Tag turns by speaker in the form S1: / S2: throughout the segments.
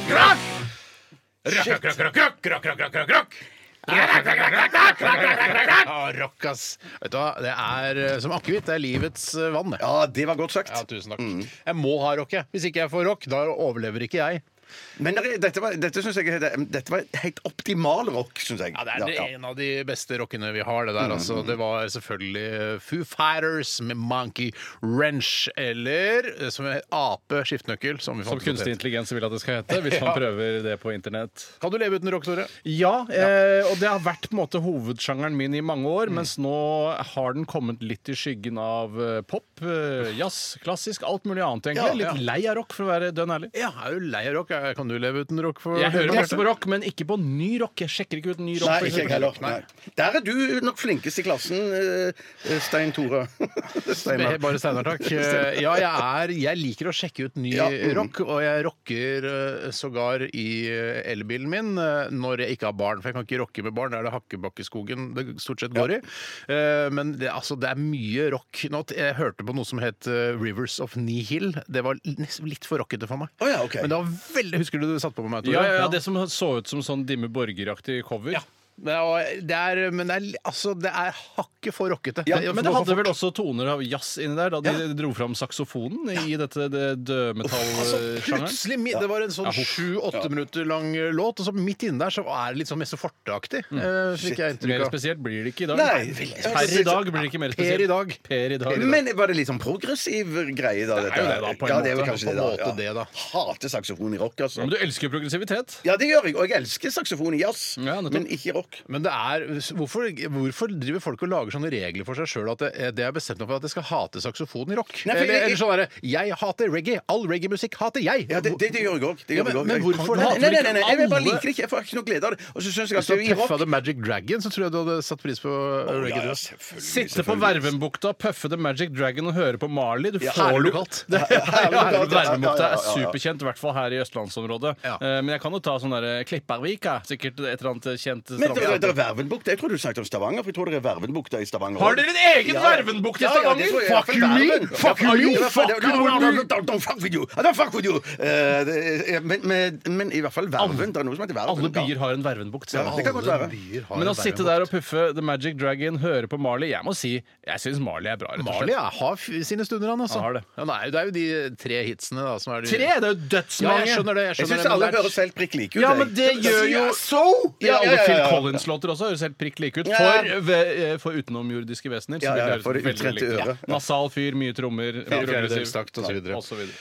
S1: Ja, Ah, rock, ass. Vet du hva, det er eh, som akevitt. Det er livets eh, vann. det.
S2: Ja, det var godt sagt.
S1: Ja, tusen takk. Jeg må ha rock, jeg. Hvis ikke jeg får rock, da overlever ikke jeg.
S2: Men det- dette var, dette, synes jeg, dette var helt optimal rock, syns jeg.
S1: Ja, Det er
S2: Ja, ja.
S1: en av de beste rockene vi har, det der. Altså, det var selvfølgelig eh, Foo Fighters med Monkey Wrench, eller eh, som er ape skiftenøkkel. Som, vi
S3: Som
S1: fant ut
S3: kunstig
S1: het.
S3: intelligens vil at det skal hete, hvis man prøver det på internett.
S1: Kan du leve uten rock, Tore?
S3: Ja, Mm. eh, og det har vært på en måte hovedsjangeren min i mange år, mens nå har den kommet litt i skyggen av eh, pop, eh, jazz, klassisk, alt mulig annet, egentlig.
S1: Ja, ja.
S3: Litt lei av rock, for å være dønn ærlig.
S1: Ja, jeg er jo lei av rock. Jeg- Kan du leve uten rock? For
S3: Jeg hører masse
S1: Bjarte?
S3: på rock, men ikke på ny rock. Jeg sjekker ikke ut ny rock.
S2: Nei,
S3: for
S2: ikke jeg
S3: eksempel.
S2: heller. Nei. Der er du nok flinkest i klassen, eh, eh, Stein Tore. Steinar.
S1: Bare Steinar, takk. Eh, Ja, jeg, er, jeg liker å sjekke ut ny
S2: Ja, mm.
S1: rock, og jeg rocker eh, sågar i eh, elbilen min eh, når jeg ikke har barn. For jeg kan ikke rocke med barn, det er det Hakkebakkeskogen det stort sett går i. Eh, Men det, altså, det er mye rock. Nå, t- jeg hørte på noe som het eh, Rivers of Nihil. Det var l- nesten litt for rockete for meg.
S2: Å ja, ok.
S1: Men det var veldig Husker du det du satte på meg? Tore?
S3: Ja, ja, ja, det som så ut som sånn Dimme Borger-aktig cover.
S1: Ja. Det er, det er, men det er, li- altså, det er hakket for rockete.
S3: Men det hadde vel også toner av jazz inni der, da de dro fram saksofonen i dette det eh, dødmetallsjangeren?
S1: Plutselig, mi- Det var en sånn sju-åtte minutter lang eh, låt, og så midt inne der så er det litt sånn Mezzoforte-aktig. eh, Fikk jeg
S3: Mm. Mer
S1: inntrykk av.
S3: spesielt blir det ikke i dag.
S2: Nei, veldig
S3: per i dag blir det ikke mer spesielt.
S1: Per i dag.
S3: Per i dag.
S2: Men var det litt sånn progressiv greie, da?
S3: Det er jo det, da, på en
S2: ja, det er
S3: måte.
S2: vel kanskje
S1: På en
S2: det, da.
S1: måte
S2: Ja.
S1: det, da.
S2: Hater saksofon i rock, altså.
S3: Ja, Men du elsker jo progressivitet.
S2: Ja, det gjør jeg. Og jeg elsker saksofon i jazz,
S3: Ja, nettopp.
S2: men ikke i rock.
S1: Men det er, hvorfor, hvorfor driver folk og lager sånne regler for seg sjøl at det, eh, det er bestemt meg for at jeg skal hate saksofon i rock?
S2: Nei, for
S1: eller,
S2: jeg-
S1: eller sånn derre Jeg hater reggae! All reggae-musikk hater jeg!
S2: Ja, det, det, det gjør jeg òg.
S1: Ja, men- men hvorfor
S2: nei,
S1: hater
S2: nei, nei,
S1: ikke
S2: nei, nei, jeg bare
S1: alle-
S2: liker det ikke. Jeg får ikke noe glede av det. Og så syns jeg
S1: Hvis
S2: at
S1: du
S2: det er i
S1: hadde
S2: rock
S1: puffa The Magic Dragon, så tror jeg du hadde satt pris på eh, reggae. du.
S3: Sitte på Vervenbukta, puffe The Magic Dragon og høre på Marley. Du får
S1: herlig
S3: jo
S1: lokalt.
S3: Det-
S2: Ja, herlig lokalt, ja.
S3: Vervenbukta
S2: Ja, ja, ja,
S3: er
S2: ja.
S3: superkjent, i hvert fall her i østlandsområdet.
S1: Ja.
S3: Eh, Men jeg kan jo ta sånn der Klippervika. Sikkert et eller annet kjent
S2: Men det, det
S3: strandteater.
S2: er Vervenbukta. Jeg tror du snakket om Stavanger, for jeg tror det er Vervenbukta i Stavanger.
S3: Har dere en egen
S2: Ja, ja.
S3: Vervenbukt i
S2: Ja, ja, det
S3: Stavanger?
S2: tror jeg.
S1: Fuck you, me! Fuck you, you! Fuck you,
S2: No, no, no,
S1: you!
S2: don't- Don't fuck with you! I don't fuck with you! Eh, det er- men, men, men i hvert fall Verven. Det er noe som heter Verven.
S3: Alle
S2: ja.
S3: byer har en Vervenbukt.
S2: Ja, det kan godt være.
S1: byer har
S3: Men å
S1: en
S3: sitte der og puffe The Magic Dragon, høre på Marley Jeg må si, jeg syns Marley er bra. rett og slett.
S1: Marley ja, har f- sine stunder, han altså.
S3: Han har det.
S1: Ja, nei, det er jo de tre hitsene, da, som er de
S3: Tre! Det er jo
S1: Ja,
S3: dødsmange!
S1: jeg skjønner det. Jeg
S2: Jeg
S1: skjønner
S2: syns
S1: det, men
S2: alle
S1: det er-
S2: høres helt prikk like ut.
S3: Ja,
S2: jeg.
S3: men det gjør jo
S2: So! Ja,
S3: Ja,
S2: ja, ja,
S3: Alle Phil
S2: ja, ja.
S3: Collins-låter også høres helt prikk like ut.
S2: Ja.
S3: For, ve- eh, for utenomjordiske vesener.
S2: Ja, ja,
S3: Så vil det høres
S2: for det
S3: veldig
S2: utrente
S3: likt ut.
S2: øret.
S3: Nasal fyr, mye trommer.
S1: Fjerdedelstakk og så videre.
S3: Og så videre.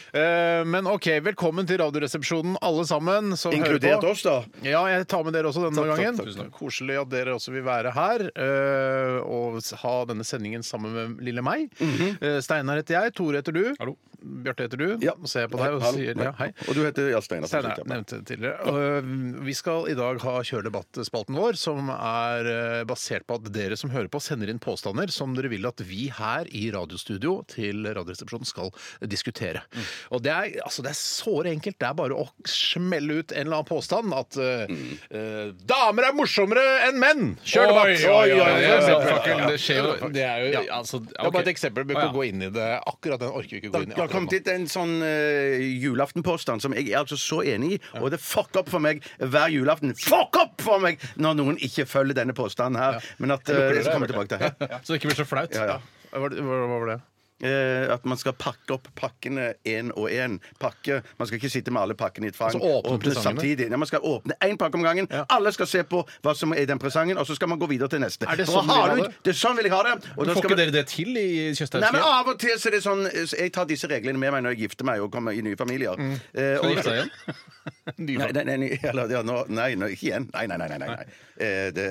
S1: Eh, men OK, velkommen til Radioresepsjonen, alle sammen. Som
S2: Inkludert
S1: hører på.
S2: oss, da.
S1: Ja, jeg tar med dere også denne
S2: Takk, takk,
S1: gangen.
S2: takk,
S1: Tusen takk. Koselig at dere også vil være her eh, og s- ha denne sendingen sammen med lille meg. Eh, Steinar heter jeg. Tore heter du.
S3: Hallo.
S1: Bjarte heter du.
S2: Mhm. Ja.
S1: Nå ser jeg på deg og
S2: Hallo.
S1: sier ja, hei.
S2: Og du heter ja, Steinar.
S1: Steinar nevnte det tidligere. Og, eh, Vi skal i dag ha kjørdebattspalten vår, som er eh, basert på at dere som hører på, sender inn påstander som dere vil at vi her i radiostudio til Radioresepsjonen skal diskutere. Og det er, altså, det er såre enkelt. Det er bare å smelle ut en eller annen påstand at eh, eh, damer er morsommere enn menn! Kjør debatt!
S3: Oi, oi, oi,
S1: For eksempel.
S3: Fucking, Det skjer jo Det er jo
S1: Ja.
S3: altså,
S1: Det er bare et
S3: ok.
S1: eksempel. Vi kan
S3: Ja.
S1: ikke gå inn i det. Akkurat den orker vi ikke gå inn i.
S2: Det har kommet
S1: akkurat nå.
S2: hit en sånn eh, julaftenpåstand som jeg er altså så enig i, og det fuck opp for meg hver julaften. Fuck opp for meg når noen ikke følger denne påstanden her. Men at eh, det skal komme tilbake til.
S3: Så det ikke blir så flaut.
S2: Ja, ja.
S1: Hva var det- hva var det?
S2: eh, at man skal pakke opp pakkene én og én. Pakke. Man skal ikke sitte med alle pakkene i et fang.
S1: Altså åpne presangene?
S2: samtidig. Nei, man skal åpne én pakke om gangen. Alle skal se på hva som er i den presangen, og så skal man gå videre til neste.
S1: Er det
S2: For å
S1: sånn
S2: ha
S1: dere har
S2: ut- det? er sånn vil jeg ha det. Og da skal
S3: Får ikke
S2: man-
S3: dere det til i
S2: Nei, men
S3: Tjøstheimslia?
S2: Av og til så er det sånn så Jeg tar disse reglene med meg når jeg gifter meg og kommer i nye familier. Eh,
S3: Skal du
S2: og-
S3: gifte deg igjen?
S2: Nei, nei, nei, nei, eller, ja, nå, nei, nå, ikke igjen. Nei, nei, nei. nei, nei. nei. Eh, det,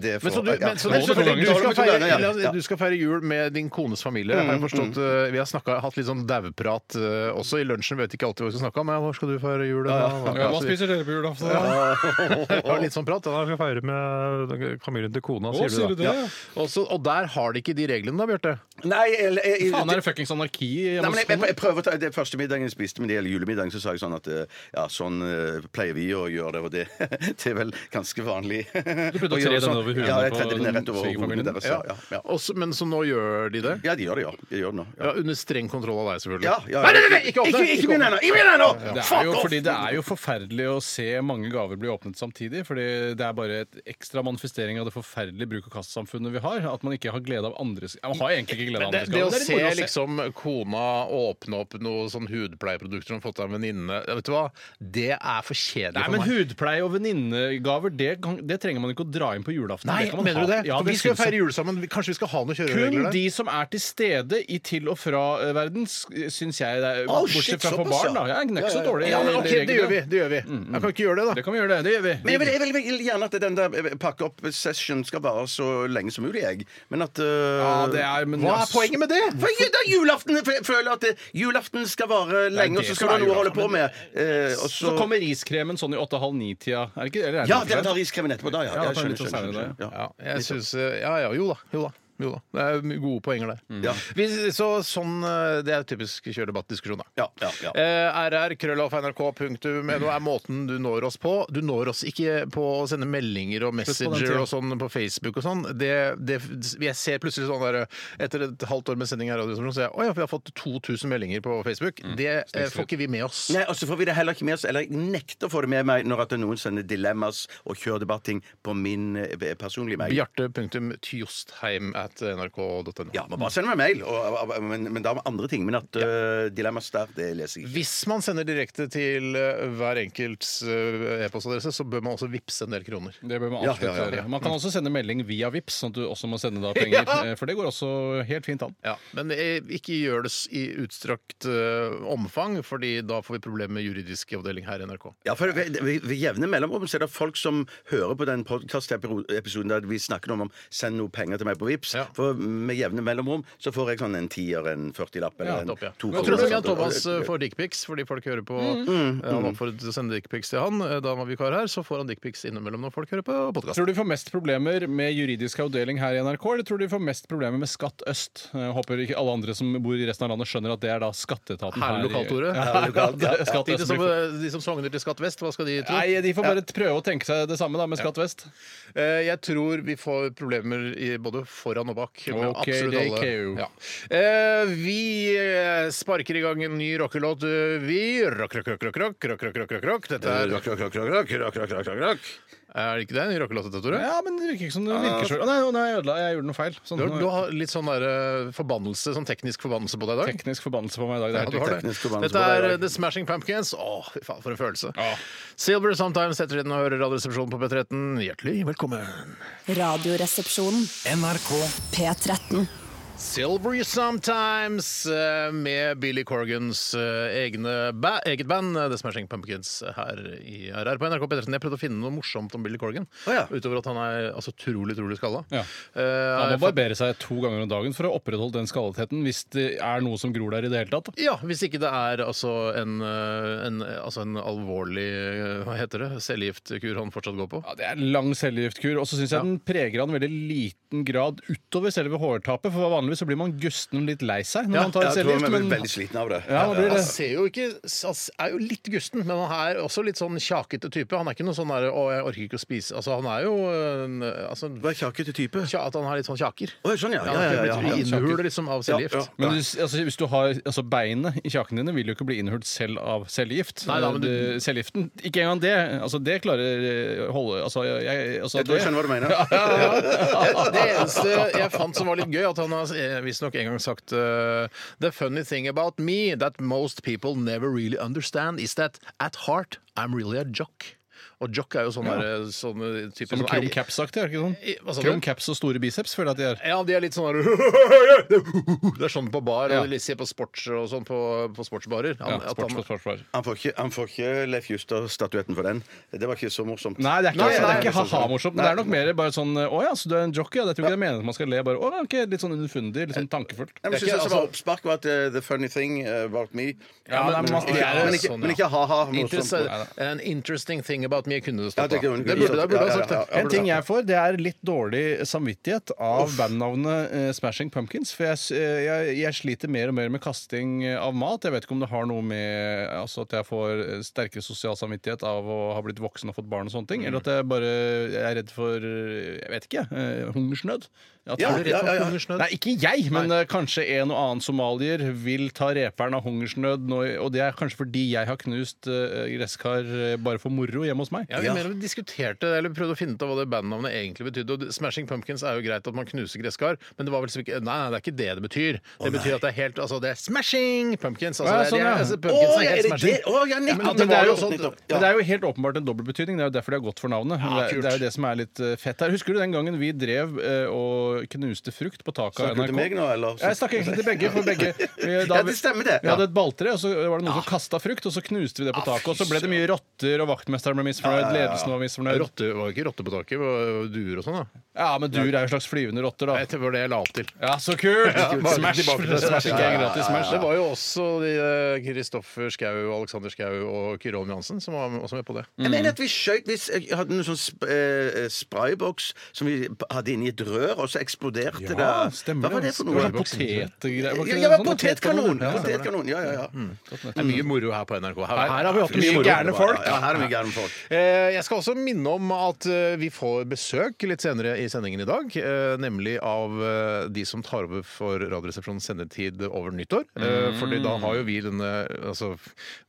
S2: det får-
S1: Men så du,
S2: ja.
S1: men, så,
S2: Men
S1: du,
S2: så-
S1: skal
S2: du skal feire-
S1: feire,
S2: ja, ja.
S1: du skal feire jul med din kones familie. Jeg har forstått,
S3: Mm,
S1: eh, vi har snakket, hatt litt sånn dauprat eh, også i lunsjen. Vi vet ikke alltid hva vi skal snakke om. Men hvor skal du feire jul? da?
S3: Ja, hva
S1: Altså,
S3: spiser dere på julaften?
S1: Det var litt sånn prat.
S4: Da skal jeg feire med familien til kona,
S3: Å, sier du det? Ja.
S1: Og, så, og der har de ikke de reglene, da, Bjarte.
S2: Nei, eller jeg-
S3: Faen, er det fuckings anarki? i
S2: Nei, men jeg, jeg,
S3: Amazon?
S2: jeg prøver å ta Det første middagen jeg spiste, men det gjelder julemiddagen, så sa jeg sånn at eh, ja, sånn eh, pleier vi å gjøre det, og det, det er vel ganske vanlig. Du
S3: prøvde å tre den over huet
S2: Ja, jeg
S3: på
S2: tredde den
S3: den
S2: rett over
S3: svigerfamilien?
S2: hodet deres. Ja, ja, ja.
S1: Og så- men så nå gjør de det?
S2: ja, de gjør det, ja. De gjør det nå. Ja.
S1: Ja, under streng kontroll av deg, selvfølgelig.
S2: Ja, ja, ja.
S1: Nei, nei, nei, nei, ikke
S2: Ikke,
S1: åpne!
S2: ikke begynn ennå! Ikke begynn ennå!
S3: Det er,
S2: Fuck
S3: jo,
S2: off!
S3: fordi det er jo forferdelig å se mange gaver bli åpnet samtidig. fordi Det er bare et ekstra manifestering av det forferdelige bruk-og-kast-samfunnet vi har. At man ikke har glede av andres Man har egentlig ikke glede av
S1: Men det,
S3: andres
S1: det å se
S3: gaver. moro
S1: liksom kona åpne opp noen sånn hudpleieprodukter hun har fått av en venninne, ja, vet du hva? Det er for kjedelig
S3: Nei,
S1: for
S3: men
S1: meg.
S3: Hudpleie og venninnegaver det, kan- det trenger man ikke å dra inn på julaften.
S1: Nei,
S3: kan man
S1: mener du
S3: ha.
S1: det?
S3: Ja,
S1: For vi
S3: det
S1: skal jo
S3: synes jeg.
S1: feire jul sammen. Vi- Kanskje vi skal ha noen kjøreregler
S3: Kun
S1: der?
S3: de som er til stede i til- og eh, fra-verden, syns jeg det er
S2: Oh, shit,
S3: Bortsett fra for
S2: såpass, ja.
S3: barn, da. Jeg er ikke så dårlig.
S1: Ja, men ok,
S3: regler, Mm,
S1: det gjør vi. Det gjør vi. Jeg kan ikke gjøre det,
S3: Det
S1: da.
S3: kan vi gjøre, det. Det gjør vi.
S2: Men jeg vil, jeg, vil, jeg vil gjerne at den der eh, pakke opp-session skal vare så lenge som mulig, jeg. Men at eh,
S3: Ja, det er, men, altså-
S1: Hva er
S3: ass-
S1: poenget med det?
S2: For jeg, det er julaften for jeg føler at det, julaften skal vare lenge, og
S3: det
S2: så skal
S3: som
S2: du
S3: er
S2: ha noe å holde på
S3: julaften,
S2: med. Eh, og
S3: Så kommer riskremen sånn i 8.30-9-tida. Er det ikke eller er det?
S2: Ja,
S3: ikke
S2: den
S3: det?
S2: tar riskremen etterpå. Da, ja.
S3: Ja,
S2: Jeg
S3: ta
S2: skjønner,
S3: litt og
S2: skjønner,
S3: særlig
S2: skjønner.
S1: Ja, jeg synes, eh, ja, ja, jo da. Jo da. Jo da. Det er mye gode poenger
S2: Mm.
S1: der. Vi, så, sånn, eh, det er typisk kjørdebattdiskusjon, da.
S2: Ja, ja, ja.
S1: Eh, rr.krøllalfa.nrk.no er måten du når oss på. Du når oss ikke på å sende meldinger og Messenger og sånn på Facebook og sånn. Det, det, jeg ser plutselig sånn der Etter et halvt år med sending her, i Radioresepsjonen, så er jeg å ja, vi har fått 2000 meldinger på Facebook. Det eh, får ikke vi med oss.
S2: Mm. Nei, og så får vi det heller ikke med oss, eller jeg nekter å få det med meg når at noen sender dilemmas og kjør debatting på min eh, personlige mail.
S1: Bjarte.tjostheim at nrk.no.
S2: Ja, man bare send meg mail, og, og- og- men, men da med andre ting. Men at eh, dilemmas der, det leser jeg ikke.
S1: Hvis man sender direkte til eh, hver enkelts eh, e-postadresse, så bør man også vippse en del kroner.
S3: Det bør man
S2: Ja,
S3: absolutt
S2: ja, ja, ja.
S3: gjøre. Man
S1: Mm.
S3: kan også sende melding via Vipps, sånn at du også må sende da penger. Eh, For det går også helt fint an.
S1: Ja, Men eh, ikke gjør det s- i utstrakt eh, omfang, fordi da får vi problemer med juridisk avdeling her i NRK.
S2: Ja, for ved, ved, ved jevne mellomrom så er det folk som hører på den podkast-episoden der vi snakker om om send noe penger til meg på Vipps.
S1: Ja.
S2: For med jevne mellomrom så får jeg sånn en tier, en 40-lapp
S1: Ja,
S2: eller en
S1: topp, ja.
S2: to
S1: Men
S2: kroner,
S1: tror du ikke
S2: sånt.
S1: at Thomas eh, får dickpics fordi folk hører på eh, Han oppfordret til å sende dickpics til han eh, da han var vikar her, så får han dickpics innimellom når folk hører på podkast.
S3: Tror du de får mest problemer med juridisk avdeling her i NRK, eller tror du de får mest problemer med Skatt øst? Jeg håper ikke alle andre som bor i resten av landet skjønner at det er da skatteetaten
S1: Herlig lokalt,
S3: her.
S1: Tore.
S3: i- Ja,
S2: Herlig lokalt, ja.
S3: det- Skatt
S1: De
S3: øst
S1: som,
S3: blir for-
S1: eh, de som sogner til Skatt vest, hva skal de tro?
S3: Nei, de får bare prøve å tenke seg det samme da med Skatt vest.
S1: Eh, Jeg tror vi får problemer i både foran og bak. med
S3: Ok,
S1: absolutt
S3: det
S1: alle.
S3: kan jo.
S1: Ja. Eh, Vi eh, sparker i gang en ny rockelåt, eh, vi. Rock, rock, rock, rock, rock, rock, rock, rock, rock, rock. Dette er
S2: Eh, Rock, rock, rock, rock, rock, rock, rock, rock, rock, rock.
S1: Er det ikke det en ny rockelåt, dette, Tore?
S3: Ja, men det virker ikke som det virker sjøl. Nei, nå- nå har jeg ødela. Jeg gjorde noe feil.
S1: Ah,
S3: Sånn,
S1: Du har, du
S3: nå-
S1: har litt sånn der, eh, forbannelse, sånn teknisk forbannelse på deg i dag.
S3: teknisk forbannelse på meg i dag. Det er
S1: Ja,
S3: helt
S1: du har
S3: riktig.
S1: det.
S2: teknisk forbannelse
S1: Dette
S2: på deg i
S1: er eh,
S2: dag.
S1: The Smashing Pumpkins. Åh, fy faen, for en følelse. Silver Sometimes setter inn og hører Radioresepsjonen på P13. Hjertelig velkommen.
S5: Radioresepsjonen.
S6: NRK
S5: P13.
S1: Silvery Sometimes eh, med Billy Corgans eh, egne ba eget band eh, The Smashing Pumpkins her i RR på NRK P13. Jeg prøvde å finne noe morsomt om Billy Corgan,
S2: Å ja.
S1: utover at han er altså, utrolig, utrolig skalla.
S3: Ja.
S1: Eh,
S3: Man må
S1: jeg fant-
S3: barbere seg to ganger om dagen for å opprettholde den skalletheten hvis det er noe som gror der i det hele tatt.
S1: ja, hvis ikke det er altså en, eh, en, eh, altså en alvorlig eh, Hva heter det? Cellegiftkur han fortsatt går på?
S3: Ja, Det er en lang cellegiftkur. Og så syns jeg den preger han i veldig liten grad utover selve hårtapet. For vanligvis så blir man gusten litt lei seg når man tar
S2: Jeg tror
S3: cellegift.
S2: vi er
S3: Men
S2: veldig sliten av det.
S3: ja, man blir det.
S1: Han ser jo ikke, han er jo litt gusten, men han er også litt sånn kjakete type. Han er ikke noe sånn der 'Å, jeg orker ikke å spise'. Altså, han er jo en, altså, en
S2: Hva er kjakete type?
S1: Tja, at han har litt sånn kjaker.
S2: Å, sånn, ja.
S1: Ja,
S2: Ja, ja, ja, ja, ja.
S1: Innhuler liksom av cellegift.
S2: Ja,
S3: Men du, altså, hvis du har altså, beinet i kjakene dine, vil jo ikke bli innhult selv av cellegift.
S1: Nei, da, men du-
S3: Eh, Cellegiften Ikke engang det. Altså, det klarer eh, holde Altså, jeg, altså
S2: Jeg tror jeg
S3: det-
S2: skjønner hva du mener.
S1: Det eneste jeg fant som var litt gøy, at han har eh, visstnok en gang sagt eh, The funny thing about me that most people never really understand is that at heart I'm really a jock. Og jock er jo sånn der, sånn type
S3: Som
S1: sånn-
S3: Krum Caps-aktig, er det
S1: I-
S3: ikke
S1: hva sa
S3: sånn?
S1: du?
S3: Krum Caps og store biceps, føler jeg at de er.
S1: Ja, de er litt sånn der, Det er sånn på bar,
S3: Ja.
S1: og de ser på sports og sånn på, på sportsbarer.
S3: Ja,
S1: Han- at
S3: sports,
S1: han-
S3: sports, sports, sports.
S2: Han får ikke, han får ikke Leif Juster-statuetten for den. Det var ikke så morsomt.
S3: Nei, det er ikke,
S1: Nei,
S3: det er
S1: nei,
S3: ikke ha-ha-morsomt. men Det er nok mer bare sånn Å ja, så du er en jockey? Ja, det tror ikke jeg mener at man skal le. Bare, å, ok, Litt sånn underfundig, litt sånn tankefullt.
S2: Nei, men jeg
S1: Det er
S2: synes
S1: ikke-
S2: det som var oppspark, var at eh, the funny thing eh, about me.
S3: altså- Ja, nei, men man-
S2: men,
S3: det er
S2: men, ikke,
S1: sånn,
S2: men
S1: ja.
S2: ikke ha-ha. morsomt.
S3: sånn,
S1: Interesse- An interesting thing about me kunne det
S2: Ja,
S1: stått
S2: det
S1: da.
S2: kunne-
S1: Det burde det burde
S2: Ja,
S1: ha
S2: ja,
S1: sagt.
S2: ja,
S1: det.
S2: ja.
S3: En ting jeg får, det er litt dårlig samvittighet av bandnavnet eh, Smashing Pumpkins. For jeg, s- eh, jeg, jeg sliter mer og mer med kasting eh, av mat. Jeg vet ikke om det har noe med altså, at jeg får eh, sterkere sosial samvittighet av å ha blitt voksen og fått barn og sånne ting,
S2: Mm.
S3: eller at jeg bare jeg er redd for eh, Jeg vet ikke. eh, Hungersnød. At
S2: Ja,
S3: jeg blir redd for
S2: ja, ja, ja.
S3: hungersnød. Nei, ikke jeg, men eh, kanskje en og annen somalier vil ta reperen av hungersnød. Nå, og det er kanskje fordi jeg har knust eh, gresskar eh, bare for moro hjemme hos meg.
S1: Ja, vi mer om diskuterte det, eller prøvde å finne ut av hva det bandnavnet egentlig betydde. Og Smashing Pumpkins er jo greit at man knuser gresskar, men det var vel liksom ikke Nei, nei, det er ikke det det betyr. Det betyr at det er helt Altså, det er Smashing Pumpkins. Altså,
S3: Ja,
S1: det er,
S3: sånn,
S1: de er-
S3: ja.
S1: altså,
S2: Å,
S1: pumpkins er
S2: ja,
S1: helt
S2: er det det?
S1: smashing.
S2: Å, ja, nettopp!
S1: men
S2: det
S3: Men det,
S2: var
S3: er
S2: jo
S3: jo,
S2: sånn, nettopp.
S3: men det er jo helt åpenbart en dobbeltbetydning. Det er jo derfor de har gått for navnet. det, er,
S1: kult.
S3: det er jo det som er litt eh, fett her. Husker du den gangen vi drev eh, og knuste frukt på taket av
S2: Snakker du
S3: NRK?
S2: til meg nå, eller?
S3: Jeg snakker egentlig til begge. For begge vi- da
S2: Ja, Ah,
S3: vi-
S2: det stemmer det.
S3: Vi hadde et balltre, og så var det noen som kasta frukt, og så knuste vi det på taket. Og så ble det mye rotter, og vaktmesteren ble misfornøyd, ledelsen var misfornøyd.
S1: Rotte, var det ikke rotte på taket? og Duer og sånn, da?
S3: Ja, men duer er jo slags flyvende rotter, da.
S1: Det var det jeg la opp til.
S3: Ja, så kult! Smash!
S1: tilbake til
S3: Smash ikke er gratis smash.
S1: Det var jo også de, eh, Kristoffer Schau, Alexander Schau og Kyrolm Johansen som var også med på det.
S2: Jeg mener at vi skjøt Hvis jeg hadde noen sånn sp eh, sprayboks som vi hadde inni et rør, og så eksploderte det.
S3: Ja, Ah, stemmer
S2: Hva var det for
S3: Det
S2: noe?
S3: var sånn potetgreier. Var ikke
S2: Ja,
S3: det
S2: ja,
S3: sånn?
S2: potetkanon!
S3: Ja, Mm. stemmer det.
S2: Potetkanon, ja, ja, ja.
S1: Det er mye moro her på NRK. Her,
S3: her har vi hatt mye
S1: moro.
S3: gærne folk.
S2: Ja, her er mye gærne folk.
S1: Eh, Jeg skal også minne om at eh, vi får besøk litt senere i sendingen i dag. eh, Nemlig av eh, de som tar over for Radioresepsjonens sendetid over nyttår. Eh, Fordi da har jo vi denne altså,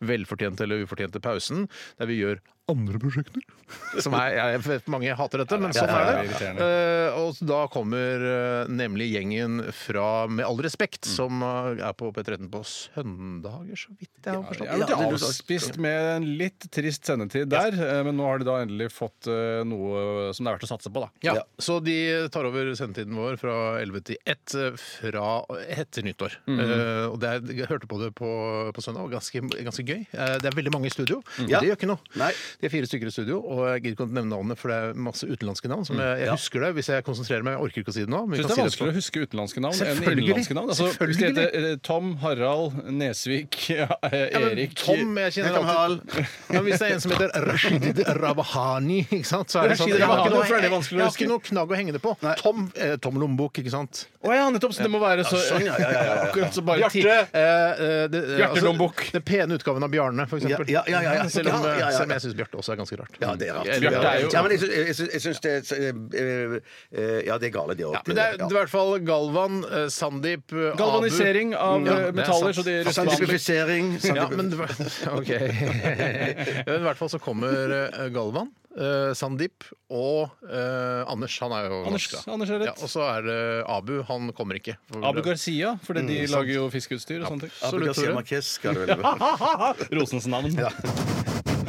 S1: velfortjente eller ufortjente pausen der vi gjør andre prosjekter. Som er, jeg vet mange hater dette, men sånn er det. Eh, Og da kommer eh, nemlig gjengen fra Med all respekt, som eh, er på P13 på søndager, så vidt jeg har forstått.
S3: Jeg er blitt avspist med en litt trist sendetid der, eh, men nå har de da endelig fått eh, noe som det er verdt å satse på, da.
S1: Ja, Så de tar over sendetiden vår fra 11 til 1 eh, fra etter nyttår.
S3: Mm.
S1: Eh, og det er, jeg hørte på det på, på søndag, og ganske, ganske gøy. Eh, det er veldig mange i studio.
S3: Mm.
S2: Ja.
S1: Det gjør ikke noe.
S2: Nei.
S1: De er fire stykker i studio, og jeg gidder ikke å nevne navnet, for det er masse utenlandske navn. Som jeg, jeg husker det hvis jeg konsentrerer meg. Jeg orker ikke å si det nå. Men vi
S3: Jeg
S1: kan
S3: Mm. synes det er
S1: si
S3: vanselig å huske utenlandske navn enn
S1: Selvfølgelig.
S3: innenlandske navn. Altså, hvis det
S1: Selvfølgelig.
S3: heter eh, Tom, Harald, Nesvik, eh,
S1: Ja, men
S3: Erik
S1: Tom, jeg kjenner
S2: Tom
S1: alltid ja, men Hvis det er en som heter Rashid Rabahani, ikke sant? så er det sånn
S3: Rashid
S1: Jeg har
S3: Rabahani,
S1: ikke noe,
S3: hvorfor er det
S1: jeg,
S3: vanskelig å
S1: jeg har
S3: huske?
S1: ikke noe knagg å henge det på. Tom, eh, Tom Lombok, ikke sant?
S3: Å ja, nettopp! Så det må være så
S2: sånn, ja, ja, ja, ja, ja.
S3: Akkurat så bare ti-
S1: Bjarte! Eh, eh, det, eh,
S3: Bjarte
S1: altså,
S3: Lombok.
S1: Den pene utgaven av Bjarne, for eksempel.
S2: Ja, ja, ja, ja, ja.
S1: Selv om,
S2: Ja,
S1: eh,
S2: ja, ja.
S1: selv om jeg syns Bjarte også er ganske rart.
S2: Ja, det er rart.
S1: Eller-
S3: Bjarte er jo-
S2: Ja, men jeg syns- jeg syns- jeg syns det er eh, eh, Ja, det er gale, det òg.
S1: Ja, men det er, det er i hvert fall Galvan, eh, Sandeep, eh, Abu
S3: Galvanisering
S1: Ja,
S3: av eh,
S1: det er
S3: metaller,
S1: sant. Altså,
S3: så de røstbehandler.
S2: Santifisering
S1: Ja, men det var- OK. Men I hvert fall så kommer eh, Galvan. eh, Sandeep og eh, Anders. Han er jo
S3: Anders-
S1: norsk, da.
S3: Anders er rett.
S1: Ja, og så er det Abu. Han kommer ikke. For-
S3: Abu Garcia, fordi de lager jo fiskeutstyr og sånne ting.
S1: Absolutt,
S2: Abu Garcia
S1: Tore.
S2: Marquez skal det vel være.
S3: Rosens navn.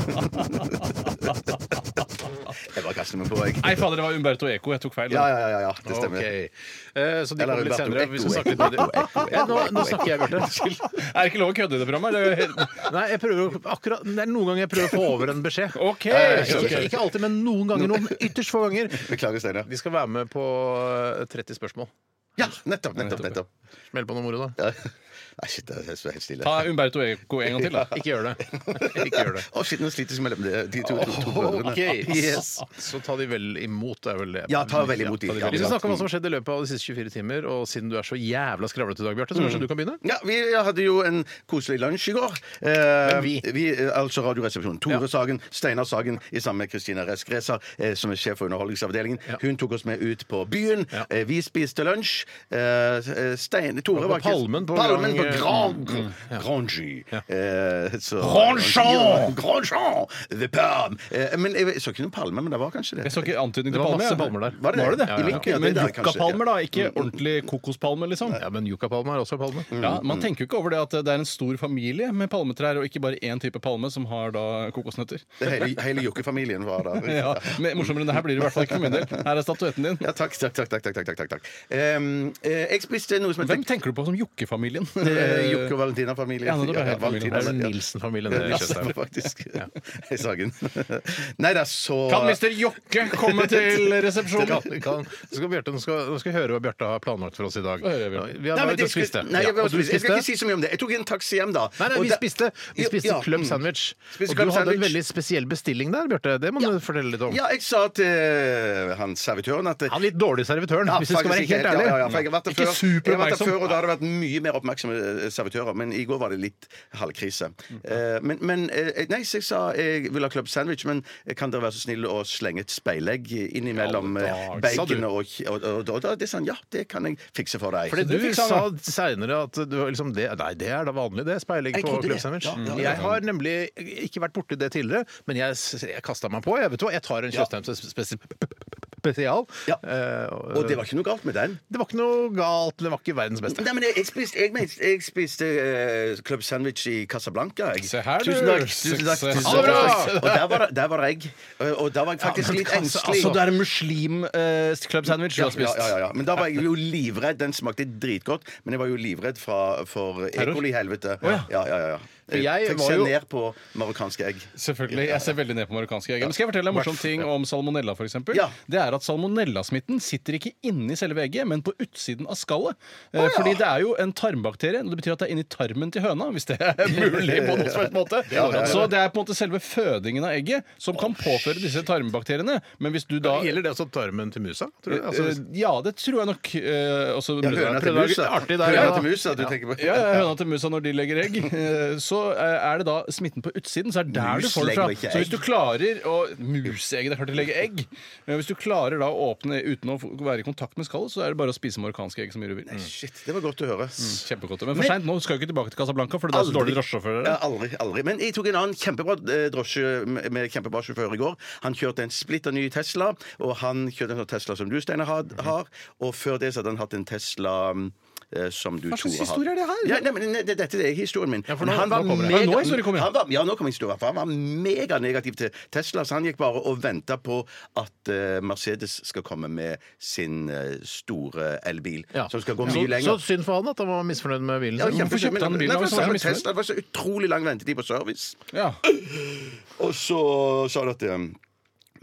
S2: Jeg bare kaster meg på, jeg.
S3: Nei, fader, det var Umberto Eco. Jeg tok feil.
S2: Ja, ja, ja, ja, ja, det stemmer.
S1: Ok. Eh, så de
S2: Eller
S1: kommer litt
S2: Roberto
S1: senere. Vi
S2: Eco,
S1: skal snakke litt
S2: Eco,
S1: videre.
S2: Eco, Eco,
S1: Ja, nå, nå
S2: Eco,
S1: snakker jeg, Bjarte.
S3: Er det ikke lov å kødde i det programmet? Det er jo helt-
S1: Nei, jeg prøver å, akkurat, det er noen ganger jeg prøver å få over en beskjed.
S3: Ok.
S1: Eh, ikke, ikke alltid, men noen ganger. Noen ytterst få ganger.
S2: Beklager, Steinar.
S1: De skal være med på eh, 30 spørsmål.
S2: Ja, nettopp, nettopp. nettopp.
S1: Smell på noe moro, da.
S2: Ja. Nei, shit, jeg står helt stille.
S3: Ta Umberto Eco en gang til, da.
S1: Ikke gjør det. Ikke gjør det.
S2: Å, shit, nå slites mellom de de to, to, to brødrene.
S1: Ok,
S2: Yes.
S1: Så ta de vel imot, det er vel det.
S2: Ja, ta vel imot de,
S1: ta
S2: ja.
S1: Vi skal snakke om hva som har skjedd i løpet av de siste 24 timer, og siden du er så jævla skravlete i dag, Bjarte, så kanskje du kan begynne?
S2: Ja, Vi hadde jo en koselig lunsj i går. Eh,
S1: vi?
S2: eh, altså Radioresepsjonen. Tore Sagen, Steinar Sagen i sammen med Kristina Reskreser, eh, som er sjef for Underholdningsavdelingen. Hun tok oss med ut på byen. Eh, vi spiste lunsj. Grange. eh, Stein, Tore
S1: på
S2: var ikke
S1: Palmen på
S2: Palmen på
S1: Grand-
S2: Grand, Grangy. Eh, så-
S3: Grandjean!
S2: Grandjean! The Palm. Eh, men jeg, jeg så ikke noen palme, men det var kanskje det.
S3: Jeg så ikke antydning til
S1: Det var
S3: palme.
S1: masse
S3: jeg.
S1: palmer der.
S2: Var det det?
S3: Var det det?
S2: Ja, ja, ja.
S3: Ok,
S2: Ja, det
S3: men
S2: der kanskje,
S3: yuccapalmer,
S2: ja.
S3: da. Ikke ordentlig kokospalme, liksom.
S1: Ja, men yuccapalme er også en palme.
S3: Ja, Man tenker jo ikke over det at det er en stor familie med palmetrær, og ikke bare én type palme som har da kokosnøtter.
S2: Mm, Hele, hele Jokke-familien var der.
S3: Ja, men Morsommere enn det her blir det i hvert fall ikke for min del. Her er statuetten din.
S2: Ja, takk, takk, takk. takk, takk, takk, takk, takk. Ehm, eh, jeg spiste noe som
S3: Hvem
S2: heter
S3: tenker du på som jokkefamilien?
S2: eh, Jokke- og Valentina-familien.
S3: Ja, nå er det bare helt
S2: Valentina,
S1: Det er
S2: ja.
S1: Nilsen-familien.
S2: Ja,
S1: det
S2: det
S1: kjøttet
S2: stemmer
S1: her.
S2: faktisk. I Sagen. Nei da, så
S3: Kan mister Jokke komme til resepsjonen?
S1: Kan, kan, så skal Bjarte, nå, skal, nå skal jeg høre hva Bjarte har planlagt for oss i dag.
S3: Hva hører jeg, Bjarte?
S1: Vi har
S2: Nei, men
S1: vært
S2: det
S1: og spist det.
S2: skulle- Nei, jeg,
S1: Ja, og du
S2: spiste. jeg skal
S1: spiste?
S2: ikke si så mye om det. Jeg tok en taxi hjem, da.
S1: Nei, nei,
S2: Og
S1: vi
S2: da-
S1: spiste, vi
S2: Jo,
S1: spiste
S2: ja,
S1: club
S2: mm.
S1: sandwich.
S2: Spiste
S1: og du
S2: club
S1: hadde en
S2: sandwich.
S1: veldig spesiell bestilling der, Bjarte. Det må du fortelle litt om.
S2: Ja, jeg sa til eh, han servitøren at
S1: Han er litt dårlig servitøren,
S2: Ja,
S1: hvis vi skal være
S2: faktisk
S1: helt
S2: ikke
S1: ærlig.
S2: Ja, ja, for jeg har vært der
S3: Ikke
S2: før,
S3: super
S2: jeg har vært der
S3: oppmerksom.
S2: før og da har det vært mye mer oppmerksomme eh, servitører. Men i går var det litt halvkrise. Eh, Men, men eh, nei, så jeg sa jeg vil ha club sandwich, men eh, kan dere være så snill å slenge et speilegg innimellom eh,
S1: dag, sa du.
S2: baconet og, og, og, og, og Det sa han ja, det kan jeg fikse for deg.
S1: Fordi
S3: det
S1: du
S3: fikk
S1: sa
S3: han,
S1: seinere at du var liksom det, Nei, det er da vanlig, det. Speilegg
S2: Jeg
S1: på
S2: trodde det.
S1: club sandwich. Mm.
S2: Ja, ja, ja.
S1: Jeg har nemlig ikke vært borti det tidligere, men jeg, s- jeg kasta meg på. Jeg vet du hva, jeg tar en
S2: Ja.
S1: Tjøstheim spes- spesial.
S2: Ja.
S1: Eh,
S2: og det var ikke noe galt med den.
S1: det var ikke noe galt. Det var ikke verdens beste.
S2: Nei, men jeg, jeg spiste, jeg, men- jeg spiste eh, club sandwich i Casablanca. Jeg.
S3: Se her, du.
S2: Tusen takk. Tusen takk, tusen
S1: Ha det
S2: takk.
S1: bra!
S2: Og der var, det- der var jeg. Og og da var jeg faktisk
S1: men
S2: litt
S1: altså,
S2: engstelig.
S3: Så det er en muslim-club-sandwich du
S2: Ja,
S3: har
S2: ja,
S3: spist?
S2: ja, ja. Men da var jeg jo livredd. Den smakte dritgodt, men jeg var jo livredd fra, for E.
S3: Terror?
S2: coli-helvete.
S3: Å, ja.
S2: ja, ja, ja, ja.
S1: jeg
S2: Fikk
S1: var
S2: se
S1: jo-
S2: ned på marokkanske egg.
S3: Selvfølgelig. Jeg ser veldig ned på marokkanske egg. Men skal jeg fortelle deg en morsom ting om salmonella, f.eks.?
S2: Ja.
S3: Det er at salmonellasmitten sitter ikke inni selve egget, men på utsiden av skallet. Eh, Fordi det er jo en tarmbakterie, og det betyr at det er inni tarmen til høna, hvis det er mulig på noen slags måte. Så det er på en måte selve fødingen av egget som kan påføre disse tarmbakteriene. Men hvis du da
S1: Gjelder det også tarmen til musa? Tror du? Altså,
S3: Eh, Ja, det tror jeg nok. eh, også-
S2: Ja, høna til
S1: prøvde å
S2: musa.
S1: lage artig der,
S2: Høna
S1: ja.
S2: til musa, du tenker på.
S3: Ja, ja, høna til musa når de legger egg. Eh, Så eh, er det da smitten på utsiden. Så er det der
S2: Mus
S3: du får det
S2: legger
S3: fra.
S2: ikke
S3: Så hvis
S2: egg.
S3: du klarer å Musegg, det er klart de legger egg. Men hvis du klarer da å åpne uten å få- være i kontakt med skallet, så er det bare å spise marokkanske egg som mye du vil.
S2: Shit, det var godt å høre.
S1: Mm.
S3: Kjempegodt. Men for seint, nå skal vi ikke tilbake til Casablanca, for det er så
S2: Aldri.
S3: dårlige drosjesjåfører.
S2: Ja,
S3: der.
S2: aldri, aldri. Men jeg tok en annen kjempebra eh, drosje med med kjempebra sjåfør i går. Han kjørte en splitter ny Tesla, og han kjørte en sånn Tesla som du, Steinar, har.
S1: Mhm.
S2: har. Og før det så hadde han hatt en Tesla eh, som du
S3: Hva
S2: Tore,
S3: slags
S2: har.
S3: historie er det her?
S2: Ja, nei, men, nei, det- dette er historien min.
S1: Ja, for
S2: Men
S1: nå-
S2: han var
S1: nå kommer det.
S2: mega-
S3: Ja, nå er historien kommet.
S2: han var, ja, nå kommer historien. For han var meganegativ til Tesla, så han gikk bare og venta på at eh, Mercedes skal komme med sin eh, store elbil,
S1: ja.
S2: som skal gå
S1: så,
S2: mye lenger.
S1: så synd for han at han var misfornøyd med bilen
S2: Ja,
S1: sin.
S2: kjempe-
S3: Hvorfor kjøpte han
S2: men-
S3: bilen?
S2: Nei,
S3: Han var
S2: for
S3: så
S2: det var
S3: misfornøyd.
S2: Tesla, Det var så utrolig lang ventetid på service.
S3: Ja.
S2: Og så sa du at um,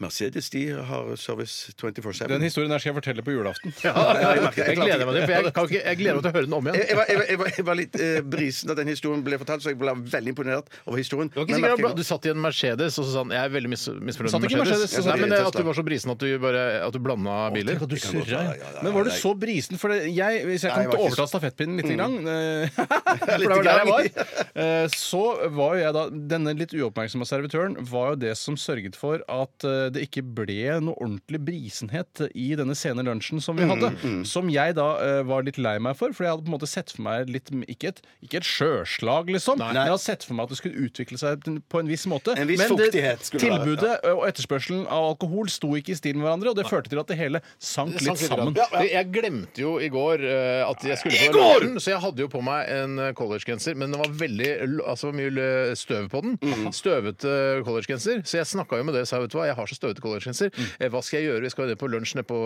S2: Mercedes de har service 24-7.
S3: Den historien her skal jeg fortelle på julaften.
S2: jeg merker- jeg
S1: Jeg gleder meg til for jeg, kan ikke, jeg gleder meg til å høre den om
S2: Jeg,
S1: igjen.
S2: jeg, var, jeg, var, jeg, var, jeg var litt eh, brisen da den historien ble fortalt, så jeg ble veldig imponert over historien.
S1: Du, var ikke
S2: Men
S1: sikker,
S2: merker
S1: på- du satt i en Mercedes og så sa han jeg er veldig mis misfornøyd
S3: Satt
S1: med
S3: ikke i
S1: Mercedes.
S3: Mercedes, jeg satt
S1: Nei,
S2: i
S1: men det, at
S2: Tesla.
S1: du var så brisen at du, bare, at du blanda biler.
S3: du
S2: godt surra, være, ja, ja, ja,
S3: Men var du
S2: nei.
S3: så brisen? For det, jeg, hvis jeg
S2: Nei,
S3: kan
S2: jeg var ikke Mm.
S3: overta stafettpinnen litt, grann, eh, for
S2: Litt
S3: det var der jeg
S2: grann.
S3: var, eh, så var jo jeg da Denne litt uoppmerksomme servitøren var jo det som sørget for at eh, det ikke ble noe ordentlig brisenhet i denne sene lunsjen
S2: Mm,
S3: som vi hadde. Som jeg da eh, var litt lei meg for, for jeg hadde på en måte sett for meg litt Ikke et, ikke et sjøslag, liksom, men jeg hadde sett for meg at det skulle utvikle seg på en viss måte.
S2: En viss
S3: men
S2: fuktighet skulle det være,
S3: tilbudet og etterspørselen av alkohol sto ikke i stil med hverandre, og det førte til at det hele sank
S1: Sank
S3: litt
S1: litt
S3: sammen.
S1: grann. Det- Jeg glemte jo i går eh, at jeg skulle på lunsjen, så jeg hadde jo på meg en eh, collegegenser, men det var veldig l- altså, mye l- støv på den.
S3: Mhm.
S1: Støvete eh, collegegenser. Så jeg snakka jo med det, sa jeg, vet du hva, jeg har så støvete collegegenser.
S3: Mhm.
S1: Eh, Hva skal jeg gjøre? Vi skal jo ned på lunsj nede på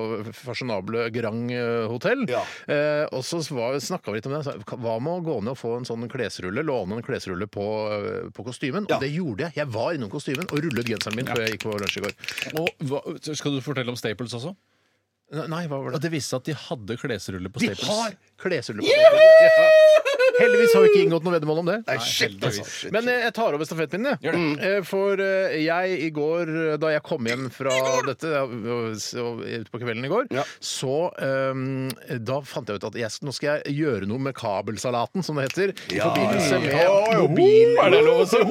S1: fasjonable Grand eh, hotell. Eh, og så snakka vi litt om det. Jeg sa, Hva med å gå ned og få en sånn klesrulle? Låne en klesrulle på, eh, på kostymen? Og det gjorde jeg. Jeg var innom kostymen og rullet genseren min før jeg gikk på lunsj i går.
S3: Og hva, skal du fortelle om Staples også?
S1: Nei, hva var det?
S3: At det viste seg at de hadde klesruller på
S1: De
S3: Staples.
S1: har klesrulle på stedet. Ja. Heldigvis har vi ikke inngått noe veddemål om det.
S2: Nei, shit, altså. Shit,
S1: Men eh, jeg tar over stafettpinnen, jeg. Mm. Eh, For eh, jeg i går, eh, da jeg kom hjem fra dette ja, og- og utpå kvelden i går, så eh, Da fant jeg ut at jeg, sk- nå skal jeg gjøre noe med kabelsalaten, som det heter. I forbindelse med mobil...
S3: Er det lov å si?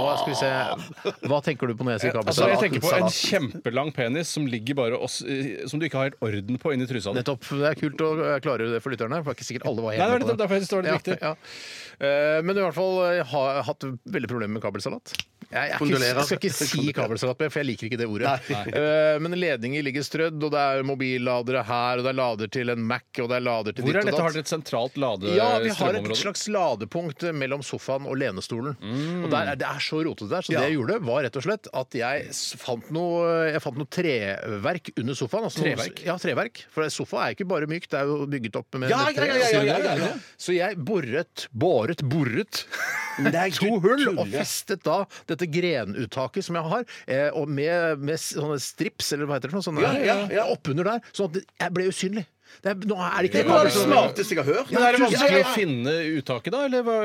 S1: Å, skal vi se. Hva tenker du på når jeg sier
S3: Altså, jeg
S1: kabelsalat?
S3: tenker på en kjempelang penis som ligger bare oss, eh, som du ikke har helt orden på inni trusa. di.
S1: Nettopp. Det er kult å eh, klargjøre det for lytterne. For det er ikke sikkert alle var
S3: sånn. Nei, det
S1: helt
S3: var nettopp derfor jeg synes det var litt viktig.
S1: Ja, ja. Eh, Men i hvert fall, jeg har hatt veldig problemer med kabelsalat. Jeg, er ikke,
S2: Kondolerer.
S1: jeg skal ikke si kabelsalat, for jeg liker ikke det ordet. Eh, Men ledninger ligger strødd, og det er mobilladere her, og det er lader til en Mac, og det er lader til
S3: Hvor
S1: ditt
S3: er
S1: og
S3: dette? Har
S1: datt.
S3: dere et sentralt lade
S1: Ja, vi har et
S3: strømområde?
S1: slags ladepunkt mellom sofaen og lenestolen.
S3: Mm.
S1: Og der er, Det er så rotete der, så det jeg gjorde, var rett og slett at jeg s- fant noe, jeg fant noe treverk under sofaen. altså noe-
S3: Treverk?
S1: ja, treverk. For sofa er ikke bare mykt, det er jo bygget opp med
S2: Ja, ja,
S1: med tre.
S2: ja, ja, ja, ja, ja.
S1: Så jeg boret, boret, boret
S2: Nei,
S1: to
S2: du
S1: hull og
S2: tuller.
S1: festet da dette grenuttaket som jeg har, eh, og med, med s- sånne strips, eller hva heter det, for noe sånt,
S2: Ja,
S1: der,
S2: ja, ja.
S1: oppunder der, sånn at det- jeg ble usynlig. Det er, nå er det sånn- ikke
S2: Det var det
S1: kabel-
S2: smarteste jeg har hørt.
S3: Men er det
S2: Ja, ja,
S3: vanskelig
S2: ja.
S3: å finne uttaket, da? Eller hva,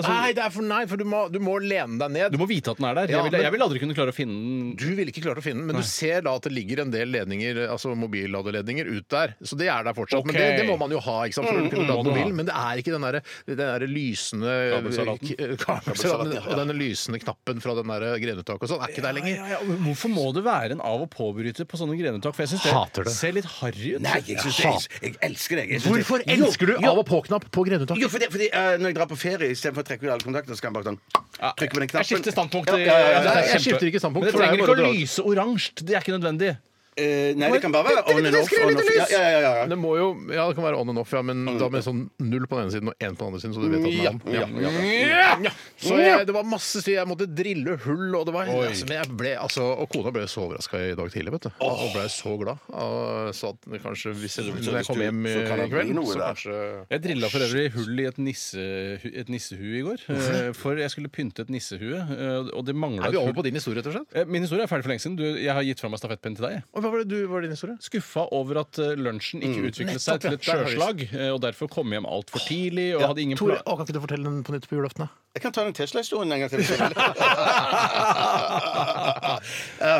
S3: altså,
S1: Nei, det er for, nei, for du må, du må lene deg ned.
S3: du må vite at den er der.
S1: Ja,
S3: jeg, vil,
S1: men-
S3: jeg vil aldri kunne klare å finne den.
S1: Du ville ikke klart å finne den, men du ser da at det ligger en del ledninger, altså mobilladeledninger ut der. Så det er der fortsatt. Men
S3: Ok. Mm,
S1: det, det må man jo ha, ikke sant, for å kunne
S3: må
S1: lade
S3: du ha.
S1: mobilen. Men det er ikke den derre der lysende eh,
S3: Kabelsalaten.
S1: k- kabelsalaten, Og denne lysende knappen fra den der grenuttaket og sånn er ikke der lenger.
S3: Ja, ja, men Hvorfor må det være en av- og påbryter på sånne grenuttak? For jeg syns
S1: Hater
S3: det
S1: det.
S3: ser litt harry ut.
S2: Nei, jeg, synes det, jeg, jeg elsker det. Jeg synes
S1: Hvorfor
S2: det- Jo,
S1: elsker du
S2: jo,
S1: av- og på-knapp på grenuttaket?
S2: Jo, fordi, fordi eh, Når jeg drar på ferie, istedenfor å trekke ut alle kontakter, så kan jeg bare sånn trykke på den knappen.
S3: Jeg skifter standpunkt.
S2: Ja, ja, ja, ja.
S1: Nei,
S3: Det er
S1: jeg
S3: kjempe-
S1: skifter ikke standpunkt,
S3: Men det
S1: for det er jo
S3: trenger ikke
S1: bare
S3: å
S1: å dra-
S3: lyse oransje. Det er ikke nødvendig.
S2: Eh, Nei, det kan bare være on and off.
S1: Bitte
S2: on
S1: lite
S2: and off.
S1: lys!
S2: Ja, ja, ja, ja.
S1: Det må jo, ja, det kan være on and off, ja, men da med sånn null på den ene siden og én på den andre siden, så du vet at den er on.
S2: Ja, ja, ja.
S1: Ja. Så jeg, det var masse styr. Jeg måtte drille hull, og det var altså, men jeg ble, altså, Og kona ble så overraska i dag tidlig, vet du. Og ble så glad. Og sa at det kanskje hvis jeg, når jeg kommer hjem i
S2: så kan det bli
S1: kveld,
S2: noe
S1: så
S2: der.
S1: kanskje
S3: Jeg drilla for øvrig hull i et, nisse, et nissehue i går. eh, For jeg skulle pynte et nissehue, eh, og det mangla
S1: Er vi
S3: et
S1: over på
S3: hull.
S1: din historie, rett og slett?
S3: Eh, Min historie er ferdig for lengst siden. Du, jeg har gitt fra meg stafettpinnen til deg. jeg.
S1: Og hva var det du var din historie?
S3: skuffa over at eh, lunsjen ikke utviklet
S1: Nettopp,
S3: seg til
S1: ja.
S3: et
S1: Der har vi
S3: sjøslag, eh, og derfor kom hjem altfor tidlig. Og hadde ingen
S1: Tore,
S3: plan
S1: å, kan ikke du fortelle den på nytt på julaften? da?
S2: Jeg kan ta den Tesla-historien en gang til.
S1: Ja,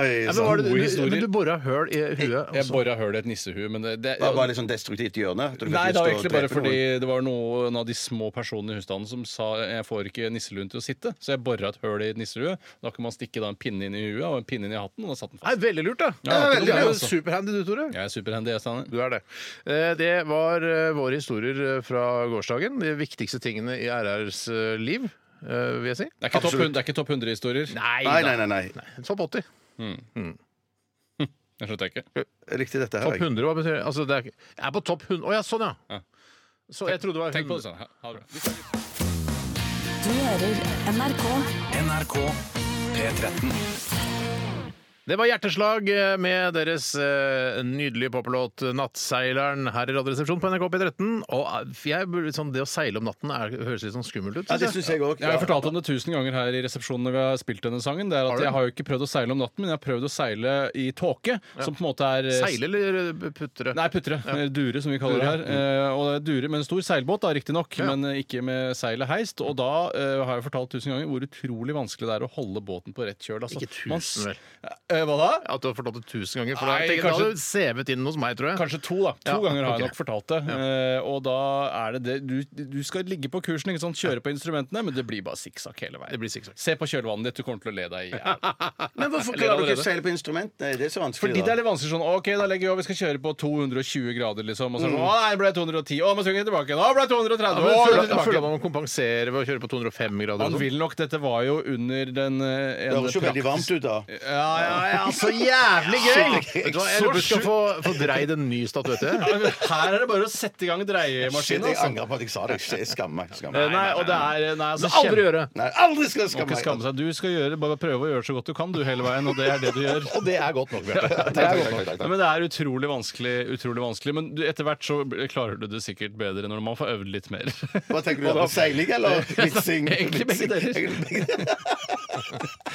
S2: Oi,
S1: men, var det,
S3: gode
S1: du,
S3: historier.
S1: men du bora høl i huet. og
S3: Jeg
S1: så-
S3: bora høl i et nissehue, men det, det
S2: Det var bare litt sånn destruktivt hjørne. at du fikk
S3: Nei,
S2: lyst
S3: det var
S2: til å
S3: egentlig bare
S2: drepe noen.
S3: fordi det var noen av de små personene i husstanden som sa jeg får ikke nisseluen til å sitte, så jeg bora et høl i et nisselue. Da kunne man stikke da en pinne inn i huet og en pinne inn i hatten, og da satt den
S1: Nei,
S3: fast.
S1: veldig lurt, da.
S3: Ja,
S1: det er
S3: veldig
S1: veldig,
S3: lurt,
S1: jo
S3: altså.
S1: superhandy du, Tore.
S3: Jeg er superhandy, jeg, Steinar.
S1: Du er det. Eh, Det var eh, våre historier eh, fra gårsdagen. De viktigste tingene i RRs eh, liv, eh, vil jeg si.
S3: Det er ikke topp 100 det er ikke topp 100-historier.
S2: Nei, nei, nei. nei.
S1: Topp 80.
S3: Jeg skjønte jeg ikke.
S2: Jeg likte dette her.
S1: Topp
S2: jeg.
S1: 100, hva betyr det? Altså, det er, ikke- jeg er på topp 100 Å ja, sånn, ja.
S3: Ja.
S1: Så jeg trodde det var
S3: Tenk på
S1: 100.
S3: det, sånn. Steinar. Ha det bra.
S5: Du hører NRK.
S6: NRK P13.
S1: Det var hjerteslag eh, med deres eh, nydelige poplåt eh, 'Nattseileren' her i Radioresepsjonen på NRK P13. Og eh, jeg, burde- sånn, det å seile om natten er, høres litt sånn skummelt ut.
S2: Ja,
S1: synes
S2: det
S1: jeg.
S2: syns jeg òg.
S3: Jeg har jo fortalt om det tusen ganger her i resepsjonen når vi har spilt denne sangen. Det er
S1: Har
S3: at
S1: du?
S3: Jeg har jo ikke prøvd å seile om natten, men jeg har prøvd å seile i tåke. Som på en måte er
S1: Seile eller eh, puttre?
S3: Nei, puttre. eller Dure, som vi kaller det her. Eh, Og det er dure med en stor seilbåt, da, riktignok, men eh, ikke med seil og heist. Og da eh, har jeg fortalt tusen ganger hvor utrolig vanskelig det er å holde båten på rett kjøl. Altså,
S1: Ikke tusen,
S3: man s-
S1: vel.
S3: Eh, Hva da?
S1: At du har fortalt det tusen ganger? For
S3: Nei,
S1: da, tenker, jeg
S3: kanskje-
S1: da hadde du sevet inn hos meg, tror jeg.
S3: Kanskje to, da. To
S1: Ja,
S3: ganger har jeg
S1: ok.
S3: nok fortalt det. Eh, og da er det det du, du skal ligge på kursen, ikke sant? kjøre på instrumentene, men det blir bare sikksakk hele veien.
S1: Det blir sikksakk.
S3: Se på kjølvannet ditt, du kommer til å le deg i hjel.
S2: Men hvorfor klarer du
S3: Eller
S2: ikke
S3: allerede.
S2: å seile på instrument? Nei, det er så vanskelig.
S3: Fordi det
S2: da.
S3: er litt vanskelig sånn OK, da legger vi over. Vi skal kjøre på 220 grader, liksom. Og så er det sånn, å nei, det ble 210. Å, men så kan vi tilbake. Å, ble
S1: Mm.
S3: 230.
S1: Ja, men
S3: å,
S1: føler,
S3: ble
S1: jeg føler
S3: tilbake.
S1: man må kompensere ved å kjøre på 205 grader.
S3: Han
S1: og sånn.
S3: vil nok Dette var jo under den eh,
S2: Det
S3: en
S2: høres jo
S3: prakt-
S2: veldig varmt ut, da.
S3: Ja, ja, ja. Så Altså, jævlig gøy!
S1: Vet du hva, Jeg lurer på om vi skal få, få dreid en ny statuette.
S3: Ja, men Her er det bare å sette i gang
S2: Shit, jeg
S3: dreiemaskinen. Altså. Eh,
S2: angrer på at jeg sa det. Jeg skammer meg. Skammer
S3: Nei,
S2: meg.
S3: og det er Nei, altså,
S1: Det skal aldri
S3: kjempe-
S1: gjøre.
S2: Nei, aldri skal jeg
S3: Må
S2: skamme
S3: ikke skamme
S2: meg.
S3: seg. Du skal gjøre, bare prøve å gjøre så godt du kan du hele veien, og det er det du gjør.
S1: Og det er godt nok, Bjarte.
S2: Takk, takk, takk, takk,
S3: Ja,
S2: takk.
S3: men Det er utrolig vanskelig, utrolig vanskelig men du, etter hvert så b- klarer du det sikkert bedre når man får øvd litt mer.
S2: Hva tenker du da? Seiling eller vitsing?
S3: Egentlig begge deler.
S2: Egentlig begge deler.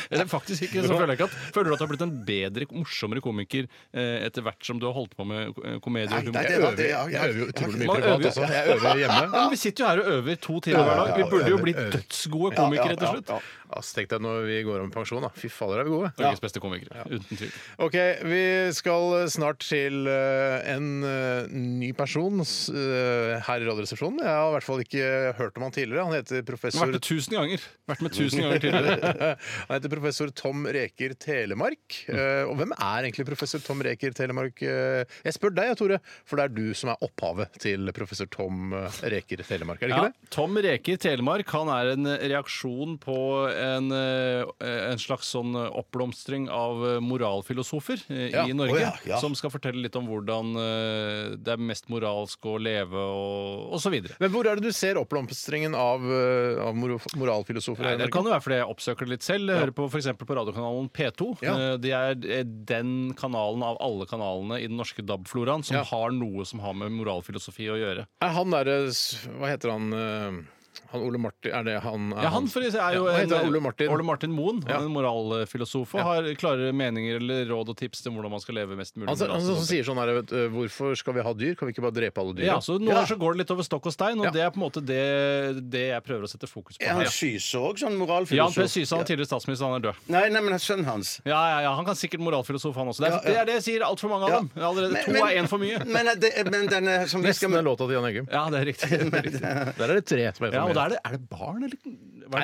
S3: Eller faktisk ikke, så føler jeg ikke at Føler du at du har blitt blitt en bedre, morsommere komiker eh, etter hvert som du har holdt på med eh, komedie og humor?
S2: nei,
S1: Jeg
S2: det var
S1: øver
S2: det, ja.
S1: jeg øver jo utrolig mye
S3: Man øver
S1: privat
S3: jo-
S1: også. Jeg øver
S3: Ja,
S1: hjemme.
S3: men vi sitter jo her og øver to timer hver dag. Vi burde jo bli dødsgode komikere til slutt.
S1: Ass, tenk deg når vi går om pensjon, da. Fy fader, er vi gode.
S3: Norges beste komikere, uten tvil.
S1: Ok, vi skal snart til eh, en eh, ny person s- eh, her i Radioresepsjonen. Jeg har i hvert fall ikke hørt om han tidligere. Han heter
S3: Jeg har
S1: professor
S3: vært med tusen ganger. Vært med tusen ganger tidligere.
S1: Han heter professor Tom Reker Telemark. Eh, Og hvem er egentlig professor Tom Reker Telemark? Eh, Jeg spør deg, Tore, for det er du som er opphavet til professor Tom eh, Reker Telemark, er det ikke
S3: Ja,
S1: det?
S3: Tom Reker Telemark han er en reaksjon på en, eh, en slags sånn oppblomstring av eh, moralfilosofer eh,
S1: Ja,
S3: i Norge.
S2: å ja, ja.
S3: Som skal fortelle litt om hvordan eh, det er mest moralsk å leve og, og så videre.
S1: Men hvor er det du ser oppblomstringen av, eh, av moro- moralfilosofer?
S3: Nei,
S1: her i
S3: det
S1: Norge?
S3: kan jo være fordi jeg oppsøker det litt selv. Jeg hører på f.eks. på radiokanalen P2.
S1: Ja.
S3: Eh, Det er eh, den kanalen av alle kanalene i den norske DAB-floraen som
S1: Ja.
S3: har noe som har med moralfilosofi å gjøre.
S1: Er han derre s- Hva heter han eh, Han Ole Martin Er det han? er
S3: Ja, han for eksempel er jo
S1: Ja, hva
S3: en,
S1: heter han? Ole Martin?
S3: Ole Martin Moen,
S1: Ja.
S3: han er en moralfilosof, og har klare meninger eller råd og tips til hvordan man skal leve mest mulig.
S1: Han, som- han
S3: moralsk.
S1: som sier sånn her vet, du, Hvorfor skal vi ha dyr? Kan vi ikke bare drepe alle dyr?
S3: ja, så Noen ganger så går det litt over stokk og stein, og
S1: Ja.
S3: det er på en måte det, det jeg prøver å sette fokus på.
S2: Er
S3: her.
S2: han
S3: Ja.
S2: Syse òg sånn
S3: Jan P.
S2: moralfilosof?
S3: Syse, han er tidligere statsminister, han er død.
S2: Nei, nei, men sønnen hans.
S3: Ja, ja, ja, Han kan sikkert moralfilosof, han også. Det er
S2: Ja, ja.
S3: det, er det jeg sier altfor mange av
S2: Ja.
S3: dem. Allerede
S2: Men-
S3: to
S2: men-
S3: er én for mye.
S2: Men, eh, det, men denne som vi skal
S1: Nesten er låta til Jan Eggum.
S3: Ja, det er riktig. Det er riktig.
S1: Der er det tre som er
S3: Ja, og
S1: det
S3: da
S1: er,
S3: er, det, er det barn, eller? Hva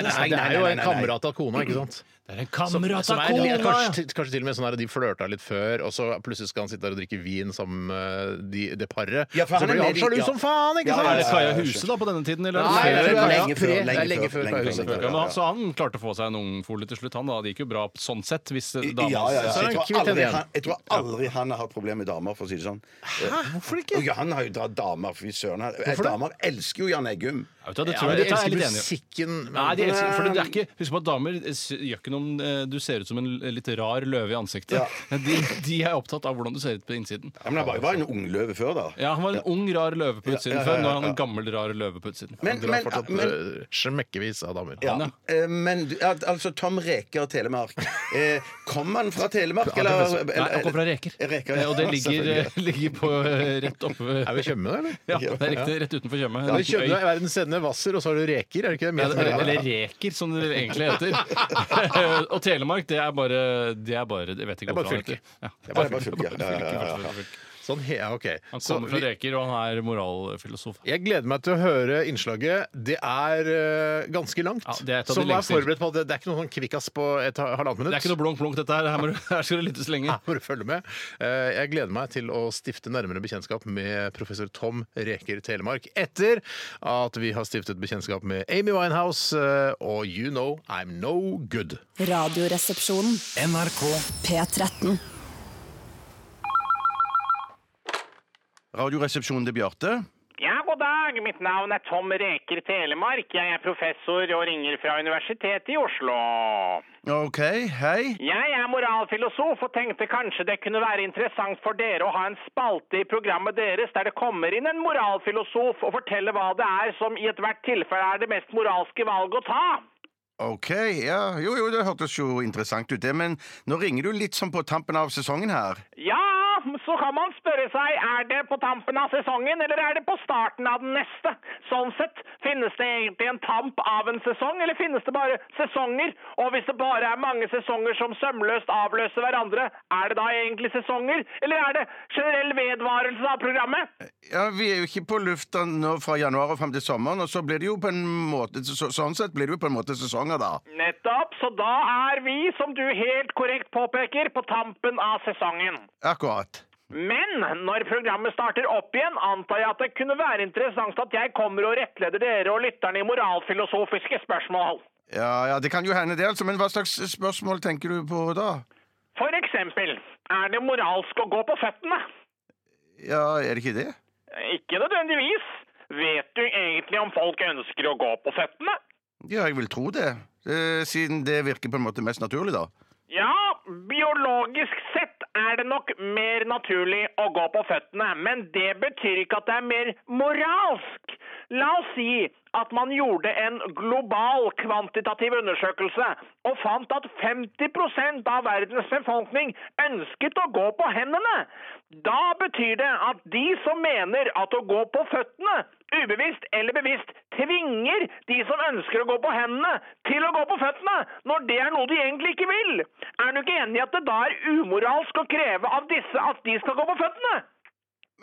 S1: nei,
S3: er det?
S1: nei, det er jo
S2: nei,
S1: en
S2: nei, nei.
S1: kamerat av kona, ikke sant?
S3: det er en
S1: Som,
S3: kamerat
S1: som
S3: av
S1: er,
S3: kona!
S1: litt-
S3: ja.
S1: kanskje, kanskje til og med sånn her de flørta litt før, og så plutselig skal han sitte der og drikke vin sammen med de, det paret.
S2: Ja, for
S1: så
S2: han er
S1: blir
S2: med
S1: han
S2: i-
S1: sjalu
S2: ja.
S1: som faen, ikke
S2: Ja,
S1: sant?
S2: ja,
S3: Er det
S2: ja,
S3: Kaja
S2: ja,
S3: Huse, da, på denne tiden? Eller?
S1: Nei, det er
S2: Lenge før,
S1: lenge før,
S2: lenge
S1: det er lenge
S2: før,
S1: før
S2: lenge
S1: Kaja
S2: før,
S1: Husen.
S2: lenge
S3: Ja, men
S2: ja,
S3: han,
S2: ja.
S3: så han klarte å få seg en ungfole til slutt, han da. Det gikk jo bra sånn sett, hvis dama
S2: Ja, ja, ja.
S1: Så er
S2: Jeg,
S1: han
S2: tror
S1: kvitt
S2: aldri
S1: igjen.
S2: han, jeg tror aldri han har hatt problemer med damer, for å si det sånn. Hæ? Hvorfor ikke? Ja, han har jo dratt damer, fy søren. Han- Damer elsker jo Jan Eggum.
S3: Ja, vet du, det
S1: Ja,
S3: tror
S1: men
S3: jeg,
S1: de
S3: dette er jeg
S1: elsker
S3: litt enig i.
S1: musikken. men-
S3: Nei, de elsker, for det er ikke, Husk på at damer eh, s- gjør ikke noe om eh, du ser ut som en l- litt rar løve i ansiktet. De, de er opptatt av hvordan du ser ut på innsiden.
S2: Ja, men han var jo bare en ungløve før, da.
S3: Ja, Han var en ung, rar løve på utsiden
S2: ja, ja,
S3: før. Nå er han
S2: ja.
S3: en gammel, rar løve på utsiden.
S2: Men,
S1: Drar
S2: men,
S1: fortsatt
S2: men,
S1: eh, smekkevis av damer.
S2: ja.
S3: han,
S2: Eh, men du- al- altså, Tom Reker av Telemark. Eh, Kom han fra Telemark, eller?
S3: Nei, han kom fra Reker.
S2: Reker,
S3: Eh,
S2: ja,
S3: Og det ligger,
S2: selvfølgelig.
S3: eh, ligger på eh, rett oppe ved-
S1: Er vi Tjøme, da, eller?
S3: Ja, det er riktig, rett utenfor Tjøme. En
S1: Ja,
S3: liten øy.
S1: Tjøme er verdens sendende vasser, og så har du reker, er det ikke det?
S3: Ja,
S1: Mer-
S3: det- Eller reker, som det egentlig heter. og Telemark, det er bare Det er bare, jeg vet ikke
S1: bare
S3: hvorfor han
S1: fylke.
S3: heter- Ja.
S2: Ja, det er bare fylke, ja, ja, ja, ja, ja.
S1: Sånn, he- ja, ok.
S3: Han
S1: Så
S3: kommer fra
S1: vi-
S3: reker, og han er moralfilosof.
S1: Jeg gleder meg til å høre innslaget. Det er eh, ganske langt.
S3: Ja, det er et av de
S1: så vær
S3: lengste.
S1: forberedt på at det, det er ikke noe sånn kvikkas på et ha- halvannet minutt.
S3: Det er ikke noe blunk-blunk, dette her. Her, må du, her skal det lyttes lenge.
S1: Her må du følge med. Eh, Jeg gleder meg til å stifte nærmere bekjentskap med professor Tom Reker Telemark etter at vi har stiftet bekjentskap med Amy Winehouse eh, og You Know I'm No Good.
S5: Radioresepsjonen.
S6: NRK
S5: P13.
S2: Radioresepsjonen til Bjarte.
S7: Ja, god dag. Mitt navn er Tom Reker Telemark. Jeg er professor og ringer fra Universitetet i Oslo.
S2: OK, hei.
S7: Jeg er moralfilosof og tenkte kanskje det kunne være interessant for dere å ha en spalte i programmet deres der det kommer inn en moralfilosof og forteller hva det er som i ethvert tilfelle er det mest moralske valget å ta.
S2: OK, ja. Jo, jo, det hørtes jo interessant ut, det. Men nå ringer du litt sånn på tampen av sesongen her.
S7: Ja, så kan man spørre seg, er det på tampen av sesongen, eller er det på starten av den neste? Sånn sett, finnes det egentlig en tamp av en sesong, eller finnes det bare sesonger? Og hvis det bare er mange sesonger som sømløst avløser hverandre, er det da egentlig sesonger? Eller er det generell vedvarelse av programmet?
S2: Ja, Vi er jo ikke på lufta nå fra januar og fram til sommeren, og så blir det jo på en måte så, Sånn sett blir det jo på en måte sesonger, da.
S7: Nettopp, så da er vi, som du helt korrekt påpeker, på tampen av sesongen.
S2: Akkurat.
S7: Men når programmet starter opp igjen, antar jeg at det kunne være interessant at jeg kommer og rettleder dere og lytterne i moralfilosofiske spørsmål.
S2: Ja, ja, Det kan jo hende, det, altså. Men hva slags spørsmål tenker du på da?
S7: For eksempel, er det moralsk å gå på føttene?
S2: Ja, er det ikke det?
S7: Ikke nødvendigvis. Vet du egentlig om folk ønsker å gå på føttene?
S2: Ja, jeg vil tro det. Eh, Siden det virker på en måte mest naturlig, da.
S7: Ja, biologisk sett er det nok mer naturlig å gå på føttene, men det betyr ikke at det er mer moralsk. La oss si at man gjorde en global kvantitativ undersøkelse og fant at 50 av verdens befolkning ønsket å gå på hendene. Da betyr det at de som mener at å gå på føttene, ubevisst eller bevisst, tvinger de som ønsker å gå på hendene, til å gå på føttene, når det er noe de egentlig ikke vil. Er du ikke enig i at det da er umoralsk å kreve av disse at de skal gå på føttene?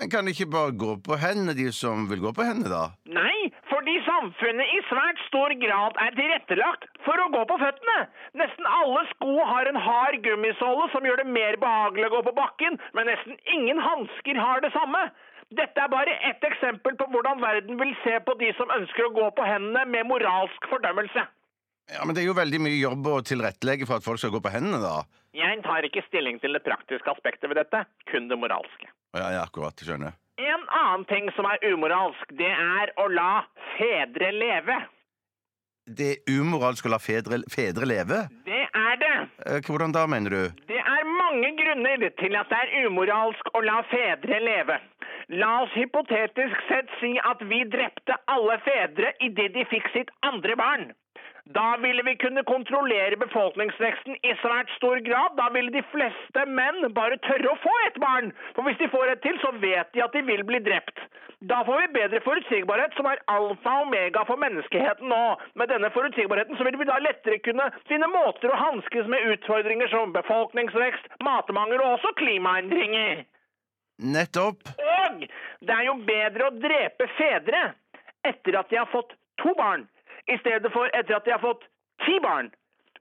S2: Men kan de ikke bare gå på hendene, de som vil gå på hendene, da?
S7: Nei, fordi samfunnet i svært stor grad er tilrettelagt for å gå på føttene. Nesten alle sko har en hard gummisåle som gjør det mer behagelig å gå på bakken, men nesten ingen hansker har det samme. Dette er bare ett eksempel på hvordan verden vil se på de som ønsker å gå på hendene med moralsk fordømmelse.
S2: Ja, Men det er jo veldig mye jobb å tilrettelegge for at folk skal gå på hendene, da.
S7: Jeg tar ikke stilling til det praktiske aspektet ved dette, kun det moralske.
S2: Ja, ja, akkurat, jeg skjønner.
S7: En annen ting som er umoralsk, det er å la fedre leve.
S2: Det er umoralsk å la fedre, fedre leve?
S7: Det er det.
S2: Eh, Hvordan da, mener du?
S7: Det er mange grunner til at det er umoralsk å la fedre leve. La oss hypotetisk sett si at vi drepte alle fedre idet de fikk sitt andre barn. Da ville vi kunne kontrollere befolkningsveksten i svært stor grad. Da ville de fleste menn bare tørre å få et barn. For hvis de får et til, så vet de at de vil bli drept. Da får vi bedre forutsigbarhet, som er alfa og omega for menneskeheten nå. Med denne forutsigbarheten så vil vi da lettere kunne finne måter å hanskes med utfordringer som befolkningsvekst, matmangel og også klimaendringer.
S2: Nettopp.
S7: Og det er jo bedre å drepe fedre etter at de har fått to barn, i stedet for etter at de har fått ti barn.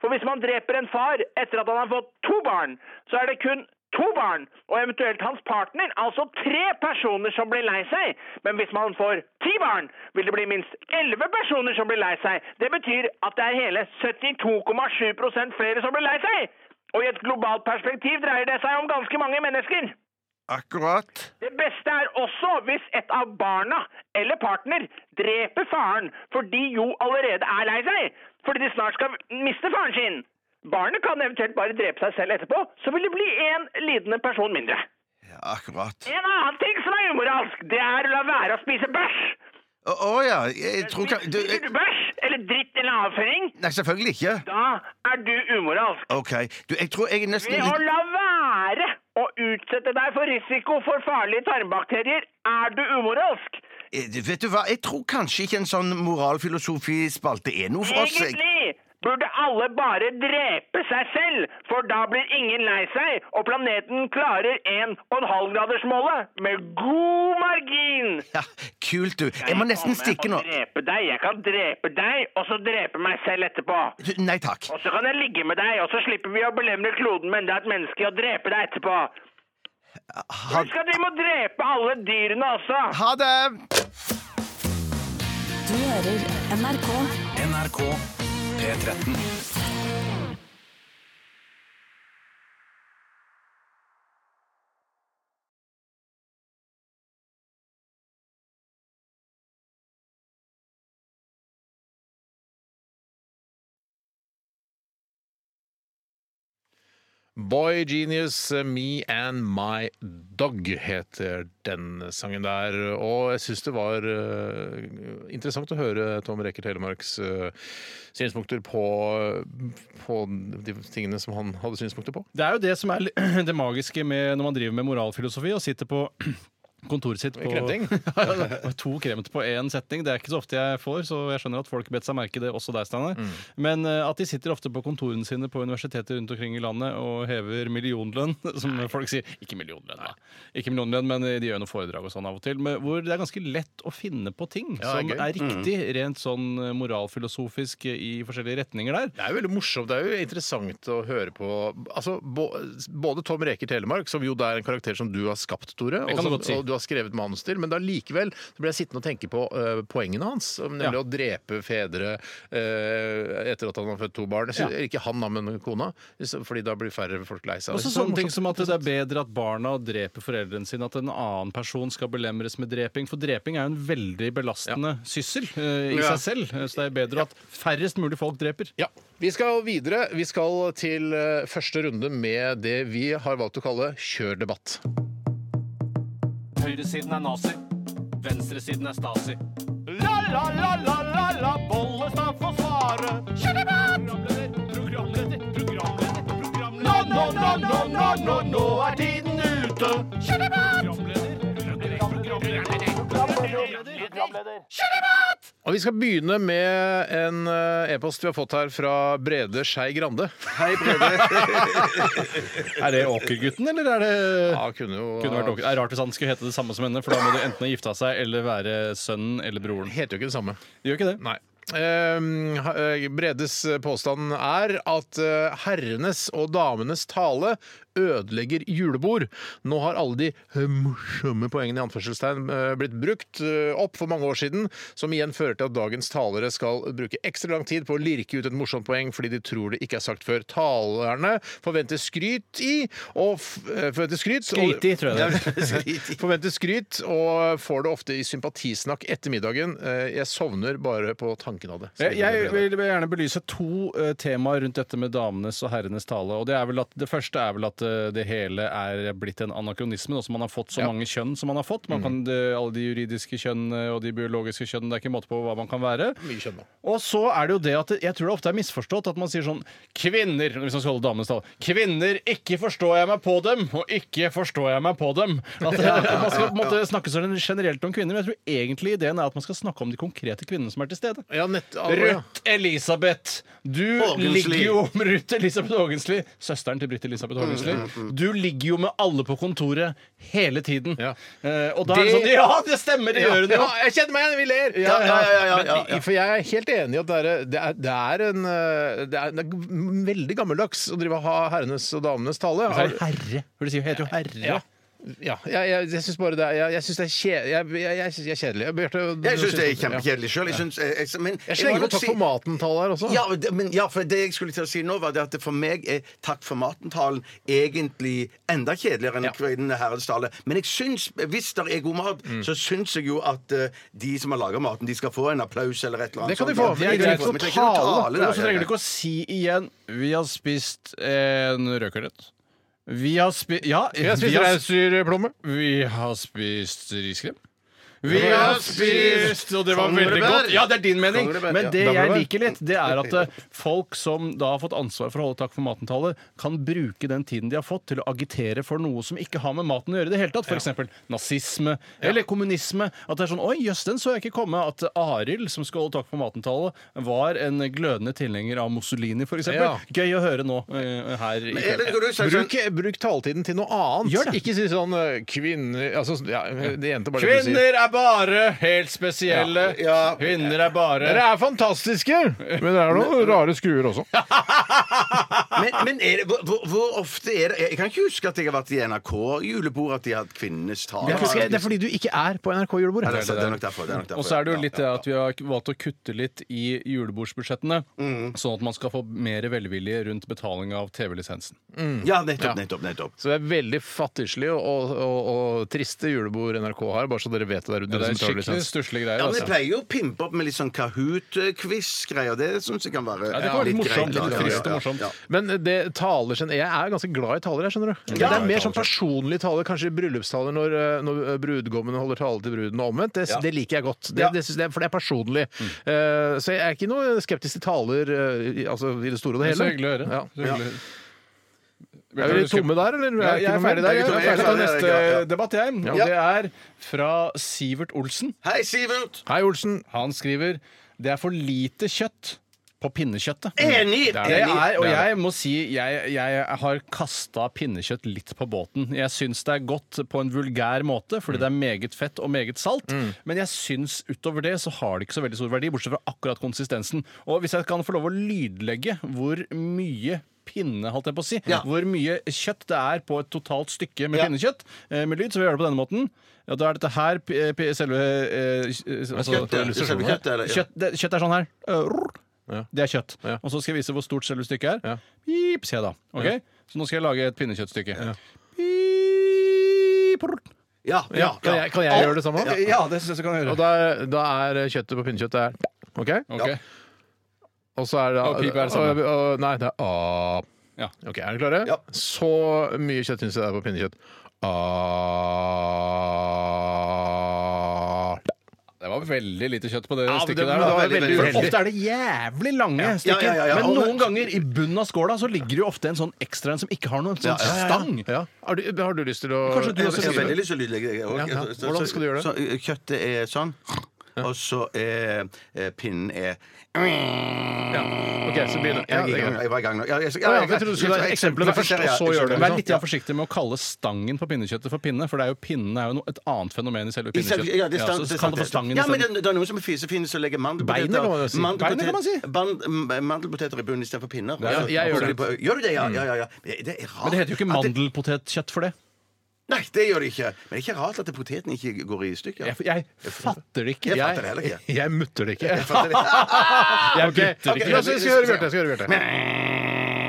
S7: For hvis man dreper en far etter at han har fått to barn, så er det kun to barn og eventuelt hans partner, altså tre personer som blir lei seg. Men hvis man får ti barn, vil det bli minst elleve personer som blir lei seg. Det betyr at det er hele 72,7 prosent flere som blir lei seg. Og i et globalt perspektiv dreier det seg om ganske mange mennesker.
S2: Akkurat.
S7: Det beste er også hvis et av barna eller partner dreper faren fordi jo allerede er lei seg, fordi de snart skal miste faren sin. Barnet kan eventuelt bare drepe seg selv etterpå, så vil det bli én lidende person mindre.
S2: Ja, akkurat.
S7: En annen ting som er umoralsk, det er å la være å spise bæsj.
S2: Å å, ja, jeg tror kan... Du,
S7: Spiser
S2: jeg,
S7: du bæsj eller dritt eller avføring,
S2: nei, selvfølgelig ikke.
S7: da er du umoralsk.
S2: OK. Du, jeg tror jeg er nesten
S7: Ved å
S2: litt
S7: la være å utsette deg for risiko for farlige tarmbakterier, er du umoralsk.
S2: Eh, du, Vet du hva, jeg tror kanskje ikke en sånn moralfilosofispalte er noe for oss. jeg.
S7: Egentlig burde alle bare drepe seg selv, for da blir ingen lei seg, og planeten klarer 1,5-gradersmålet med god margin.
S2: Ja, kult, du. Jeg må nesten stikke nå.
S7: Jeg kan drepe deg, jeg kan drepe deg, og så drepe meg selv etterpå.
S2: Du, Nei takk.
S7: Og så kan jeg ligge med deg, og så slipper vi å belemre kloden med enda et menneske og drepe deg etterpå.
S2: Ha,
S7: Husk at vi må drepe alle dyrene også.
S2: ha det!
S5: Du hører NRK.
S6: NRK P13.
S1: Boy Genius, Me and My Dog heter den sangen der. Og jeg syns det var eh, interessant å høre Tom Reker Telemarks eh, synspunkter på, på de tingene som han hadde synspunkter på.
S3: Det er jo det som er li- det magiske med når man driver med moralfilosofi og sitter på kontoret sitt på
S1: Kremting.
S3: to kremt på én setning. Det er ikke så ofte jeg får, så jeg skjønner at folk bet seg merke det, også deg, Steinar.
S1: Mm.
S3: Men eh, at de sitter ofte på kontorene sine på universiteter rundt omkring i landet og hever millionlønn, som folk sier. Ikke millionlønn, da. Ikke millionlønn, men de gjør noen foredrag og sånn av og til. Men hvor det er ganske lett å finne på ting
S1: Ja,
S3: som
S1: det er Mm.
S3: er riktig, rent sånn moralfilosofisk eh, i forskjellige retninger der.
S1: Det er jo veldig morsomt. Det er jo interessant å høre på altså, bå- både Tom Reker Telemark, som jo det er en karakter som du har skapt, Tore,
S3: Det
S1: og,
S3: kan du
S1: som,
S3: godt si.
S1: og du har skrevet manus til, men da likevel så ble jeg sittende og tenke på øh, poengene hans, som nemlig
S3: Ja.
S1: å drepe fedre øh, etter at han har født to barn. Så,
S3: Ja.
S1: Ikke han, da, men kona, så- fordi da blir færre folk lei seg.
S3: Og så
S1: Så
S3: sånne ting
S1: morsomt.
S3: som at det er bedre at barna dreper foreldrene sine, at en annen person skal belemres med dreping. For dreping er jo en veldig belastende syssel eh, i
S1: Ja.
S3: seg selv. Eh, Så det er bedre at færrest mulig folk dreper.
S1: Ja, Vi skal videre. Vi skal til øh, første runde med det vi har valgt å kalle Kjør debatt.
S3: Høyresiden er nazi. Venstresiden er Stasi. La
S8: La-la-la-la-la, Bollestad får svare. Programleder, programleder, programleder, programleder. Nå, nå, nå, nå, nå, nå, nå er tiden ute. Programleder, programleder, programleder, programleder.
S1: Og vi skal begynne med en eh, e-post vi har fått her fra Brede Skei Grande.
S2: Hei, Brede.
S3: Er det Åkergutten, eller er det
S1: Ja, kunne jo
S3: kunne vært Åker. Det er rart hvis han skulle hete det samme som henne, for da må du enten ha gifta seg eller være sønnen eller broren.
S1: Heter jo ikke det samme.
S3: Gjør ikke det?
S1: Nei. Ehm, ha- eh, Bredes påstand er at eh, herrenes og damenes tale ødelegger julebord. Nå har alle de eh, morsomme poengene i anførselstegn eh, blitt brukt eh, opp for mange år siden, som igjen fører til at dagens talere skal bruke ekstra lang tid på å lirke ut et morsomt poeng fordi de tror det ikke er sagt før. Talerne forventer skryt i og f eh, forventer skryt og-
S3: Skryt i, tror jeg det er.
S1: Forventer skryt og får det ofte i sympatisnakk etter middagen. Eh, Jeg sovner bare på tanken av det.
S3: Jeg, jeg vil gjerne belyse to eh, temaer rundt dette med damenes og herrenes tale. og Det er vel at det første er vel at eh, det hele er blitt en anakronisme. Også man har fått så mange kjønn som man har fått.
S1: Mm.
S3: Man kan eh, Alle de juridiske kjønn eh, og de biologiske kjønn. Det er ikke måte på hva man kan være.
S1: Mye kjønn nå.
S3: Og så er det jo det at det- jeg tror det ofte er misforstått at man sier sånn Kvinner hvis man skal holde damenes tale, kvinner, ikke forstår jeg meg på dem, og ikke forstår jeg meg på dem. At det, Man skal på en måte snakke sånn generelt om kvinner, men jeg tror egentlig ideen er at man skal snakke om de konkrete kvinnene som er til stede.
S1: Ja, nett, ah, ja.
S3: Ruth Elisabeth. Du
S2: Haagensli.
S3: ligger jo med Ruth Elisabeth Haagensli, søsteren til Britt Elisabeth Haagensli.
S2: Mm,
S3: Du ligger jo med alle på kontoret hele tiden.
S1: Ja.
S3: Eh, og da er det
S1: Det-
S3: sånn Ja, det stemmer! Det gjør hun jo!
S1: Ja, jeg kjenner meg igjen! Vi ler!
S2: Ja, ja, ja, ja, ja,
S1: Men, i-
S2: ja.
S1: for jeg er helt enig i at det er, det er, det er en eh, det er, det er veldig gammeldags å drive og ha herrenes og damenes tale.
S3: Så er det herre. For det sier- heter jo herre.
S1: Ja. Ja, jeg, jeg, jeg syns bare det er Jeg, jeg syns det er kje, jeg, jeg, jeg, synes jeg er kjedelig. Bjarte, du-
S2: Jeg syns
S1: du
S2: det er
S1: ja.
S2: kjempekjedelig sjøl. Jeg, synes- jeg, jeg, men-
S1: Jeg
S2: jeg må
S1: slenger
S2: nok
S1: på takk
S2: si-
S1: for maten-tallet her også.
S2: Ja, og det- men, ja, for det jeg skulle til å si nå, var det at det for meg er Takk for maten-talen egentlig enda kjedeligere enn
S1: Ja.
S2: Kvinnene herrens tale. Men jeg syns, hvis det er god mat, så syns jeg jo at eh, de som har laga maten, de skal få en applaus eller et eller annet.
S1: Det kan de
S2: sånt.
S1: få,
S2: Ja,
S1: men
S2: det er greit.
S1: å
S2: Men trenger ikke noe
S3: Og så trenger
S2: der.
S3: du ikke å si igjen 'Vi har spist en rødkålrett'. Vi har spist Ja,
S1: Jeg
S3: vi
S1: spiser
S3: har-
S1: reinsdyrplomme.
S3: Vi har spist riskrem. Vi har spist Og det var veldig
S2: Konglebær.
S3: godt. Ja, det er din mening.
S2: Konglebær,
S3: Men
S2: ja.
S3: det jeg
S1: Konglebær.
S3: liker litt, det er at eh, folk som da har fått ansvar for å holde takk for maten-tallet, kan bruke den tiden de har fått til å agitere for noe som ikke har med maten å gjøre i det hele tatt. F.eks. nazisme eller kommunisme. At det er sånn Oi, jøss, den så jeg ikke komme. At Arild, som skal holde takk for maten-tallet, var en glødende tilhenger av Mussolini, f.eks.
S1: Ja.
S3: Gøy å høre nå eh, her. i
S2: Eller
S3: kveld.
S2: går du-
S1: Bruk, bruk taletiden til noe annet.
S3: Gjør det.
S1: Ikke si sånn eh, kvinner altså, ja, det jente bare det du sier.
S3: Kvinner er bare helt spesielle.
S2: Ja.
S3: Kvinner er bare
S1: Dere er fantastiske! Men det er noen rare skruer også.
S2: Sånn, Men, men er det, hvor, hvor- hvor ofte er det Jeg kan ikke huske at jeg har vært i NRK-julebord at de har hatt kvinnenes tale.
S1: Det er, fordi, det er fordi du ikke er på
S2: Ja, det
S1: NRK-julebordet.
S2: er, det er nok derfor. det er nok derfor,
S3: Og så er det jo
S2: ja,
S3: litt det
S2: ja, ja.
S3: at vi har valgt å kutte litt i julebordsbudsjettene,
S2: Mm.
S3: sånn at man skal få mer velvilje rundt betaling av TV-lisensen.
S2: Ja, nettopp, nettopp, nettopp.
S1: Så det er veldig fattigslig og, og, og, og triste julebord NRK har, bare så dere vet det der ute.
S3: Det
S1: dere
S3: er
S1: som tar
S3: skikkelig
S1: lisens.
S3: stusslige greier.
S2: Ja, men Jeg
S3: Altså.
S2: pleier jo å pimpe opp med litt sånn Kahoot-quiz-greier. Det syns jeg kan være
S3: Ja, det kan være
S2: litt
S3: morsomt,
S2: greit, da.
S3: litt
S2: Ja,
S3: trist og
S2: ja,
S3: morsomt.
S2: ja.
S1: Men det taler sin Jeg er ganske glad i taler, jeg, skjønner du. det er mer sånn personlige taler, kanskje bryllupstaler når, eh, når brudgommene holder tale til bruden og omvendt. Det, det liker jeg godt, det,
S2: Ja.
S1: det synes jeg, for det er personlig. Eh, så jeg er ikke noe skeptisk til taler eh, i, altså, i det store og det
S3: Det er
S1: hele.
S3: så hyggelig å høre.
S1: Ja.
S3: Så hyggelig.
S1: Er vi tomme der, eller?
S3: Ja, jeg
S1: ikke
S3: er
S1: noe mer?
S3: ferdig der. Jeg
S2: tomme.
S3: er ferdig
S2: Ja,
S3: til
S2: ja,
S3: neste
S2: ja, ja.
S3: debatt, jeg. Og det er fra Sivert Olsen.
S2: Hei, Sivert!
S1: Hei, Olsen.
S3: Han skriver det er for lite kjøtt på pinnekjøttet.
S2: Enig!
S3: Det
S2: Enig.
S3: er, og jeg må si jeg, jeg har kasta pinnekjøtt litt på båten. Jeg syns det er godt på en vulgær måte, fordi det er meget fett og meget salt. Men jeg syns utover det så har det ikke så veldig stor verdi, bortsett fra akkurat konsistensen. Og hvis jeg kan få lov å lydlegge hvor mye pinne, holdt jeg på å si, hvor mye kjøtt det er på et totalt stykke med pinnekjøtt eh, med lyd, så vil jeg gjøre det på denne måten. Ja, da er dette her p p selve eh, altså,
S2: Kjøttet, selve kjøttet, eller? Ja.
S3: Kjøtt, det, kjøtt er sånn her. Øh, rrr.
S1: Ja.
S3: Det er kjøtt.
S1: Ja.
S3: Og så skal jeg vise hvor stort selve stykket er.
S1: Ja.
S3: Pip, sier jeg da. Ok? Så nå skal jeg lage et pinnekjøttstykke. Pip, rrr.
S2: Ja, ja,
S1: Kan
S2: ja.
S1: jeg, kan jeg gjøre det samme?
S3: Ja, det syns jeg du kan
S1: Og
S3: gjøre.
S1: da, da er kjøttet på pinnekjøtt det er OK?
S3: Ok.
S1: Og så er det
S3: Og pip er det samme.
S1: og- og- Nei, det er A.
S3: Ja.
S1: OK, er dere klare?
S2: Ja.
S1: Så mye kjøtt syns jeg det er på Ah. pinnekjøtt. A.
S3: Det var var veldig lite kjøtt på det
S1: Ja, men det-
S3: stykket
S1: men
S3: der.
S1: det
S3: da.
S1: var veldig
S3: For
S1: uheldig.
S3: Ofte er det jævlig lange
S2: Ja,
S3: stykker.
S2: ja, ja, ja.
S3: Men
S2: Og-
S3: noen ganger i bunnen av skåla så ligger det jo ofte en sånn ekstra en som ikke har noen sånn stang.
S1: Ja. Har, du, har du lyst til å
S3: Kanskje du
S2: Jeg
S3: også
S2: jeg har
S3: sier
S2: veldig
S3: det.
S2: lyst til å lydlegge det. jeg også.
S1: Ja, ja.
S2: Så- så-
S1: Hvordan skal du gjøre det?
S2: Så, eh, kjøttet er sånn, og så er eh, pinnen er
S1: Ja. Ok, så begynner ja,
S2: Jeg er
S1: det er
S2: i gang
S1: greit.
S2: nå, jeg var i gang nå. Ja, jeg-
S1: Å ja, for jeg trodde du skulle ta
S2: jeg-
S1: eksemplene først, og så
S2: Ja,
S1: gjør du det.
S3: Vær litt grann forsiktig med å kalle stangen på pinnekjøttet for pinne, for det er jo pinnen er jo no, et annet fenomen i selve
S2: I stedet-
S3: pinnekjøttet.
S2: Ja, det er
S3: Ja,
S2: stand-
S3: så
S2: det er
S3: kall det
S2: sant,
S3: for stangen
S2: ja, men
S3: isteden.
S2: det, det er noen som er fisefine som legger mandelpoteter
S1: Beinet kan man jo si.
S2: mandelpotet-
S3: Beinet kan man si.
S2: band- m- Mandelpoteter i bunnen istedenfor pinner.
S1: Ja, Mm.
S2: Altså,
S1: jeg gjør
S2: altså,
S1: det.
S2: de på- Gjør du det? Ja, ja, ja. ja. Det er rart.
S3: Men det heter jo ikke
S2: at det-
S3: mandelpotetkjøtt for det.
S2: Nei, det gjør det ikke. Men det er ikke rart at poteten ikke går i stykker.
S3: Jeg, jeg fatter det ikke.
S2: Jeg fatter det heller ikke.
S1: Jeg mutter det ikke.
S2: Jeg fatter det.
S1: Jeg
S3: gutter
S1: Ok,
S3: ikke.
S1: la oss- jeg skal høre Bjarte. jeg skal høre Bjarte.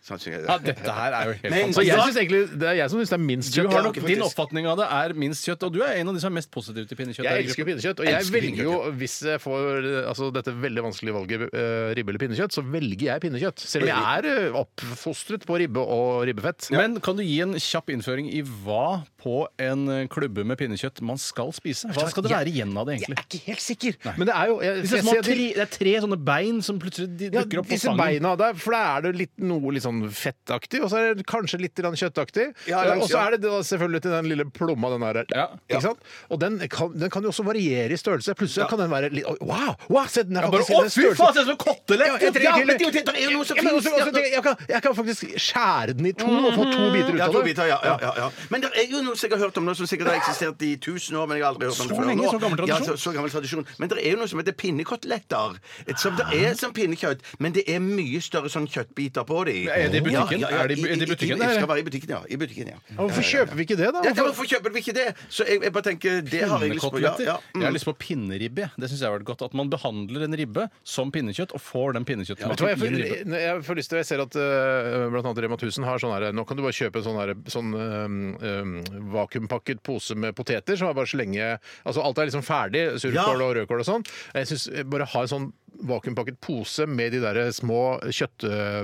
S2: Sånn synger jeg
S3: Ja,
S2: det.
S3: dette her er jo
S2: Men-
S3: helt
S1: Så
S3: fantastisk.
S1: jeg synes egentlig, Det er jeg som syns det er minst
S3: Du
S1: kjøtt.
S3: har
S2: Ja,
S3: nok,
S2: faktisk.
S3: din oppfatning av det er minst kjøtt, og du er en av de som er mest positive til pinnekjøtt.
S1: Jeg
S3: her i
S1: elsker
S3: gruppen.
S1: pinnekjøtt, og jeg
S2: Elsker
S1: velger jo, hvis jeg får eh, altså, dette veldig vanskelige valget, eh, ribbe eller pinnekjøtt, så velger jeg pinnekjøtt. Selv om jeg er eh, oppfostret på ribbe og ribbefett.
S3: Men kan du gi en kjapp innføring i hva på en eh, klubbe med pinnekjøtt man skal spise? Hva skal det være igjen av det, egentlig?
S1: ikke helt sikker. Men det er jo jeg,
S3: Disse
S1: jeg
S3: små
S1: ser-
S3: tre, det er tre sånne bein som plutselig de
S1: ja,
S3: dukker opp på
S1: disse
S3: stangen.
S1: beina der, for da er det litt, noe litt sånn fettaktig, og så er det kanskje litt grann kjøttaktig.
S2: Ja,
S1: Eh,
S2: langs-
S1: og så
S2: ja.
S1: er det da selvfølgelig til den lille plomma den der.
S3: Ja.
S1: Ikke sant? Og den kan, den kan jo også variere i størlelse. Plutselig kan den være litt Wow! wow se, den er
S3: Bare,
S1: faktisk i
S3: å,
S1: den
S3: fy
S1: størrelsen-
S3: faen, se som kottelett!
S1: Ja,
S2: det-
S1: ja,
S2: det-
S1: men-
S2: det- det- det er jo noe som
S1: Ja, men
S2: finnes.
S1: også- også- det- jeg, kan, jeg kan faktisk skjære den i to og få to biter ut
S2: Ja,
S1: av
S2: to
S1: det.
S2: biter, ja, ja, ja, ja. Men det er jo noe som jeg har hørt om nå, som sikkert har eksistert i tusen år, men jeg har aldri hørt om det
S3: Så
S2: før
S3: lenge,
S2: nå.
S3: så gammel tradisjon.
S2: Ja, så, så gammel tradisjon. Men det er jo noe som heter pinnekoteletter. Et Som det er som pinnekjøtt, men det er mye større sånn kjøttbiter på de.
S3: Men er det i butikken?
S2: Ja, ja, ja,
S3: Er det i- er det i butikken,
S2: Det
S3: eller?
S2: skal være i butikken, ja. I butikken, ja.
S1: Ja, Hvorfor kjøper vi ikke det, da?
S2: Ja, ja, Hvorfor kjøper vi ikke det? Så jeg, jeg bare tenker, det har jeg lyst på. Ja,
S3: Pinnekoteletter.
S2: ja.
S3: Jeg har
S2: Mm.
S3: lyst på pinneribbe. jeg. Det syns jeg har vært godt. At man behandler en ribbe som pinnekjøtt, og får den
S1: Vet du hva, jeg,
S3: pinnekjøttsmaken i en ribbe.
S1: får, nei, jeg får lyst til, jeg ser at uh, blant annet Rema 1000 har sånn her Nå kan du bare kjøpe en sånn, her, sånn eh, eh, vakuumpakket pose med poteter som er bare slenge Altså alt er liksom ferdig, surkål
S2: Ja.
S1: og rødkål og sånn. Jeg synes eh, bare ha en sånn vakuumpakket pose med de der små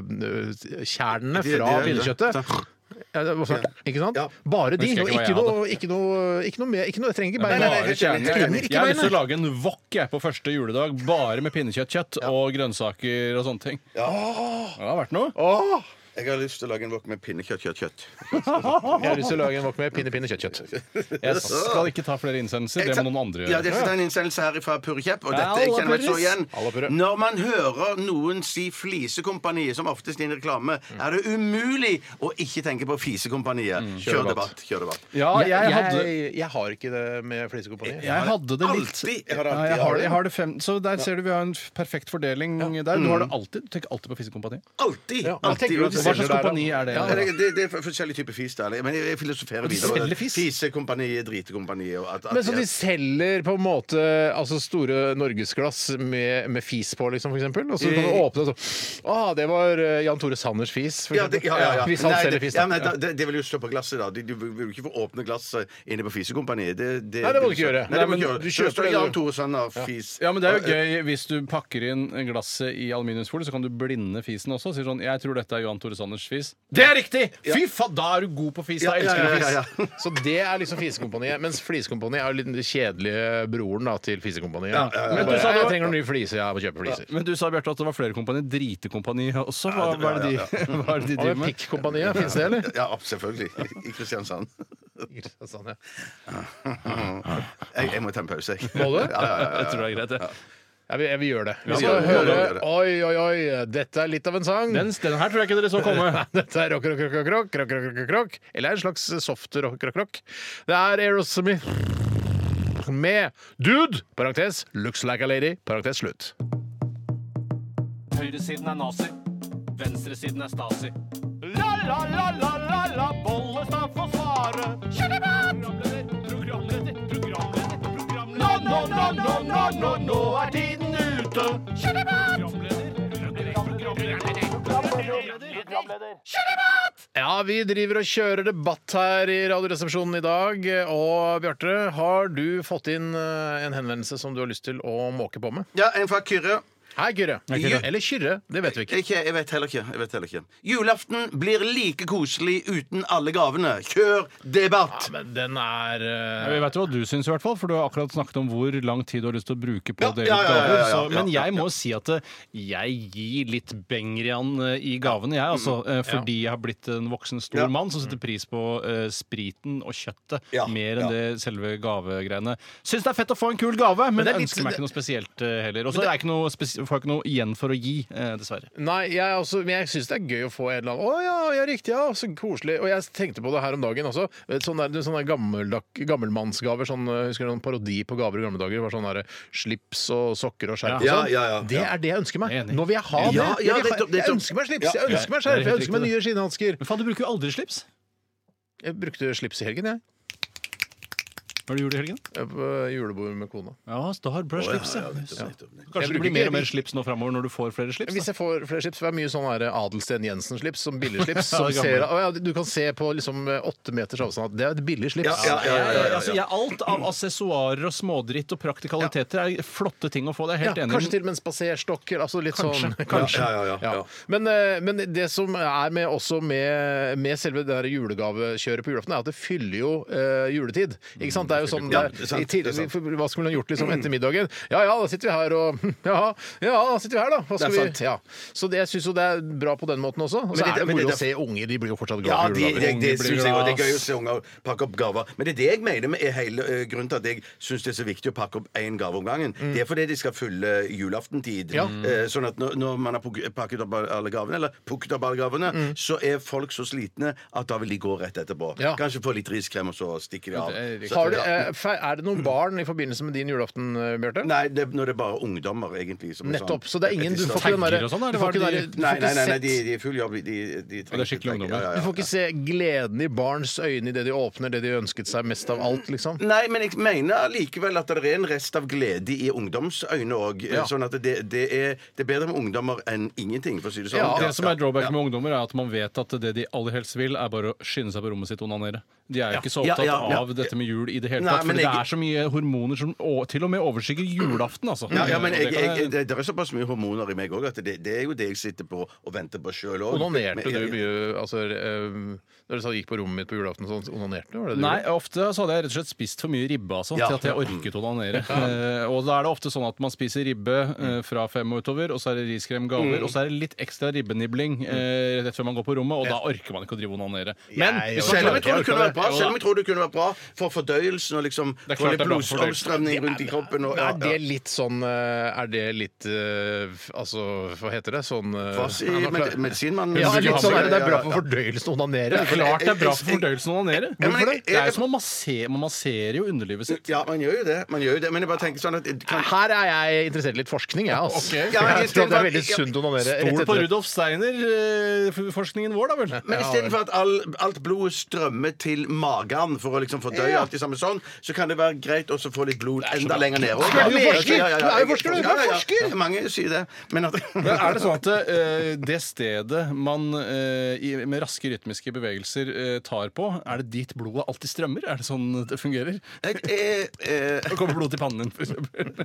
S1: kjøttkjernene
S2: De- de-
S1: fra
S2: de-
S1: pinnekjøttet.
S2: sånn.
S1: Ja, det var sånn, Ikke sant?
S2: Ja.
S1: Bare de,
S3: Jeg husker
S1: og
S3: ikke hva
S1: ikke noe, ikke
S3: jeg
S1: noe, ikke noe mer. Ikke noe, jeg trenger ikke
S3: Bare
S1: beina.
S2: nei,
S3: kjernen.
S2: nei,
S3: Jeg,
S2: nei,
S3: jeg,
S1: ikke
S3: har
S1: beina.
S3: lyst til å lage en wok jeg, på første juledag, bare med pinnekjøttkjøtt og grønnsaker og sånne ting. Ja. Det har vært noe.
S2: Jeg har lyst til å lage en wok med pinnekjøtt, kjøtt, kjøtt.
S1: Jeg har lyst til å lage en wok med pinne, pinne, kjøtt, kjøtt.
S3: Jeg skal ikke ta flere innsendelser. Det må noen andre
S2: Ja,
S3: gjøre.
S2: det er en innsendelse her fra Purre Kjepp, og
S3: Ja,
S2: dette jeg
S3: alla
S2: kjenner meg så
S3: purres.
S2: igjen.
S1: Alla purre.
S2: Når man hører noen si Flisekompaniet, som oftest i en reklame,
S3: Mm.
S2: er det umulig å ikke tenke på Fisekompaniet. Kjør debatt. Kjør debatt.
S3: Ja, jeg hadde
S1: jeg, jeg har ikke det med Flisekompaniet.
S3: jeg hadde det litt
S2: Alltid! Jeg har det
S3: Ja,
S2: alltid.
S3: jeg har, jeg har det fem, så der ser du vi har en f- perfekt fordeling der. Du har
S2: Mm.
S3: det alltid, du tenker alltid på Fiskekompaniet.
S2: Alltid!
S1: Ja, jeg tenker
S2: alltid.
S1: du at du
S3: Hva
S1: selger
S3: slags
S1: der, da?
S3: kompani er det?
S2: Ja, det, det, det er forskjellige typer fis. Der. Men jeg, jeg filosoferer videre.
S3: selger fis?
S2: Fisekompaniet, dritekompaniet og at, at
S1: Men så de selger på en måte altså store norgesglass med, med fis på, liksom, for eksempel? Og så kan du åpne og sånn Å, det var eh, Jan Tore Sanners fis, for
S2: ja, det, ja,
S1: eksempel.
S2: ja, ja.
S1: Hvis han
S2: Nei,
S1: selger
S2: det-
S1: fis,
S2: ja,
S1: da.
S2: men da- det, det vil jo stå på glasset, da. Du, du vil jo ikke få åpne glasset inne på Fisekompaniet. Det,
S1: Nei, det må du ikke gjøre.
S2: Nei, det må
S1: Nei,
S2: du ikke
S1: men
S2: gjøre.
S1: du
S2: Så det
S1: kjøper det,
S2: står
S1: du.
S2: Jan Tore Sanner, fis.
S3: Ja, men Det er jo gøy hvis du pakker inn glasset i aluminiumsfolie, så kan du blinde fisen også. Sier sånn 'Jeg tror dette er Johan Tore Sanners fis'. Det er riktig! Fy faen, da er du god på fis!
S2: Ja,
S3: Da
S2: ja,
S3: elsker
S2: ja,
S3: du
S2: ja,
S3: fis.
S2: ja.
S1: Så det er liksom Fisekompaniet. Mens Flisekompaniet er jo litt den kjedelige broren da, til Fisekompaniet.
S3: Men du
S1: Bare,
S3: sa
S1: jeg
S3: det var-
S1: trenger noen nye fliser, jeg må kjøpe fliser.
S3: Men du sa Bjarte, at det var flere kompani. Dritekompani også. Hva,
S2: det-
S3: hva, er det
S2: ja,
S3: de, hva er det de
S1: Og
S3: driver med?
S1: Pikk-kompaniet, fins det, eller?
S2: Ja, selvfølgelig. I Kristiansand.
S1: Sånn, ja.
S2: Jeg, jeg må ta en pause, jeg.
S1: Må du?
S2: Ja, ja, ja, ja.
S3: Jeg tror det er greit, det.
S1: Ja, vi, vi gjør det. Vi
S2: vi
S1: skal
S2: gjør det.
S1: høre
S2: Vi gjør det.
S1: Oi, oi, oi, dette er litt av en sang.
S3: Den, den her tror jeg ikke dere så komme.
S1: Dette er rock, rock, rock, rock, rock, rock, rock, rock, rock. Eller en slags soft rock, rock, rock. Det er Aerosmith med Dude, parentes, looks like a lady, parentes, slutt.
S8: Høyresiden er nazi. Venstresiden er stasi. La, la, la, la, la, la, Bollestad får svare. Programleder, programleder, programleder, programleder. Nå, nå, nå, nå, nå, nå, nå er tiden ute. Programleder, programleder, programleder.
S1: Ja, vi driver og kjører debatt her i Radioresepsjonen i dag. Og Bjarte, har du fått inn eh, en henvendelse som du har lyst til å måke på med?
S2: Ja, en fra Kyrre.
S1: Hei, Kyrre.
S9: Kyrre.
S1: Eller Kyrre. Det vet vi ikke.
S9: Ikke, jeg vet heller ikke. Jeg vet heller ikke. Julaften blir like koselig uten alle gavene. Kjør debatt!
S1: Men den er eh,
S3: Jeg vet jo hva du syns, i hvert fall, for du har akkurat snakket om hvor lang tid du har lyst til å bruke på
S9: Ja,
S3: å dele
S9: ja,
S3: ut
S9: ja, ja,
S3: gaver.
S9: ja,
S3: Så,
S9: ja,
S3: men
S9: ja,
S3: jeg
S9: ja.
S3: må si at eh, jeg gir litt bengrian eh, i gavene, jeg. Altså, eh, fordi jeg har blitt en voksen, stor
S9: Mm. Ja. Mm.
S3: mann som setter pris på eh, spriten og kjøttet
S9: Ja,
S3: mer enn
S9: ja.
S3: det selve gavegreiene. Syns det er fett å få en kul gave, men,
S1: det er litt-
S3: ønsker meg ikke noe spesielt eh, heller. Og så er jeg ikke noe spes- får jeg ikke noe igjen for å gi, eh, dessverre.
S1: Nei, jeg, er også, men jeg syns det er gøy å få en eller annen 'Å ja, ja, riktig, ja, så koselig'. Og jeg tenkte på det her om dagen også. Sånne, der, sånne der gammeldag, gammelmannsgaver. Sånn, eh, husker du noen parodi på gaver i gamle dager? Det Var sånn der, eh, slips og sokker og skjerf og
S9: Ja,
S1: sånn.
S9: ja, ja,
S1: det
S9: ja.
S1: er det jeg ønsker meg.
S3: altså. Jeg er enig.
S1: Nå vil jeg ha
S9: Ja,
S1: det.
S9: ja,
S1: jeg, vil ha,
S9: nettopp, nettopp.
S1: jeg ønsker meg slips,
S9: Ja.
S1: jeg ønsker meg
S3: Ja, det er
S1: skjerf, jeg
S3: helt
S1: ønsker meg
S3: riktig,
S1: nye skinnhansker.
S3: Men faen, du bruker jo aldri slips.
S1: Jeg brukte slips i helgen, jeg.
S3: Hva er det du gjorde i helgen?
S1: Jeg er På julebord med kona.
S3: Ja, Star Bra slips, ja.
S1: Jeg
S3: Kanskje det
S1: bruker
S3: blir mer
S1: ikke-
S3: og mer slips nå framover når du får flere slips? da?
S1: Hvis jeg får flere slips, for det er mye sånn her Adelsten Jensen-slips, som billigslips.
S3: Ja,
S1: Som
S3: det gamle.
S1: ser, å ja, du kan se på liksom åtte meters avstand at det er et billig slips.
S9: Ja, ja, ja, ja, ja,
S3: Altså,
S9: ja.
S3: jeg, alt av assessoarer og smådritt og praktikaliteter er flotte ting å få. Det er jeg helt
S1: Ja,
S3: enig
S1: kanskje til og med en spaserstokker. Altså litt
S3: Kanskje,
S1: sånn
S9: kanskje. Ja, ja, ja, ja.
S1: Men, eh, men det som er med, også med, med selve det her julegavekjøret på julaften, er at det fyller jo eh, juletid. Ikke sant? Det er jo sånn
S9: Ja,
S1: det er-
S9: Mm, det er sant,
S1: i tid-
S9: det er sant.
S1: for Hva skulle man gjort liksom etter middagen? Ja ja, da sitter vi her og Ja, ja da sitter vi her, da. Hva skal
S9: Det er
S1: vi
S9: sant.
S1: Ja. Så det, jeg syns jo det er bra på den måten også. Og så
S9: Men det-
S1: er det
S9: men det-
S1: moro å se unge, de blir jo fortsatt
S9: Ja,
S1: glad
S9: det,
S1: for
S9: det,
S1: julegaver.
S9: det
S3: blir
S9: syns jeg òg. Det er
S3: glad,
S9: gøy å
S3: ass.
S9: se unger pakke opp gaver. Men det er det jeg mener med er hele eh, grunnen til at jeg syns det er så viktig å pakke opp én gave om gangen. Det er fordi de skal fylle
S1: Mm.
S9: julaftentid.
S1: Ja.
S9: Eh, Sånn at når, når man har puk- pakket opp alle gavene, eller pukket opp alle gavene,
S1: Mm.
S9: så er folk så slitne at da vil de gå rett etterpå.
S1: Ja.
S9: Kanskje få litt riskrem, og så stikker de av.
S3: det er riktig.
S9: Så-
S1: Har du,
S9: ja.
S1: eh, fe- er det noen barn i forbindelse med din julaften, eh, Bjarte?
S9: Nei, det, når det er bare ungdommer, egentlig. Som er
S1: Nettopp.
S9: sånn-
S1: Så det er ingen Du får ikke den
S3: Tagger
S1: derre
S3: og sånn, eller
S1: du får
S3: var
S1: ikke den derre-
S3: det
S1: du
S9: Nei,
S1: får
S9: nei,
S1: ikke
S9: nei, nei
S1: sett-
S9: de, de er full jobb. De, de, de
S3: det er skikkelig
S9: trenger-
S3: ungdommer.
S1: Du får ikke se gleden i barns øyne idet de åpner det de ønsket seg mest av alt, liksom.
S9: Nei, men jeg mener likevel at det er en rest av glede i ungdomsøyne òg.
S1: Ja.
S9: Sånn at det, det, er, det er bedre med ungdommer enn ingenting, for å si det sånn.
S1: Ja,
S3: Det som er drawback med ungdommer, er at man vet at det de aller helst vil, er bare å skynde seg på rommet sitt og onanere. De er jo ikke så
S9: Ja,
S3: opptatt
S9: ja, ja.
S3: av dette med jul i det hele
S9: Nei,
S3: tatt. For
S9: men
S3: det
S9: jeg-
S3: er så mye hormoner som å, til og med overskygger julaften, altså.
S9: Ja, ja, men
S3: Og
S9: jeg,
S3: det kan
S9: jeg, jeg, det, det er såpass mye hormoner i meg òg at det, det er jo det jeg sitter på og venter på sjøl òg.
S1: Onanerte du mye altså, eh, Når du sa du gikk på rommet mitt på julaften, sånn, onanerte du? Var det det du
S3: Nei,
S1: gjorde?
S3: ofte så hadde jeg rett og slett spist for mye ribbe altså,
S9: Ja.
S3: til at jeg orket å onanere. Eh, og da er det ofte sånn at man spiser ribbe eh, fra fem og utover, og så er det riskrem, gaver, og så er det litt ekstra ribbenibling eh, rett før man går på rommet, og da orker man ikke å drive og onanere. Men
S1: Jeg-
S3: hvis man
S9: Selv om
S3: Sånn klarer-
S9: jeg tror det
S3: orker
S9: kunne vært bra
S3: Jo da.
S9: Selv om jeg tror det kunne vært bra for fordøyelsen og liksom
S3: er
S9: få
S3: klart
S9: litt
S3: det er bra for
S9: blodsomstrømning rundt i kroppen. Og, ja,
S1: Er
S9: ja.
S1: det litt sånn eh, Er det litt eh, f- Altså, hva heter det? Sånn eh,
S9: Hva sier
S1: ja, nå klarer-
S9: med- medisinmannen?
S1: ja,
S3: du
S1: litt
S3: har
S1: sånn
S3: med-
S1: er det. Det er bra for fordøyelsen å onanere.
S3: Det er klart det er bra for fordøyelsen å onanere.
S9: Ja, men
S3: Hvorfor det?
S9: jeg- jeg-
S3: Det er jo som å massere, man masserer jo underlivet sitt.
S9: Ja, man gjør jo det. Man gjør jo det. Men jeg bare tenker sånn at kan,
S1: Her er jeg interessert i litt forskning, jeg, altså.
S3: Ok.
S9: Ja, men
S1: Jeg tror det er veldig
S9: istedenfor-
S1: sunt å onanere rett
S3: Stol på
S1: etter det.
S3: Rudolf Steiner-forskningen vår, da vel?
S9: Men istedenfor at all, alt blodet strømmer til magen for å liksom fordøye alt i samme sånn, så kan det være greit også å få litt blod enda lenger ned.
S1: Du er jo forsker! Du er jo forsker, du. Du er
S9: forsker! Mange sier det. Men at
S3: Men er det sånn at eh, det stedet man eh, i, med raske rytmiske bevegelser eh, tar på, er det dit blodet alltid strømmer? Er det sånn det fungerer?
S9: Jeg- jeg- eh,
S3: Da kommer blodet til pannen din, for eksempel.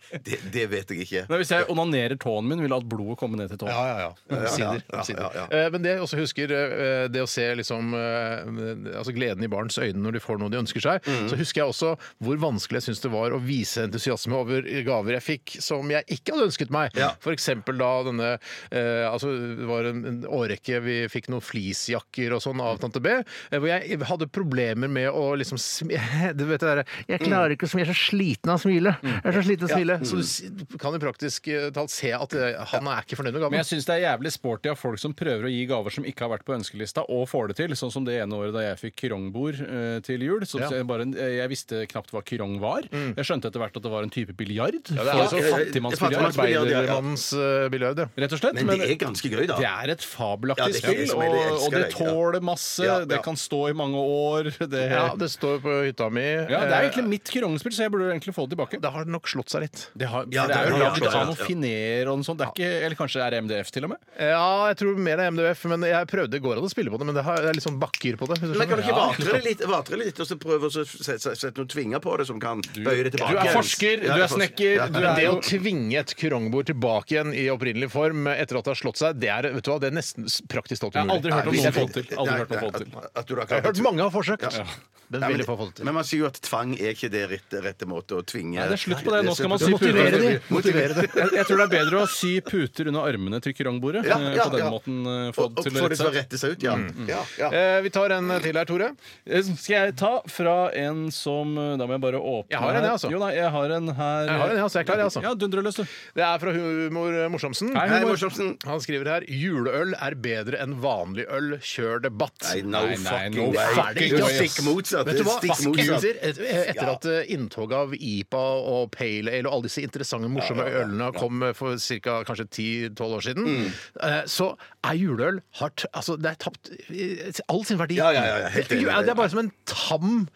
S9: det, det vet jeg ikke.
S3: Nei, hvis jeg onanerer tåen min, vil jeg at blodet komme ned til tåen.
S1: Ja, ja, ja. Omsider.
S9: ja,
S1: omsider.
S9: ja,
S1: Eh, Men det jeg også husker, eh, det å se liksom eh, altså gleden i barns øyne når de får noe de ønsker seg,
S9: Mhm.
S1: så husker jeg også hvor vanskelig jeg syns det var å vise entusiasme over gaver jeg fikk som jeg ikke hadde ønsket meg.
S9: Ja.
S1: For eksempel da denne eh, altså Det var en en årrekke vi fikk noen fleecejakker og sånn av Tante B, eh, hvor jeg hadde problemer med å liksom sm- Du vet det derre Jeg klarer ikke å smi- Jeg er så sliten av å smile.
S3: Mm.
S1: Jeg er så sliten av å smile. Så du s- kan jo praktisk eh, talt se at eh, han er ikke fornøyd med gaven.
S3: Men jeg syns det er jævlig sporty av folk som prøver å gi gaver som ikke har vært på ønskelista, og får det til. Sånn som det ene året da jeg fikk krongbord eh, til jul. Som
S1: Ja. Mm.
S3: jeg, bare, eh, jeg visste knapt hva krong var. Jeg skjønte etter hvert at det var en type biljard. Ja,
S1: det er altså
S3: fattigmannsbiljard.
S9: fattigmannsbiljard, ja, ja.
S1: Mannens uh, biljard, ja.
S3: Rett og slett.
S9: Men det er ganske gøy, da.
S3: Det er et fabelaktig
S9: Ja, det er
S3: spill,
S9: det som jeg
S3: og,
S9: elsker
S3: og det
S9: det, ja.
S3: tåler masse.
S9: Ja, ja.
S3: Det kan stå i mange år. Det, ja,
S1: ja.
S3: det,
S1: Det står på hytta mi.
S3: Eh,
S1: Eh,
S3: er egentlig mitt krongspill, så jeg burde egentlig få det tilbake.
S1: Det har nok slått seg litt.
S3: Det, har,
S9: Ja,
S3: for det
S9: det
S3: er jo
S9: har-
S3: laget
S9: ja, ja,
S3: av
S9: ja.
S3: noen finer og noe sånt. Det er ikke, eller kanskje det er MDF, til og med.
S1: Ja, jeg tror mer det er MDF, men jeg prøvde i går an å spille på det, men det, har, det er litt sånn bakker på det. hvis du
S9: Men kan Kan du ikke vatre det litt, vatre det litt og så prøve å så sette, sette, sette noen tvinger på det som kan bøye det tilbake?
S3: du er forsker,
S9: Ja,
S3: du
S9: jeg
S3: er snekker,
S9: Ja.
S3: du
S1: Men
S3: er
S1: det
S3: jo-
S1: å tvinge et kurongbord tilbake igjen i opprinnelig form etter at det har slått seg, det er, vet du hva, det er nesten s- praktisk talt
S3: Jeg har
S1: umulig.
S3: aldri hørt om noen
S9: Nei, hvis jeg-
S3: få det til. Aldri hørt noen få det til.
S9: Nei, at- at du da
S1: Jeg har
S9: klart-
S1: hørt mange har forsøkt,
S9: Ja.
S1: men
S9: Nei, men,
S1: veldig få har fått det til.
S9: men man sier jo at tvang er ikke det rette, rette måte å tvinge
S3: Nei, det er slutt på det. Nå skal man sy
S1: Motivere
S3: puter.
S1: de.
S9: Motivere de.
S3: Jeg, jeg tror det er bedre å sy puter under armene til krongbordet.
S9: Ja,
S3: eh,
S9: ja,
S3: på den
S9: ja.
S3: måten eh, få
S9: Og,
S3: det
S9: og
S3: til
S9: få
S3: å
S9: det
S3: rette
S9: til å
S3: seg.
S9: rette seg ut, ja.
S3: Mm.
S9: ja, ja.
S1: Eh, Vi tar en til her, Tore.
S3: Eh, Skal jeg ta fra en som eh, Da må jeg bare åpne
S1: Jeg har en, jeg,
S3: her.
S1: altså.
S3: Jo, nei, jeg har en her.
S1: Jeg har en, jeg, altså. Jeg er klar, jeg, altså.
S3: Ja, dundre løs, du.
S1: Det er fra Humor Morsomsen.
S3: Hei,
S9: Nei,
S3: humor.
S9: morsomsten.
S1: Han skriver her juleøl er bedre enn vanlig øl, kjør debatt.
S9: Nei, no
S3: Nei, nei, no
S9: fucking
S3: fucking
S9: way.
S3: way,
S9: Det er
S3: ass.
S9: Stikk motsatt.
S1: Vet du hva?
S9: Stikk motsatt.
S1: Etter, et- etter at eh, inntoget av IPA og Pale Ale og alle disse interessante, morsomme ølene kom eh, for ca. kanskje 10-12 år siden,
S9: Mm.
S1: eh, så er juleøl hardt Altså, det er tapt eh, all sin verdi.
S9: Ja, ja, ja, ja, helt enig. Mm.
S1: Det er- det er bare som en tam,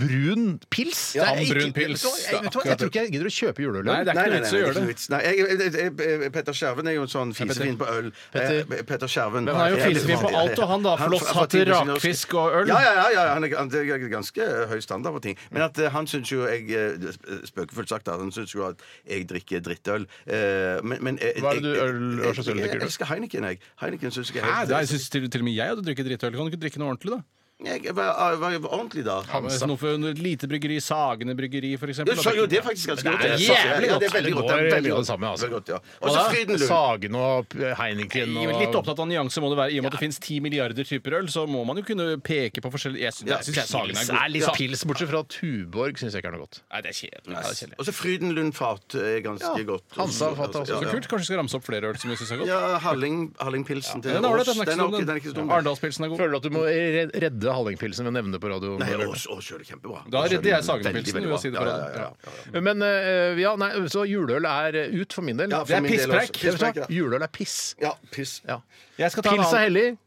S1: brun pils. Det er
S3: tam,
S1: ikke-
S3: brun
S1: Vet
S3: pils.
S1: du hva? Jeg, vet du hva? jeg tror ikke jeg gidder å kjøpe juleøl.
S3: Nei, det er ikke
S9: Nei, nei,
S3: noe
S9: nei,
S3: vits i å gjøre
S9: det er ikke noe
S3: det.
S9: vits. Nei, jeg, jeg, jeg, Petter Skjerven er jo en sånn fisefin på øl.
S1: Petter.
S9: Eh, Petter Skjerven.
S3: Men han er jo fisefin på alt, og han da.
S9: fra- fra
S3: Flosshatt,
S9: Tigersen Norsk-
S3: rakfisk og øl.
S9: Ja, ja, ja, ja. Han er, han er ganske høy standard på ting. Men at eh, han syns jo jeg eh, Spøkefullt sagt, da. Han syns jo at jeg drikker drittøl. Eh, Men, men eh,
S1: Hva er det du
S9: jeg-
S1: øl- hva slags øl
S9: jeg-
S1: drikker du?
S9: Jeg elsker Heineken, jeg. Heineken syns jeg er
S3: Hæ,
S9: helt
S3: det er- jeg synes til, til og med jeg hadde drukket drittøl. Kan du ikke drikke noe ordentlig, da?
S9: Jeg var, var var ordentlig da.
S3: Noe for et lite bryggeri. Sagene bryggeri, for eksempel.
S9: Du sa jo det er faktisk ganske godt.
S1: Det er
S9: Ja,
S1: jævlig
S9: ja,
S1: godt.
S9: Det er veldig
S1: Det
S9: godt.
S1: går
S9: veldig
S1: mye av
S9: godt.
S1: det samme, altså.
S9: Veldig godt, ja. Og så
S1: Hva da?
S9: Frydenlund.
S1: Sagen og
S9: eh,
S1: Heineken
S3: Jeg
S1: og
S3: er litt opptatt av nyanser må det være. I og med at det finnes ti milliarder typer øl, så må man jo kunne peke på forskjellige Jeg syns
S9: Ja,
S3: jeg synes jeg sagene
S1: Pils
S3: er gode.
S1: er litt pils, bortsett fra Tuborg, syns jeg ikke er noe godt.
S3: Nei, det er kjedelig. Ja, det er kjedelig.
S9: Og så Frydenlund-fat Altså, er ganske
S1: Ja,
S9: godt.
S1: Hansa-fat også.
S9: altså. Ja,
S3: Så
S9: ja.
S3: kult. Kanskje vi skal ramse opp flere øl som vi syns er godt.
S9: Ja, Halling, Hallingpilsen til
S3: Den er ålreit.
S9: Ås.
S3: Den er ikke så dum,
S9: den er ikke så
S3: den.
S9: dum.
S3: Arendalspilsen er god.
S1: Føler du at du må re- redde Hallingpilsen ved å nevne det på radio?
S9: Nei,
S1: Eller-
S9: Ås, Ås kjører kjempebra.
S3: Da
S9: Ås kjører
S3: redder jeg
S9: veldig,
S3: Sagenpilsen,
S9: veldig
S3: ved å
S9: bra.
S3: si det på
S9: Ja,
S3: radio.
S9: ja, ja, ja.
S1: Men eh, ja, nei, så juleøl er eh, ut for min del.
S9: Ja,
S1: Det
S9: for
S3: er
S9: min del
S3: pisspreik.
S9: også.
S1: er- vet du hva?
S9: Pisspreik, ja.
S1: Juleøl er piss.
S9: Ja, piss.
S1: Ja.
S3: Jeg skal ta en
S1: Pils er
S3: annen.
S1: hellig.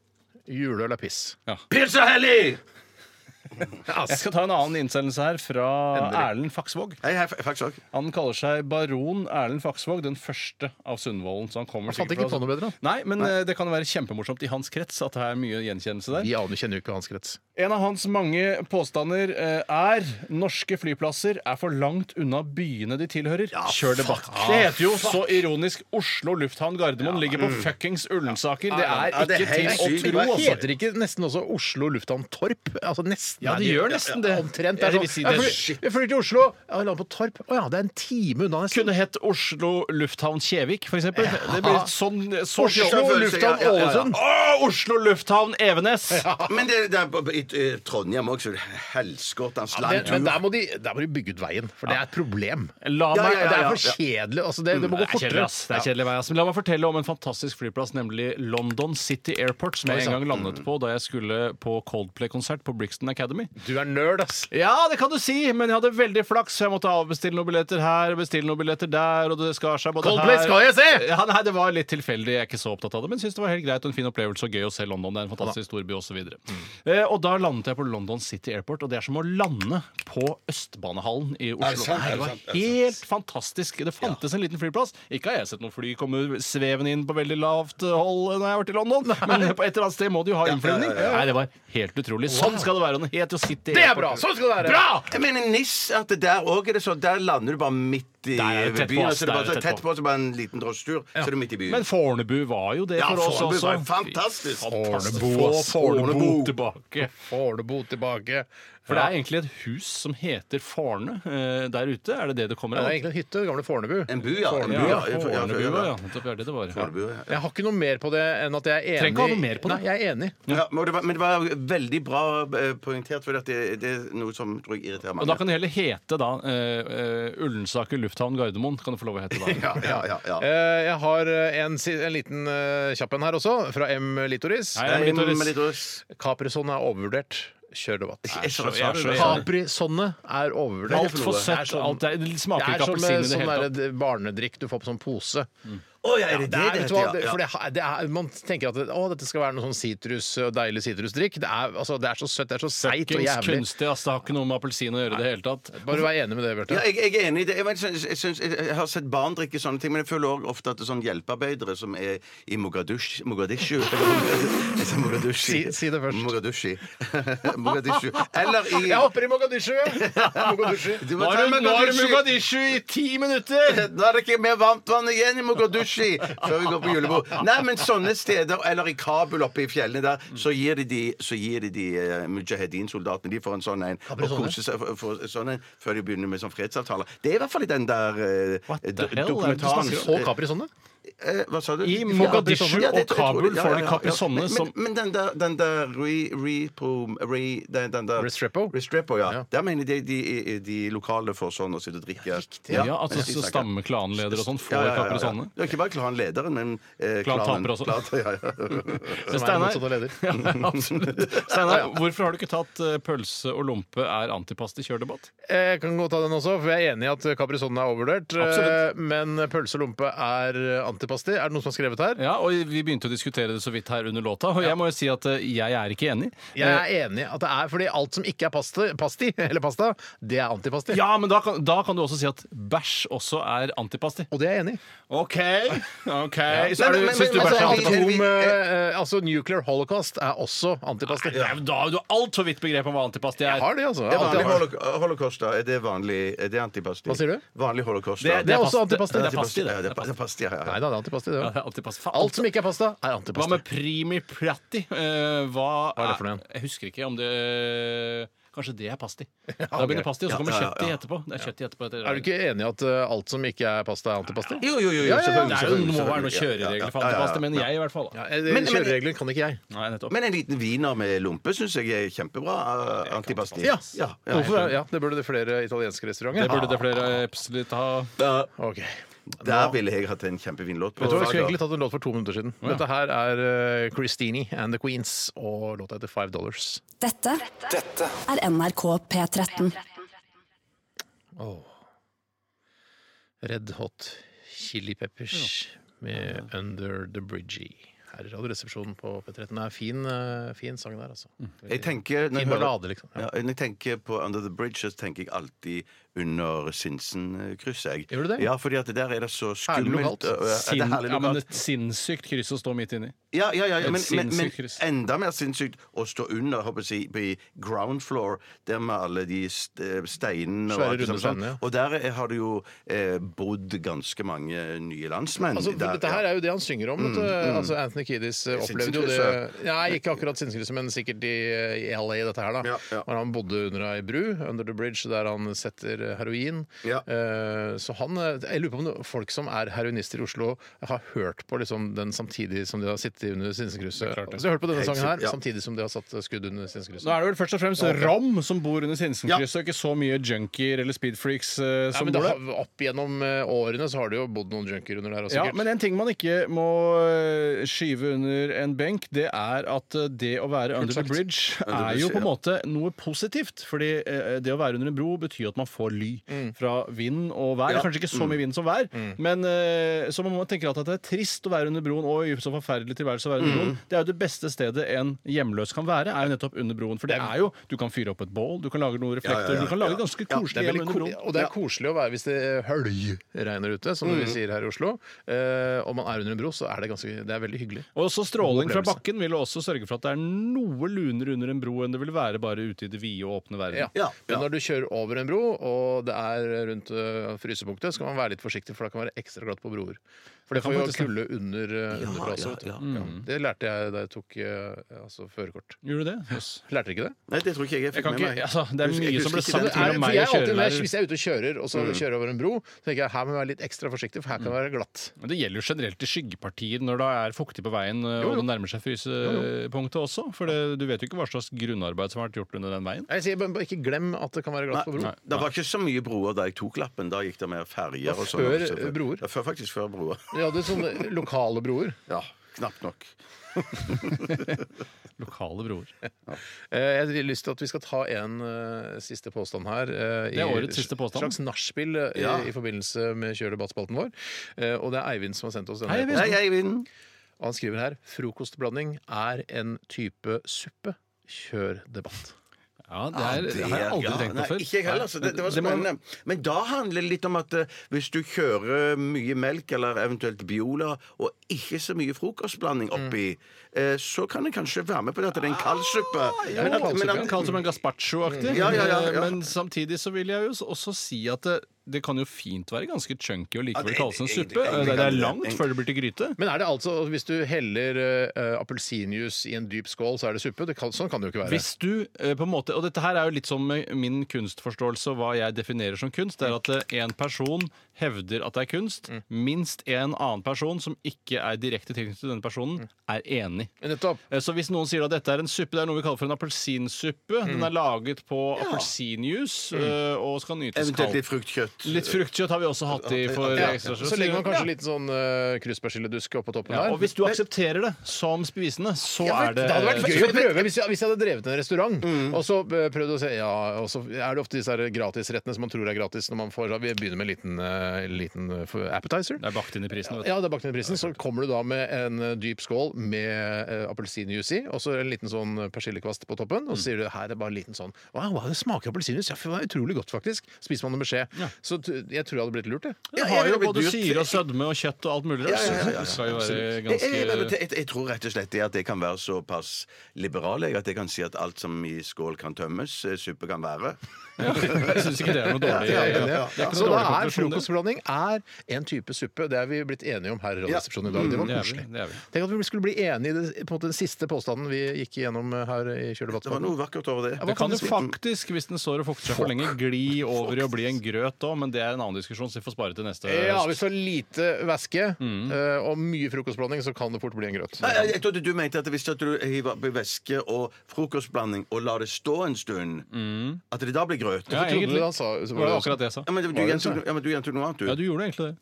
S1: Juleøl er piss.
S9: Pils er hellig!
S3: Jeg skal ta en annen innsendelse her fra Erlend Faksvåg.
S9: Hei, hei, faktisk òg.
S3: Han kaller seg baron Erlend Faksvåg, den første av Sundvolden. Så han kommer
S1: fant
S3: sikkert
S1: ikke
S3: fra-
S1: på noe bedre, da.
S3: Nei, men eh, det kan jo være kjempemorsomt i hans krets at det er mye gjenkjennelse der.
S1: Vi aner kjenner jo ikke hans krets.
S3: En av hans mange påstander eh, er norske flyplasser er for langt unna byene de tilhører. Kjør debatt. Det heter jo så ironisk Oslo lufthavn Gardermoen ligger på fuckings Ullensaker. Det er
S9: Mm. Ja, det er
S3: ikke
S9: helt
S3: til å
S9: sykt.
S3: tro,
S9: Hva
S3: altså.
S1: Heter ikke nesten også Oslo lufthavn Torp? Altså nesten.
S3: Ja, det gjør nesten det.
S1: Omtrent. Det
S3: Ja, det
S1: er
S3: vil si
S1: sånn,
S3: det.
S1: jeg flyr, jeg flyr til Oslo, ja, jeg lander på Torp. Å ja, det er en time unna nesten.
S3: Kunne hett Oslo lufthavn Kjevik, f.eks. eksempel Det blir sånn, så
S9: Oslo lufthavn Ålesund.
S3: Å, Oslo lufthavn Evenes!
S9: Men det, det er på- i i Trondheim òg, så er det helskottans lang
S1: Men,
S9: tur.
S1: men der, må de, der må de bygge ut veien, for det er et problem.
S3: La meg,
S9: Ja, ja, ja,
S1: Det
S9: ja.
S1: er for kjedelig. Altså, det, det må
S3: Mm, Det
S1: gå
S3: er kjedelig,
S1: fortere.
S3: ass. Det er kjedelig vei, ass. Men la meg fortelle om en fantastisk flyplass, nemlig London City Airport, som jeg en gang landet på da jeg skulle på Coldplay-konsert på Brixton Academy.
S1: Du er nerd, ass.
S3: Ja, det kan du si, men jeg hadde veldig flaks, så jeg måtte avbestille noen billetter her og bestille noen billetter der, og det skar seg både
S1: Coldplay
S3: her
S1: skal jeg se!
S3: Ja, nei, det var litt tilfeldig, jeg er ikke så opptatt av det, men syns det var helt greit og en fin opplevelse og gøy å se London. Det er en fantastisk stor by, osv.
S9: Mm.
S3: Eh, og da landet jeg på London City Airport, og det er som å lande på Østbanehallen i Oslo.
S9: Er det sant?
S3: Nei, det
S9: Er det sant? Er
S3: var
S9: det
S3: helt fantastisk. Det fantes en liten flyplass. Ikke har jeg sett noen fly komme svevende inn på veldig lavt hold når jeg har vært i London, men på et eller annet sted må de jo ha innflyvning. Nei, det var helt utrolig. Sånn skal det være. og Den het jo City
S1: Det er
S3: Airport.
S1: bra! Sånn skal det være!
S3: Bra!
S9: Jeg mener NIS, at det der òg er det sånn. Der lander du bare midt i
S3: Der er det tett på,
S9: byen.
S3: ass.
S9: Så det
S3: Der
S9: er
S3: er
S9: bare
S3: det
S9: så
S3: tett
S9: tett på, så bare en liten drosjetur, så er du midt i byen.
S3: Men Fornebu var jo det
S9: Ja,
S3: for oss
S9: Fornebu
S3: også.
S9: var
S3: Fantastisk.
S9: fantastisk.
S1: Fornebu,
S3: Få
S1: ass.
S3: Fornebu
S9: Fornebu.
S3: tilbake.
S1: Fornebu tilbake.
S3: For det er egentlig et hus som heter Forne eh, der ute. Er det det det kommer
S1: Ja, det
S3: av?
S1: er egentlig en hytte, det gamle Fornebu.
S9: En bu, ja. En bu,
S3: Ja,
S9: ja. Ja, ja,
S3: Fornebu,
S9: ja,
S3: ja.
S9: ja.
S3: Nettopp, det er det det var.
S9: Fornebu, ja.
S1: Jeg har ikke noe mer på det enn at jeg er enig
S3: Trenger ikke ha noe mer på det.
S1: Nei, jeg er enig.
S9: Ja, men, det var, men det var veldig bra eh, poengtert, for det, det er noe som tror jeg irriterer
S3: Og
S9: mange.
S3: da kan det heller hete da eh, eh, Ullensaker lufthavn Gardermoen. Kan det få lov å hete da?
S9: ja, ja, ja, ja.
S1: Eh, Jeg har en, si- en liten eh, kjapp en her også, fra M. Litoris.
S3: Hei, Emily Torres.
S1: Caprisonne er overvurdert. Kjør debatt.
S9: Jeg sa
S3: jeg er
S9: det.
S3: så- jeg er så-
S1: Caprisonne er overvurdert.
S3: Altfor søtt. Alt er, det
S1: Det
S3: smaker
S1: er
S3: ikke
S1: som
S3: appelsin
S1: eh,
S3: i det
S1: sånn
S3: hele tatt.
S1: der barnedrikk du får på sånn pose.
S9: Å Å, ja, er det det
S1: er,
S9: det
S1: vet du hva,
S9: heter,
S1: det-
S9: ja?
S1: for det, er- det er, man tenker at det, å, dette skal være noe sånn sitrus, deilig sitrusdrikk. Det, er- altså, det er så søtt, det er så seigt og
S3: Fuckings
S1: jævlig.
S3: kunstig, ass. Det har ikke noe med appelsin å gjøre i det hele tatt.
S1: Bare vær enig med det, Bjarte.
S9: Ja, jeg, jeg er enig i det. Jeg, vet, jeg, jeg, synes- jeg har sett barn drikke sånne ting, men jeg føler også ofte at det er sånn hjelpearbeidere som er i Mogadishu Mogadishu? Jeg sa Mogadishu.
S1: Si- si det først.
S9: Mogadishu. Mogadishu. Eller i
S1: Jeg hopper i Mogadishu! Mogadishu.
S9: Du må
S3: Nå
S9: ta
S3: er det- nå er det
S9: Mogadishu.
S3: Mogadishu i ti minutter!
S9: Nå er det ikke mer varmt vann igjen i Mogadishu før vi går på julebord. Nei, men sånne steder, eller i Kabul oppe i fjellene der, så gir de de, så gir de, de eh, mujahedin-soldatene De får en sånn en og koser seg for, for, sånn en, før de begynner med sånn fredsavtaler. Det er i hvert fall i den der eh,
S3: What the hell
S9: do-
S3: er det du
S9: dokumentaren.
S3: snakker
S1: Og Capri sånne.
S9: Eh, hva sa du?
S3: I Mogadishu
S9: Ja, det-
S3: og Kabul
S9: jeg tror det.
S3: får de Capri-Sonne
S9: Men,
S3: som-
S9: men, men den der, den der re, Repo re, den, den der,
S1: Restrepo?
S9: Restrepo, ja.
S1: Ja.
S9: Der mener jeg de, de, de lokale får sånn og sitter og drikker.
S3: Ja, altså så stammeklanledere og sånn får Capri Sonne.
S9: Det er ikke bare klanlederen, men eh,
S3: Klantaper
S9: klanen.
S3: også.
S9: Klan- ja, ja.
S3: Men
S1: Som er
S3: Steinar-
S1: motsatt av leder.
S3: Ja, absolutt. Steinar, hvorfor har du ikke tatt eh, pølse og lompe er antipast i kjørdebatt?
S1: Jeg Eh, kan godt ta den også, for jeg er enig i at Capri Sonne er overvurdert.
S3: Absolutt.
S1: Eh, Men pølse og lompe er antipasti. Er det noen som har skrevet her?
S3: Ja, og vi begynte å diskutere det så vidt her under låta, og jeg må jo si at eh, jeg er ikke enig.
S9: Eh,
S1: Jeg er enig i at det er fordi alt som ikke er pasti, pasti eller pasta, det er antipasti.
S3: Ja, men da kan, da kan du også si at bæsj også er antipasti.
S1: Og det er jeg enig i.
S3: OK. ok
S9: Så er du- synes du bæsj er antipasti?
S1: Atom,
S9: vi-
S1: eh, eh, altså nuclear holocaust er også antipasti.
S3: Ja, men da har du altfor vidt begrep om hva antipasti
S1: Jeg
S3: er.
S1: har det, altså.
S9: Det er
S1: Alltid
S9: vanlig
S1: har det.
S9: holoca holocaust, da. Er det vanlig Er det antipasti?
S1: Hva sier du?
S9: Vanlig holocaust. da.
S3: Det,
S1: det er
S3: past-
S1: også antipasti.
S3: Det er
S9: antipasti,
S3: pasti,
S9: ja,
S3: det.
S9: det. er pa- det er pasti, ja, ja.
S1: Nei da, det er antipasti, det
S3: Ja,
S1: òg.
S3: det er antipasti. Faen,
S1: Alt som ikke er pasta, er
S3: Hva
S1: antipasti.
S3: med primi prati? Eh, hva,
S1: er det for noe igjen?
S3: Jeg husker ikke om det Kanskje det er pasti. Da begynner pasti, og så kommer
S9: Ja, ja,
S3: kjøttet
S9: ja.
S3: etterpå. Det er kjøttet etterpå etter.
S1: Er du ikke enig i at eh, alt som ikke er pasta, er antipasti?
S9: Jo, jo,
S1: ja,
S9: jo, jo
S1: ja.
S9: selvfølgelig.
S3: Det er jo,
S9: selvfølgelig,
S3: må være noen
S9: selvfølgelig. Ja, ja,
S3: kjøreregler for
S9: ja, ja, ja.
S3: antipasti, mener jeg i hvert fall. Da.
S1: Ja, eh,
S9: Men- men-
S1: Kjørereglene kan ikke jeg.
S3: Nei, nettopp.
S9: Men en liten wiener med lompe syns jeg er kjempebra. eh, Antipasti.
S1: Ja.
S9: ja, ja.
S1: Hvorfor, ja, det burde det flere italienske
S3: Det
S1: restauranter. Ah,
S3: burde det flere absolutt ha.
S9: Da-
S1: Ok.
S9: Der ville jeg hatt en kjempefinlåt. på
S1: Vet du hva, Jeg skulle
S9: lager.
S1: egentlig tatt en låt for to minutter siden. Dette her er eh, Christini and The Queens, og låta heter Five Dollars.
S5: Dette er NRK P13.
S1: Red Hot Chili Peppers med Under the Bridgie. Her i Radioresepsjonen på P13. Det er en fin, eh, fin sang der, altså.
S9: Jeg tenker, når jeg,
S1: Fin
S9: hører,
S1: ballade, liksom.
S9: ja, når jeg tenker på Under the Bridge, så tenker jeg alltid under Sinsen-krysset. jeg.
S1: Gjør du det?
S9: Ja, fordi at der er det så
S1: Herlig
S9: skummelt.
S1: lokalt.
S9: og- og-
S3: Sin,
S9: det er herlig
S3: ja, men
S9: lokalt.
S3: et sinnssykt kryss å stå midt inni.
S9: Ja, ja, ja,
S3: et
S9: men, men, men
S3: sinnssykt kryss.
S9: enda mer sinnssykt å stå under håper jeg, å si, på ground floor, der med alle de st- øh, steinene og
S1: Svære,
S9: alt det
S1: runde
S9: samme. sånn.
S1: steinene, ja.
S9: Og der er- har det jo eh, bodd ganske mange nye landsmenn.
S1: Altså, for
S9: der,
S1: dette her er jo det han synger om. vet du.
S9: Mm,
S1: Altså, Anthony Kiedis eh, opplevde jo det
S9: Sinnssykehuset.
S1: Nei, ikke akkurat sinnskrysset, men sikkert i, i LA, dette her, da.
S9: Ja, ja.
S1: Når han bodde under ei bru, under the bridge, der han setter heroin.
S9: Ja.
S1: Eh, så han eh, Jeg lurer på om det- folk som er heroinister i Oslo, har hørt på liksom, den samtidig som de har sittet under sinnskrysset.
S3: klart det.
S1: Så jeg har hørt på denne sangen her
S9: sikkert, ja.
S1: samtidig som de har satt eh, skudd under sinnskrysset.
S3: Nå er det vel først og fremst Rom som bor under Sinsenkrysset, og ikke så mye junkier eller speedfreaks
S1: Ja,
S3: eh, som
S1: men det
S3: bor
S1: har,
S3: der.
S1: opp gjennom eh, årene så har det jo bodd noen junkier under der. også,
S3: Ja,
S1: sikkert.
S3: men en ting man ikke må eh, skyve under en benk, det er at eh, det å være under the
S1: sagt.
S3: bridge
S9: the
S3: er
S9: bridge,
S3: jo på en
S9: ja.
S3: måte noe positivt. Fordi eh, det å være under en bro betyr at man får ly fra vind og vær.
S9: Mm. Ja. Mm.
S3: Kanskje ikke så mye vind som vær, men eh, så man må tenke at det er trist å være under broen. Og så forferdelig tilværelse å være under broen.
S9: Mm.
S3: Det er jo det beste stedet en hjemløs kan være, er jo nettopp under broen. For det er jo Du kan fyre opp et bål, du kan lage noen reflekter,
S9: ja, ja.
S3: du kan lage ganske
S9: Ja,
S3: koselig
S1: Det er
S3: hjem
S1: veldig
S3: under
S1: ko
S3: broen.
S1: og det er koselig å være hvis det høljeregner ute, som vi sier her i Oslo. Eh, om man er under en bro, så er det, ganske, det er veldig hyggelig.
S3: Og også stråling fra
S1: opplevelse.
S3: bakken vil også sørge for at det er noe lunere under en bro enn det vil være bare ute i det vide og åpne verden.
S1: Ja.
S9: Ja, ja.
S1: Men når du kjører over en bro, og det er rundt eh, frysepunktet, skal man være litt forsiktig, for da kan det være ekstra glatt på broer. For det
S3: kan
S1: får jo
S3: faktisk det.
S1: kulde under, eh, under fra også, vet du. Ja. Det lærte jeg da jeg tok eh, altså, førerkort.
S3: Gjorde du det? Yes.
S1: Lærte dere ikke det?
S9: Nei, det tror ikke jeg jeg
S3: Jeg
S9: fikk
S3: kan
S9: med
S3: ikke,
S9: meg.
S3: altså, det er
S9: Husker- jeg
S3: mye som
S9: husker
S3: ble
S9: ikke
S3: sagt
S9: den
S1: Det er,
S3: mellom
S1: for
S3: meg
S1: jeg
S3: og
S1: er alltid, når jeg-
S3: kjørelærer.
S1: hvis jeg er ute og kjører, og så kjører jeg over en bro, så tenker jeg her må jeg være litt ekstra forsiktig, for her kan det være glatt.
S3: Men det gjelder jo generelt i skyggepartier når det er fuktig på veien eh,
S1: Jo,
S3: og
S1: jo.
S3: det nærmer seg frysepunktet også. For det, du vet jo ikke hva slags grunnarbeid som har vært gjort under den veien.
S1: Jeg sier bare bare ikke glem at det kan være glatt på bro.
S3: Nei.
S9: Det var ikke så mye broer da jeg tok lappen. Da gikk det mer ferger.
S1: var
S3: eh,
S9: og sånn.
S1: før broer.
S9: Ja, før, faktisk før broer.
S1: Vi hadde sånne lokale broer.
S9: Ja.
S2: Knapt nok.
S3: Lokale broer.
S1: Eh, Jeg har lyst til at vi skal ta en eh, siste påstand her. eh,
S3: Det
S1: i
S3: er årets siste påstand.
S1: slags nachspiel eh, i, i forbindelse med Kjør debatt-spalten vår. Eh, Og det er Eivind som har sendt oss denne.
S3: Hei, Eivind.
S1: posten.
S2: Nei, Eivind.
S1: Og Han skriver her frokostblanding er en type suppe. Kjør debatt.
S3: Ja, det, er, det, har jeg aldri
S2: ja,
S3: tenkt på
S2: nei,
S3: før.
S2: Ikke jeg heller, altså. det, det var
S3: Det må-
S2: spennende. Men da handler det litt om at eh, hvis du kjører mye melk, eller eventuelt Biola, og ikke så mye frokostblanding
S3: Mm.
S2: oppi, eh, så kan jeg kanskje være med på det at det er en kaldsuppe.
S3: Ah, Ja,
S2: Men at-
S3: kall
S2: men
S3: suppe.
S2: at-
S3: Kall som en gazpacho-aktig.
S2: Ja, ja, ja, ja.
S3: Men samtidig så vil jeg jo også si at det, det kan jo fint være ganske chunky og likevel
S2: Ja, det-
S3: kalles en
S2: egentlig-
S3: suppe.
S2: egentlig
S3: Det, det
S2: kan
S3: er
S2: det det.
S3: langt før det blir til gryte.
S1: Men er det altså, hvis du heller eh, appelsinjuice i en dyp skål, så er det suppe? Det kan, sånn kan det jo ikke være.
S3: Hvis du eh, på en måte, og dette her er jo litt som eh, min kunstforståelse og hva jeg definerer som kunst, det er at eh, en person hevder at det er kunst,
S1: Mm.
S3: minst en annen person som ikke er direkte tilknyttet til denne
S1: Mm.
S3: personen, er enig.
S1: Nettopp.
S3: Eh, Så hvis noen sier at dette er en suppe, det er noe vi kaller for en appelsinsuppe,
S1: Mm.
S3: den er laget på appelsinjuice eh, og skal nytes
S2: Eventuelt
S3: kaldt.
S2: litt fruktkjøtt.
S3: Litt fruktkjøtt har vi også hatt i for
S1: Ja,
S3: ekstra
S1: så legger man kanskje litt sånn uh, krysspersilledusk oppå toppen
S3: ja,
S1: der.
S3: Og hvis du aksepterer det som spisende, så
S1: Ja,
S3: er det
S1: det hadde vært gøy å prøve hvis jeg, hvis jeg hadde drevet en restaurant.
S3: Mm.
S1: Og så eh, prøvd å se Ja, og så er det ofte disse her gratisrettene som man tror er gratis når man får Vi begynner med en liten, eh, liten eh, for- appetizer.
S3: Det er bakt inn i prisen, vet du.
S1: Ja, det er bakt inn i prisen. Så kommer du da med en eh, dyp skål med eh, appelsinjuice i, og så en liten sånn persillekvast på toppen, og
S3: Mm.
S1: så sier du her er bare en liten sånn Wow, wow, det smaker appelsinjuice! Ja, fy, det var utrolig godt, faktisk. Spiser man det med skje. Så t- jeg tror jeg hadde blitt lurt, jeg.
S3: Det
S2: Ja,
S3: har
S2: jeg
S3: jo
S2: ville
S3: både
S2: dyrt-
S3: syre og sødme og kjøtt og alt mulig rart.
S2: Ja, ja, ja, ja,
S3: Det skal jo være
S2: Jeg, jeg, jeg,
S3: ganske
S2: jeg, jeg tror rett og slett det at jeg kan være såpass liberal jeg, at jeg kan si at alt som i skål kan tømmes, eh, suppe kan være.
S3: Jeg syns ikke det er noe dårlig.
S2: Ja, ja, ja, ja.
S3: Det er ikke
S1: Så
S3: noe
S1: da
S3: dårlig
S1: er
S3: konklusjon. det.
S1: frokostblanding er en type suppe. Det er vi blitt enige om her i Radioresepsjonen i dag. Det var
S3: Mm, Det er vi,
S1: koselig.
S3: det er vi.
S1: Tenk at vi skulle bli enige i det- på en måte den siste påstanden vi gikk igjennom her
S2: Det
S1: i
S2: var
S1: Kjølebattspalten.
S2: noe vakkert over det.
S3: Det kan jo faktisk, hvis den står og fukter seg for lenge, gli over i å bli en grøt òg, men det er en annen diskusjon, så vi får spare til neste
S1: Ja,
S3: høst.
S1: hvis det er lite væske eh, og mye frokostblanding, så kan det fort bli en grøt.
S2: Nei, jeg, jeg trodde du mente at hvis at du hiver oppi væske og frokostblanding og lar det stå en stund, at det da blir grøt.
S3: Mm. Ja,
S1: Trodde du
S3: egentlig.
S1: han sa
S3: Det var akkurat det jeg sa.
S2: Ja, men du,
S1: det
S2: gjentok,
S1: det?
S2: ja, men du gjentok noe annet, du.
S3: Ja, du gjorde egentlig det.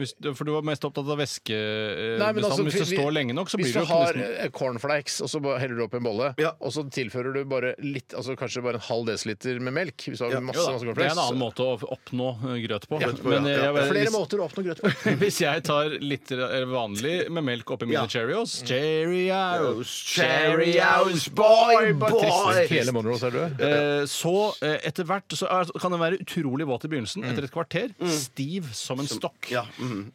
S3: Hvis, for du var mest opptatt av væskebestanden.
S1: Nei, men altså,
S3: hvis det
S1: vi-
S3: står lenge nok, så
S1: Hvis
S3: blir
S1: du
S3: det jo
S1: har
S3: nesten-
S1: eh, cornflakes og så bare heller du opp i en bolle,
S2: Ja.
S1: og så tilfører du bare litt, altså kanskje bare en halv desiliter med melk hvis du har masse,
S3: Jo da,
S1: masse
S3: Det er en
S1: cornflakes
S3: annen måte å oppnå eh, grøt på.
S2: Grøt på, ja.
S3: Men jeg- jeg-
S1: Flere
S3: hvis-
S1: måter å oppnå grøt på.
S3: Hvis jeg tar litt eh, vanlig med melk oppi
S2: Ja.
S3: mine Cheerios Cheerios,
S2: Cheerios, boy, boy!
S1: Hele Monroes er død.
S3: Eh, så eh, etter hvert så er, kan den være utrolig våt i begynnelsen. Etter et kvarter stiv som en stokk.
S2: Ja, mhm.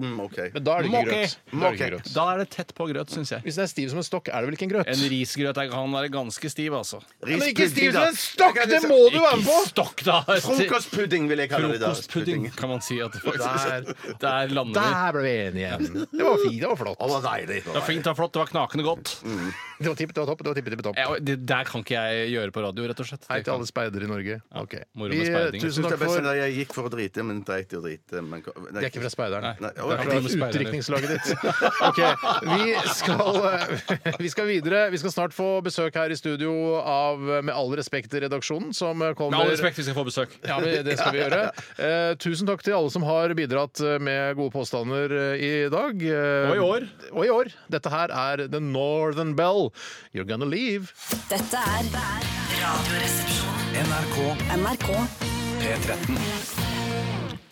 S2: Mm, OK.
S1: Men da er det ikke grøt.
S3: Måke.
S1: Da er det ikke grøt.
S3: Da er det tett på grøt, syns jeg.
S1: Hvis den er stiv som en stokk, er det vel ikke en grøt?
S3: En risgrøt er- kan være ganske stiv, altså.
S1: Men ikke
S2: Rispudding,
S1: stiv som
S2: da.
S1: en stokk! Det må du være med på!
S3: Ikke stokk, da!
S2: Frokostpudding vil jeg kalle det. da.
S3: Frokostpudding, kan man si at det
S1: Der.
S3: faktisk Der lander vi.
S1: Der ble vi enige igjen. Det var fint, det var flott.
S2: Å, deilig.
S3: Det var fint, det var flott, det var knakende godt.
S1: Det var tipp, det var topp, det var tippe, tippe, topp.
S3: Ja, det der kan ikke jeg gjøre på radio, rett og slett.
S1: Hei
S3: Det
S1: til
S3: kan-
S1: alle speidere i Norge. Ok.
S3: moro med
S1: Vi, eh,
S2: Jeg
S3: speiding.
S1: tusen
S2: synes det
S1: takk
S2: er best
S1: for
S2: når jeg gikk for å drite, men dreit i å drite. Men,
S1: De er ikke fra speideren.
S3: Nei.
S1: Det er
S2: ok.
S1: fra
S3: Team Speiderne.
S1: utdrikningslaget ditt. Ok, vi skal, eh, vi skal videre. Vi skal snart få besøk her i studio av eh, Med all respekt redaksjonen, som eh,
S3: Med all
S1: kommer
S3: respekt, vi skal få besøk.
S1: Ja, men det skal vi gjøre. Eh, tusen takk til alle som har bidratt eh, med gode påstander eh, i dag. Eh,
S3: Og i år.
S1: Og i år. Dette her er The Northern Bell. You're gonna leave.
S5: Dette er Radioresepsjonen. NRK. NRK.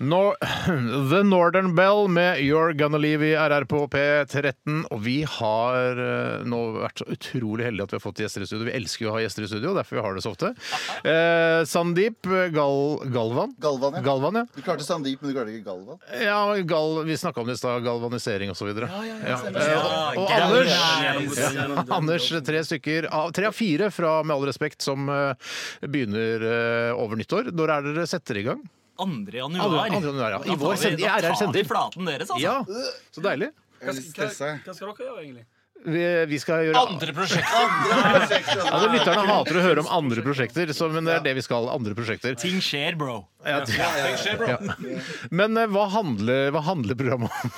S1: Nor The Northern Bell med You're Gonna Leave i RR på P13. Og vi har eh, nå vært så utrolig heldige at vi har fått gjester i studio. Vi elsker jo å ha gjester i studio, derfor vi har det så ofte. Eh, Sandeep Gal Galvan.
S10: Galvan, ja.
S1: Galvan, ja.
S10: Du klarte Sandeep, men du klarte ikke Galvan.
S1: Ja, gal, Vi snakka om det i stad, galvanisering osv. Ja, ja, ja. Og, og Anders, ja, Anders tre, stykker, av, tre av fire fra Med all respekt som eh, begynner eh, over nyttår. Når er dere setter i gang?
S11: Andre januar.
S1: Andre- andre januar, ja.
S11: Da
S1: I
S11: tar
S1: vår
S11: vi-
S1: sender- i
S11: Da
S1: RR
S11: tar vi
S1: sender.
S11: flaten deres, altså.
S1: Ja, Så deilig.
S10: Jeg er litt stressa.
S11: Hva skal dere gjøre, egentlig?
S1: Vi, vi skal gjøre
S11: Andre prosjekter.
S1: altså, Lytterne hater å høre om andre prosjekter, så, men det er det vi skal. andre prosjekter
S11: Ting skjer, bro.
S1: ja. Men eh, hva, handler, hva handler programmet om?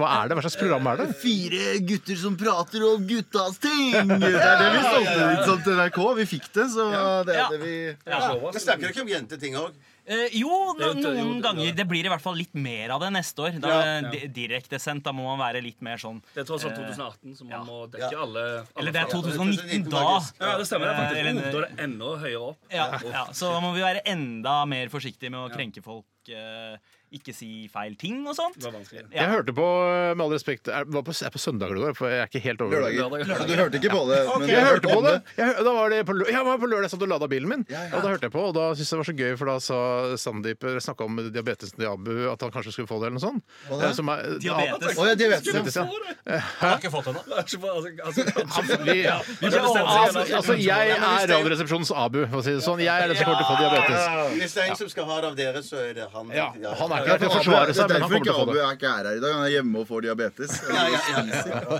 S1: Hva er det? Hva slags program er det?
S10: Fire gutter som prater om guttas ting! Det er det vi solgte ut som til NRK. Vi fikk det, så det er
S11: Ja.
S10: det vi
S2: Jeg snakker ikke om jenteting òg.
S12: Eh, jo, no,
S13: Det er jo- det er jo-
S12: noen ganger. Det blir i hvert fall litt mer av det neste år. Da
S13: Ja.
S12: det er di- Direktesendt. Da må man være litt mer sånn
S13: Det er tross alt
S12: eh,
S13: 2018, så man må dekke alle, alle
S12: Eller det er
S13: fag.
S12: 2019 da.
S13: Ja, det stemmer. det er faktisk.
S12: Eh, eller-
S13: Oh, da er det enda høyere opp.
S12: Ja,
S13: Oh.
S12: ja, så da må vi være enda mer forsiktige med å krenke folk. eh, ikke si feil ting og sånt.
S1: Jeg hørte på, eh, med all respekt Er, var på, er på søndager det var? For jeg er ikke helt over
S12: Lørdager. Lørdager.
S10: Du hørte ikke på det,
S1: Ja.
S10: men
S1: Ok,
S10: du
S1: jeg
S10: hørte
S1: hørte på
S10: om
S1: det.
S10: det.
S1: Jeg, hø- da var det på, lø- ja, det var på lørdag jeg satt og lada bilen min. Og da hørte jeg på, og da syntes jeg det var så gøy, for da sa Sandeep snakka om diabetesen til Abu, at han kanskje skulle få det, eller noe sånt.
S10: Hva da?
S1: Eh, som er-
S10: Diabetes. Å, ja, diabetes, ja.
S1: Diabetes, ja. Eh,
S13: Jeg
S1: Hæ?
S13: har ikke fått henne. Altså, altså,
S1: Vi,
S13: Ja, vi må bestemme seg
S1: altså,
S13: igjen, altså.
S1: altså, jeg er Radioresepsjonens Abu, for å si det sånn. Jeg er den som kommer til å
S10: Hvis
S1: få
S10: det er en
S1: diabetes.
S10: som skal ha det av dere, så er det han.
S1: Ja, han er ikke her til å forsvare seg, men han
S10: Det er derfor
S1: kommer til å få det.
S10: ikke Abu er ikke her i dag. Han er hjemme og får diabetes.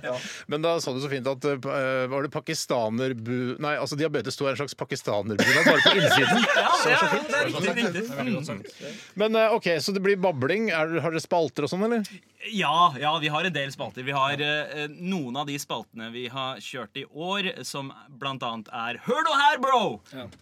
S1: Ja. Men da sa du så fint at eh, var det pakistanerbu... Nei, altså diabetes 2 er en slags pakistanerbunad bare på innsiden. Så, så fint.
S12: det er riktig, riktig.
S1: Men eh, OK, så det blir babling. Er, har dere spalter og sånn, eller?
S12: Ja, ja, vi har en del spalter. Vi har eh, noen av de spaltene vi har kjørt i år, som blant annet er Hør nå her, bro!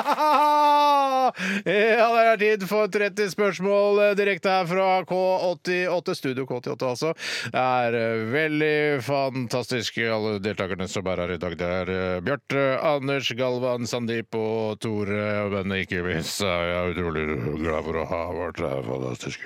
S1: ja! ja, det er tid for 30 spørsmål eh, direkte her fra K88, Studio K88 altså. Det er eh, veldig fantastisk, alle deltakerne som er her i dag. Det er eh, Bjarte, Anders, Galvan, Sandeep og Tore. Men ikke minst er jeg utrolig glad for å ha vært her. Fantastisk.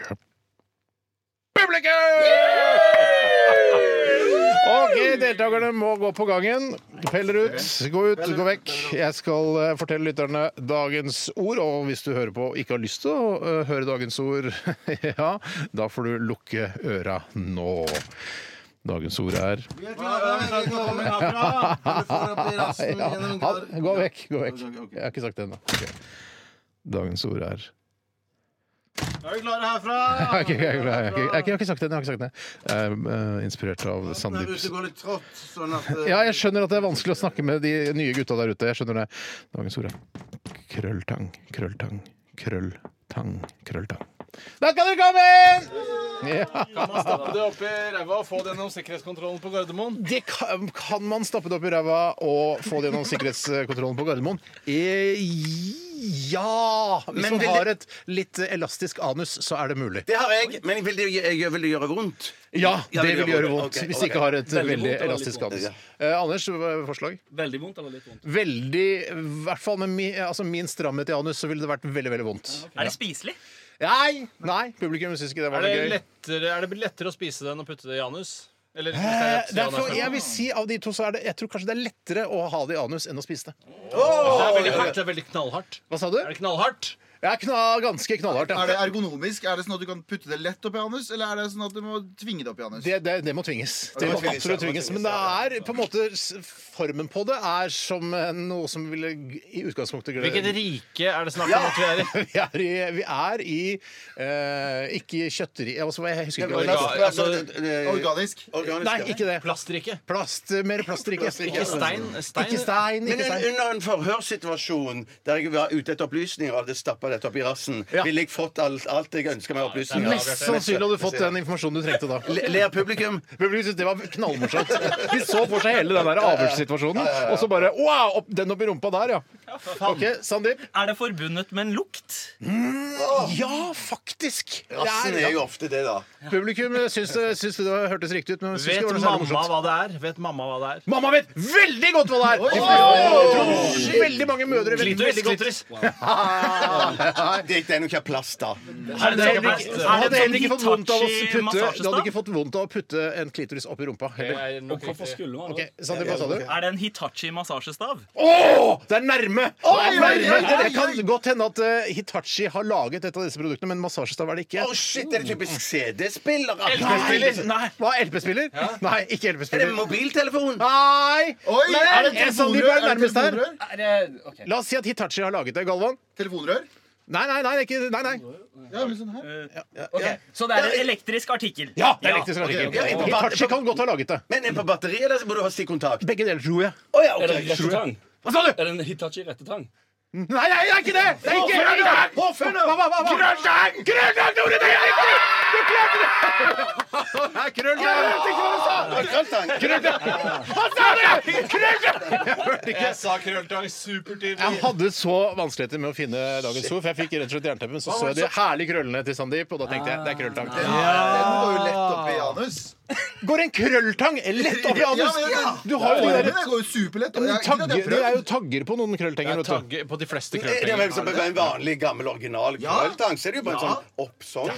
S1: Ok, deltakerne må gå på gangen. Peller ut, gå ut, gå vekk. Jeg skal eh, fortelle lytterne dagens ord, og hvis du hører på og ikke har lyst til å eh, høre dagens ord, ja, da får du lukke øra nå. Dagens ord er ja, ha- Gå vekk, gå vekk. Jeg har ikke sagt det ennå. Ok. Dagens ord er
S8: Er vi klare herfra?
S1: jeg har, ikke, jeg, har ikke, jeg, har ikke, jeg har ikke sagt det. Jeg har ikke sagt det. Jeg er eh, inspirert av
S8: Nei,
S1: Sandeep
S8: hvis det går litt trått, sånn at
S1: Ja, jeg skjønner at det er vanskelig å snakke med de nye gutta der ute. Jeg skjønner det. Dagens ord er krølltang, krølltang, krølltang, krølltang. Da kan dere komme inn! Ja.
S3: Kan man stappe det opp i ræva og få det gjennom sikkerhetskontrollen på Gardermoen?
S1: Det kan, kan man stappe det opp i ræva og få det gjennom sikkerhetskontrollen på Gardermoen? Eh, ja! Hvis
S2: Men
S1: man
S2: vil
S1: har et litt elastisk anus, så er det mulig.
S2: Det har jeg, men vil det, jeg, vil det gjøre vondt?
S1: Ja, det vil gjøre vondt
S2: Ok,
S1: hvis
S2: ok.
S1: ikke har et
S2: Veldig
S1: veldig
S2: vondt eller litt
S1: elastisk
S2: vondt?
S1: anus.
S2: Ja.
S1: Eh, Anders, hva er forslag?
S13: Veldig vondt eller litt vondt?
S1: Veldig, i hvert fall med mi, altså min stramhet i anus, så ville det vært veldig veldig vondt.
S12: Er det spiselig?
S1: Nei! nei, publikum syns ikke det var
S3: Er det,
S1: noe gøy.
S3: lettere, er det lettere å spise det enn å putte det i anus? Eller, hvis det er
S1: Eh,
S3: rett side av
S1: Derfor,
S3: anus?
S1: jeg vil si av de to så er det Jeg tror kanskje det er lettere å ha det i anus enn å spise det.
S3: det er veldig hardt. Det er veldig knallhardt.
S1: Hva sa du?
S3: Er det knallhardt?
S1: Jeg er kna, ganske knallhardt. ja.
S10: Er det ergonomisk? Er det sånn at du kan putte det lett opp i anus, eller er det sånn at du må tvinge det opp i anus?
S1: Det, det, det må tvinges.
S10: Ja,
S1: Det
S10: det må
S1: må
S10: tvinges,
S1: absolutt
S10: ja, det må
S1: tvinges.
S10: tvinges,
S1: Men det er på en måte s- Formen på det er som eh, noe som ville g- i utgangspunktet glede-
S3: Hvilket rike er det snakk om
S1: Ja!
S3: at vi er i?
S1: Vi er i, vi er i eh, ikke kjøtteri... Jeg, jeg husker ikke. hva det
S10: Orga-
S1: heter. eh,
S10: altså, organisk?
S1: Nei, ikke det.
S3: Plastrikke.
S1: Plast, mer plastrikke.
S9: Ikke stein,
S10: stein.
S1: Ikke stein.
S9: Men
S1: Ikke
S9: un-
S1: stein.
S9: under en forhørssituasjon der jeg var ute etter opplysninger og hadde stappa dette opp i rassen, ville jeg fått alt, alt jeg ønska meg av opplysninger?
S1: Mest sannsynlig hadde du fått den informasjonen du trengte da.
S9: Le- ler publikum?
S1: Publikum syntes det var knallmorsomt. De så for seg hele den der avhørssituasjonen, og så bare Wow! Opp, den oppi rumpa der, ja. OK, Sandeep.
S12: Er det forbundet med en lukt?
S1: Ja, faktisk! Det er-
S9: Rassen er jo ofte det, da.
S1: Publikum eh, syns det, syns det var- hørtes riktig ut, men syns
S3: Vet
S1: ikke det var noe særlig
S3: mamma
S1: morsomt.
S3: hva det er? Vet mamma hva det er?
S1: Mamma vet veldig godt hva det er! De
S3: Oi!
S1: fleste- jeg tror Veldig mange mødre vet
S3: Klitoris,
S1: veldig godt.
S3: klitoris.
S1: Ah.
S9: Det er jo ikke plass, da.
S1: Du hadde heller ikke- du hadde heller ikke fått vondt av å putte Du hadde
S12: Hitachi-massasjestav?
S1: ikke fått vondt av å putte en klitoris opp i rumpa. Heller.
S12: Hvorfor skulle man
S1: Ok, Sandeep, hva sa du?
S12: Er det en Hitachi-massasjestav?
S1: Åh, det er nærme!
S12: Oi,
S1: Det er
S12: oi, oi,
S1: nærme!
S12: oi,
S1: Det kan godt hende at eh, Hitachi har laget et av disse produktene, men massasjestav er det ikke.
S9: Å, shit, er det typisk CD-spiller?
S1: LP-spiller? Nei. Hva, LP-spiller? Nei, ikke LP-spiller.
S9: Er det mobiltelefon?
S1: Nei!
S10: Oi,
S1: Men,
S10: er det
S1: eh, Sandeep
S10: telefonrør?
S1: er
S10: Er det
S1: nærmest her.
S10: telefonrør?
S1: La oss si at Hitachi har laget det. Galvan?
S10: Telefonrør?
S1: Nei, nei, nei. det er Ikke, nei, nei.
S10: Ja, men sånn her.
S12: Ok, Så det er en elektrisk artikkel?
S1: Ja, det er elektrisk artikkel.
S12: ok, ok.
S1: Hitachi kan godt ha laget det.
S9: Men er på batteri, eller så må du ha stikkontakt?
S1: Begge deler, tror jeg.
S9: Å ja, ok,
S14: Er det
S9: tror jeg.
S14: rettetang?
S1: Hva sa du?
S14: Er det en Hitachi rettetang?
S1: Nei, nei, det er ikke det! Det er ikke
S14: Påfunnet!
S1: det er ikke-
S14: Påfunnet!
S1: Hva, hva, hva, hva?
S14: Krølltang!
S1: Krølltang, Tore! Det er riktig! Du klarte det! Det er krølltang!
S15: Jeg hørte ikke hva du sa!
S9: Krølltang!
S1: Hva sa du? Krølltang! Jeg hørte ikke.
S3: Jeg sa krølltang supertydelig.
S1: Jeg hadde så vanskeligheter med å finne dagens ord, for jeg fikk rett og slett jernteppe. Men så så jeg de herlige krøllene til Sandeep, og da tenkte jeg det er krølltang.
S10: Den går jo lett opp i anus.
S1: Går en krølltang lett opp i anus?
S10: Ja, ja,
S1: Du har jo de
S10: den
S1: der
S10: går jo superlett.
S1: men
S10: Jeg- ikke
S1: tagger,
S10: at jeg har
S1: Det
S10: prøvd.
S1: er jo tagger på noen krølltenger, vet du.
S3: På de fleste
S9: Det er jo hvem som en vanlig, gammel, original krølltang. Så er det jo bare en sånn oppsång.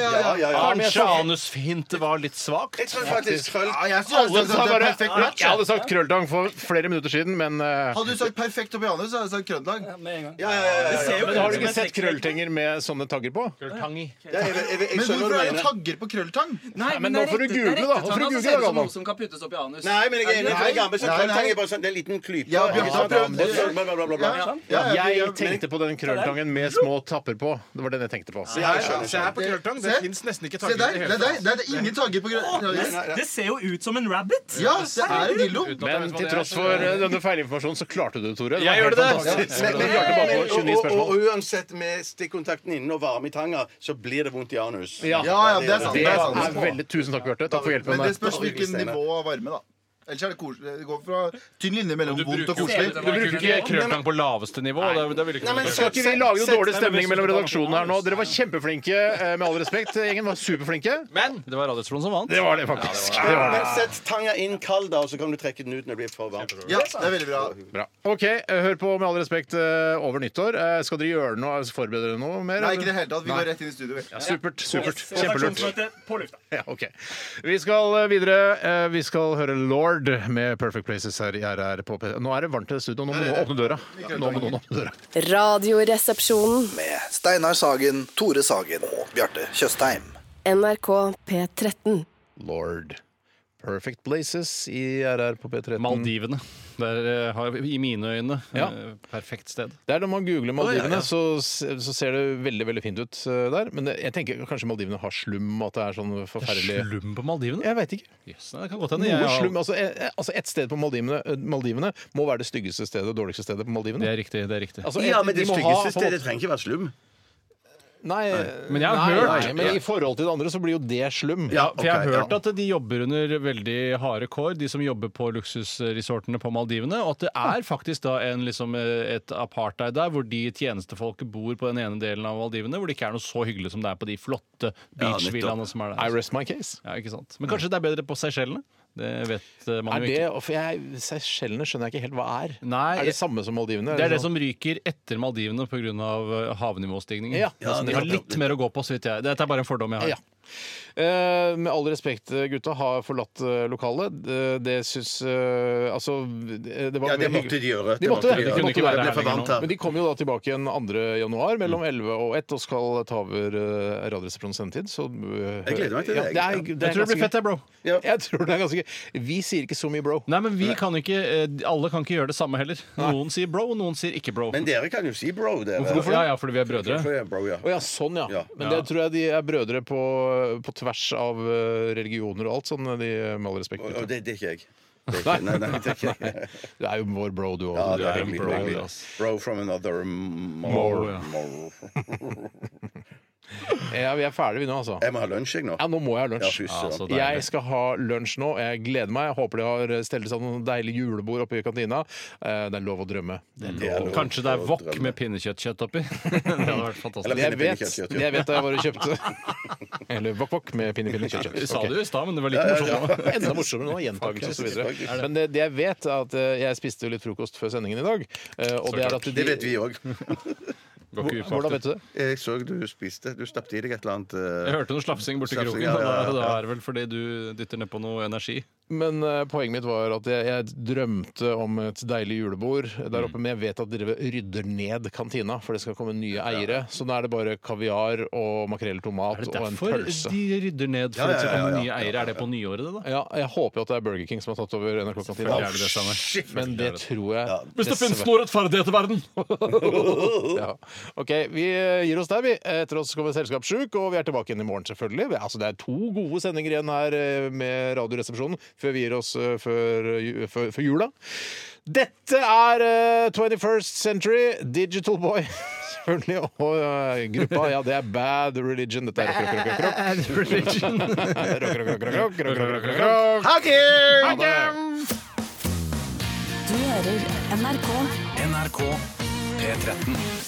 S3: Kanskje anushintet var litt svakt?
S9: Jeg tror faktisk krøll...
S1: Alle sa bare, jeg hadde sagt krølltang for flere minutter siden, men eh,
S10: Hadde du sagt perfekt opp i anus, hadde jeg sagt krølltang.
S9: Ja, ja, ja, ja, ja.
S1: Men har du ikke sett krølltenger med sånne tagger på?
S9: Ja, jeg- jeg- jeg- jeg
S10: Men
S9: skjønner
S10: hvorfor
S9: hva
S10: er
S9: du
S10: det
S9: mener.
S10: tagger på krølltang?
S1: Nei, men nå får du google, da. Nå får du google, da, Galvan.
S16: Som kan puttes opp i anus.
S9: Nei, men jeg er enig. for det gamle, så
S10: Nei, nei.
S9: Krølltang er bare sånn, det er en liten klype.
S10: Ja,
S9: ikke
S10: Bjarte har
S9: sant?
S10: prøvd.
S9: Og så bla, bla, bla, bla, bla.
S10: Ja,
S9: Ja, ja,
S1: Jeg
S9: men-
S1: tenkte på den krølltangen med små tapper på. Det var den jeg tenkte på.
S9: Se her, skjønner, skjønner.
S1: Eh,
S3: på krølltang.
S10: Se.
S3: finnes nesten ikke
S10: Se der, det er der. Det er ingen tagger på krølltang.
S12: Det ser jo ut som en rabbit.
S10: Ja, se, er det dildo?
S1: Men til tross for eh, denne feilinformasjonen så klarte du det, Tore.
S3: Jeg
S1: var
S3: gjorde
S1: helt
S3: det.
S1: fantastisk.
S9: Men-
S1: Du klarte bare på 29
S9: og, og,
S1: spørsmål.
S9: og uansett med stikkontakten inne og varme i tanga, så blir det vondt i anus.
S1: Ja.
S10: Ja, ja, det er sant,
S1: Det
S10: det er sant.
S1: er veldig Tusen takk, Bjarte. Takk for hjelpen.
S10: Men det
S1: der.
S10: spørs hvilken nivå av varme, da. Ellers er det koselig. Det går fra tynn linje mellom vondt og koselig.
S3: Du bruker ikke krølltang på laveste nivå. Da, da vil ikke
S9: Nei, men
S1: Skal ikke vi lage noe dårlig stemning mellom redaksjonen her nå? Dere var kjempeflinke, eh, med all respekt. Gjengen var superflinke.
S3: Men det var Radiotronen som vant.
S1: Det var det, faktisk. Det var det.
S9: Men sett tanga inn kald, da, og så kan du trekke den ut når det blir for varmt.
S10: Ja, det er veldig bra.
S1: Bra. OK, eh, hør på Med all respekt eh, over nyttår. Eh, Skal dere gjøre noe? Forberede dere noe
S10: Nei,
S1: mer? eller?
S10: ikke i det hele tatt. Vi
S1: Nei.
S10: går rett inn i studio. vi.
S1: Ja, supert. supert.
S10: Yes.
S1: Kjempelurt. Ja, ok. Vi skal eh, videre. Eh, Vi skal høre Lord med 'Perfect Places' her i RR på P... Nå er det varmt i studio. Nå må noen åpne døra. Nå må noen åpne døra.
S5: Radioresepsjonen.
S17: Med Steinar Sagen, Tore Sagen og Bjarte Tjøstheim.
S5: NRK P13.
S1: Lord. Perfect Places i RR på P13.
S3: Maldivene. Der, eh, har, I mine øyne
S1: Mm. Ja.
S3: eh, perfekt sted.
S1: Det er Når man googler
S3: Å, ja,
S1: Maldivene,
S3: ja.
S1: så, så ser det veldig veldig fint ut eh, der. Men det, jeg tenker kanskje Maldivene har slum, at det er sånn forferdelig
S3: Slum på Maldivene?
S1: Jeg veit ikke.
S3: Yes, nei, det kan godt hende. Jeg
S1: Noe
S3: har-
S1: slum, altså, eh, altså Et sted på Maldivene, eh, Maldivene må være det styggeste stedet, dårligste stedet på Maldivene.
S3: Det er riktig. det er riktig
S1: Altså,
S9: ja,
S1: et-
S9: men
S1: de
S9: det
S1: må ha, på
S9: styggeste
S1: en
S9: stedet
S1: måte-
S9: trenger ikke være slum.
S1: Nei,
S3: Men jeg har
S1: nei,
S3: hørt-
S1: nei, men i forhold til det andre så blir jo det slum.
S3: Ja, for jeg har hørt at de jobber under veldig harde kår, de som jobber på luksusresortene på Maldivene. Og at det er faktisk da en, liksom, et apartheid der, hvor de tjenestefolket bor på den ene delen av Maldivene, hvor det ikke er noe så hyggelig som det er på de flotte beachvillaene som er der.
S1: I rest my case.
S3: Ja, ikke sant? Men kanskje det er bedre på Seychellene? Det vet eh, man
S1: Er
S3: jo
S1: det,
S3: ikke.
S1: for jeg, Seychellene skjønner jeg ikke helt hva er.
S3: Nei,
S1: er det samme som Maldivene?
S3: Det er det
S1: sånn?
S3: som ryker etter Maldivene pga. eh, havnivåstigningen.
S1: Ja.
S3: Så de har litt mer å gå på, så vidt jeg. Dette er bare en fordom jeg har.
S1: Ja. Eh, med all respekt, gutta har forlatt eh, lokalet. Eh, Det syns eh, Altså det det var
S9: Ja, det
S1: veldig
S9: måtte
S1: hyggelig.
S9: de
S1: De
S9: gjøre. Det
S1: måtte det.
S9: måtte de gjøre.
S1: De
S9: Det
S1: måtte
S9: ble
S1: være her lenger
S9: forvant
S1: nå.
S9: her.
S1: Men de kommer jo da tilbake igjen 2. januar mellom 11 og 1 og skal ta over eh, Radioresepsjonens sendetid. Så eh,
S9: Jeg gleder meg til det,
S1: Ja,
S9: jeg.
S1: det er,
S9: Ja.
S1: det
S9: Jeg
S1: er
S9: tror det blir
S1: ganske gøy.
S9: fett, jeg, bro.
S1: Jeg tror det er ganske gøy. Vi sier ikke så mye bro.
S3: Nei, men vi kan ikke, eh, Alle kan ikke gjøre det samme heller. Noen sier bro, noen sier ikke bro.
S9: Men dere kan jo si bro, dere.
S3: Hvorfor? Hvorfor? Ja, ja, fordi vi er brødre.
S9: Hvorfor er jeg bro, ja.
S1: Å ja, sånn ja. Men det tror jeg de er brødre på, på tvers av eh, religioner og alt sånn, de, med all respekt.
S9: Og- og det, det er ikke jeg. Det
S1: Nei.
S9: er ikke- Nei, nei, det er ikke jeg.
S1: Du er jo vår bro, du òg.
S9: Ja,
S1: du
S9: det er
S1: en
S9: hyggelig,
S1: bro,
S9: hyggelig.
S1: du, ass.
S9: Bro from another
S1: Mor,
S9: more.
S1: ja. Ja, vi er ferdige vi nå, altså.
S9: Jeg må ha lunsj, jeg nå.
S1: Ja, nå må jeg ha
S9: Ja,
S1: lunsj.
S9: fy søren. Ja, så deilig.
S1: jeg skal ha lunsj nå. Jeg gleder meg. Jeg håper de har stelt seg noen deilige julebord oppe i kantina. Eh, Det er lov å drømme.
S3: Kanskje det er wok med pinnekjøttkjøtt oppi? det hadde vært fantastisk.
S1: Eller jeg vet, jeg vet da jeg bare kjøpte Eller wok-wok med pinne-pinne-kjøtt.
S3: Du sa det jo i stad, men det var like morsomt. nå.
S1: Enda morsommere nå. Gjentakelse og så
S3: Faktisk,
S1: videre
S3: faktisk.
S1: Men det, det jeg vet, er at eh, jeg spiste jo litt frokost før sendingen i dag. eh, Og
S9: Så
S1: det er
S9: klart.
S1: at de,
S9: Det vet vi òg.
S1: Hvordan vet du det?
S9: Jeg så du spiste. Du stappet i deg et eller annet eh,
S3: Jeg hørte noe slafsing borti
S9: slafsing,
S3: kroken,
S9: ja,
S3: og da,
S9: ja, ja.
S3: da er det vel fordi du dytter nedpå noe energi.
S1: Men eh, poenget mitt var at jeg, jeg drømte om et deilig julebord der
S3: Mm.
S1: oppe. Men jeg vet at dere rydder ned kantina, for det skal komme nye eiere. Så nå er det bare kaviar og makrell i tomat
S3: Er det
S1: og en
S3: derfor
S1: pølse.
S3: de rydder ned? For
S1: Ja,
S3: at
S1: ja, ja,
S3: det skal komme
S1: ja,
S3: nye
S1: ja,
S3: eiere? Er det på nyåret, det, da?
S1: Ja, jeg håper jo at det er Burger King som har tatt over NRK-kantina.
S3: Selvfølgelig er det det samme.
S1: Shit, Men det tror jeg
S3: Hvis det finnes
S1: dessverre-
S3: noe rettferdighet i verden!
S1: ja. OK, vi eh, gir oss der, vi. Etter oss kommer Selskap Sjuk, og vi er tilbake igjen i morgen, selvfølgelig. Vi- Altså, det er to gode sendinger igjen her eh, med Radioresepsjonen før vi gir oss eh, før, ju- før, før jula. Dette er eh, 21st Century, Digital Boy. Selvfølgelig. Og eh, gruppa, ja, det er Bad Religion. Dette er rock, rock, rock, rock.
S3: Bad Religion.
S1: rock, rock, rock, rock, rock, rock, rock, rock.
S9: Hakim!
S5: Du hører NRK.
S18: NRK P13.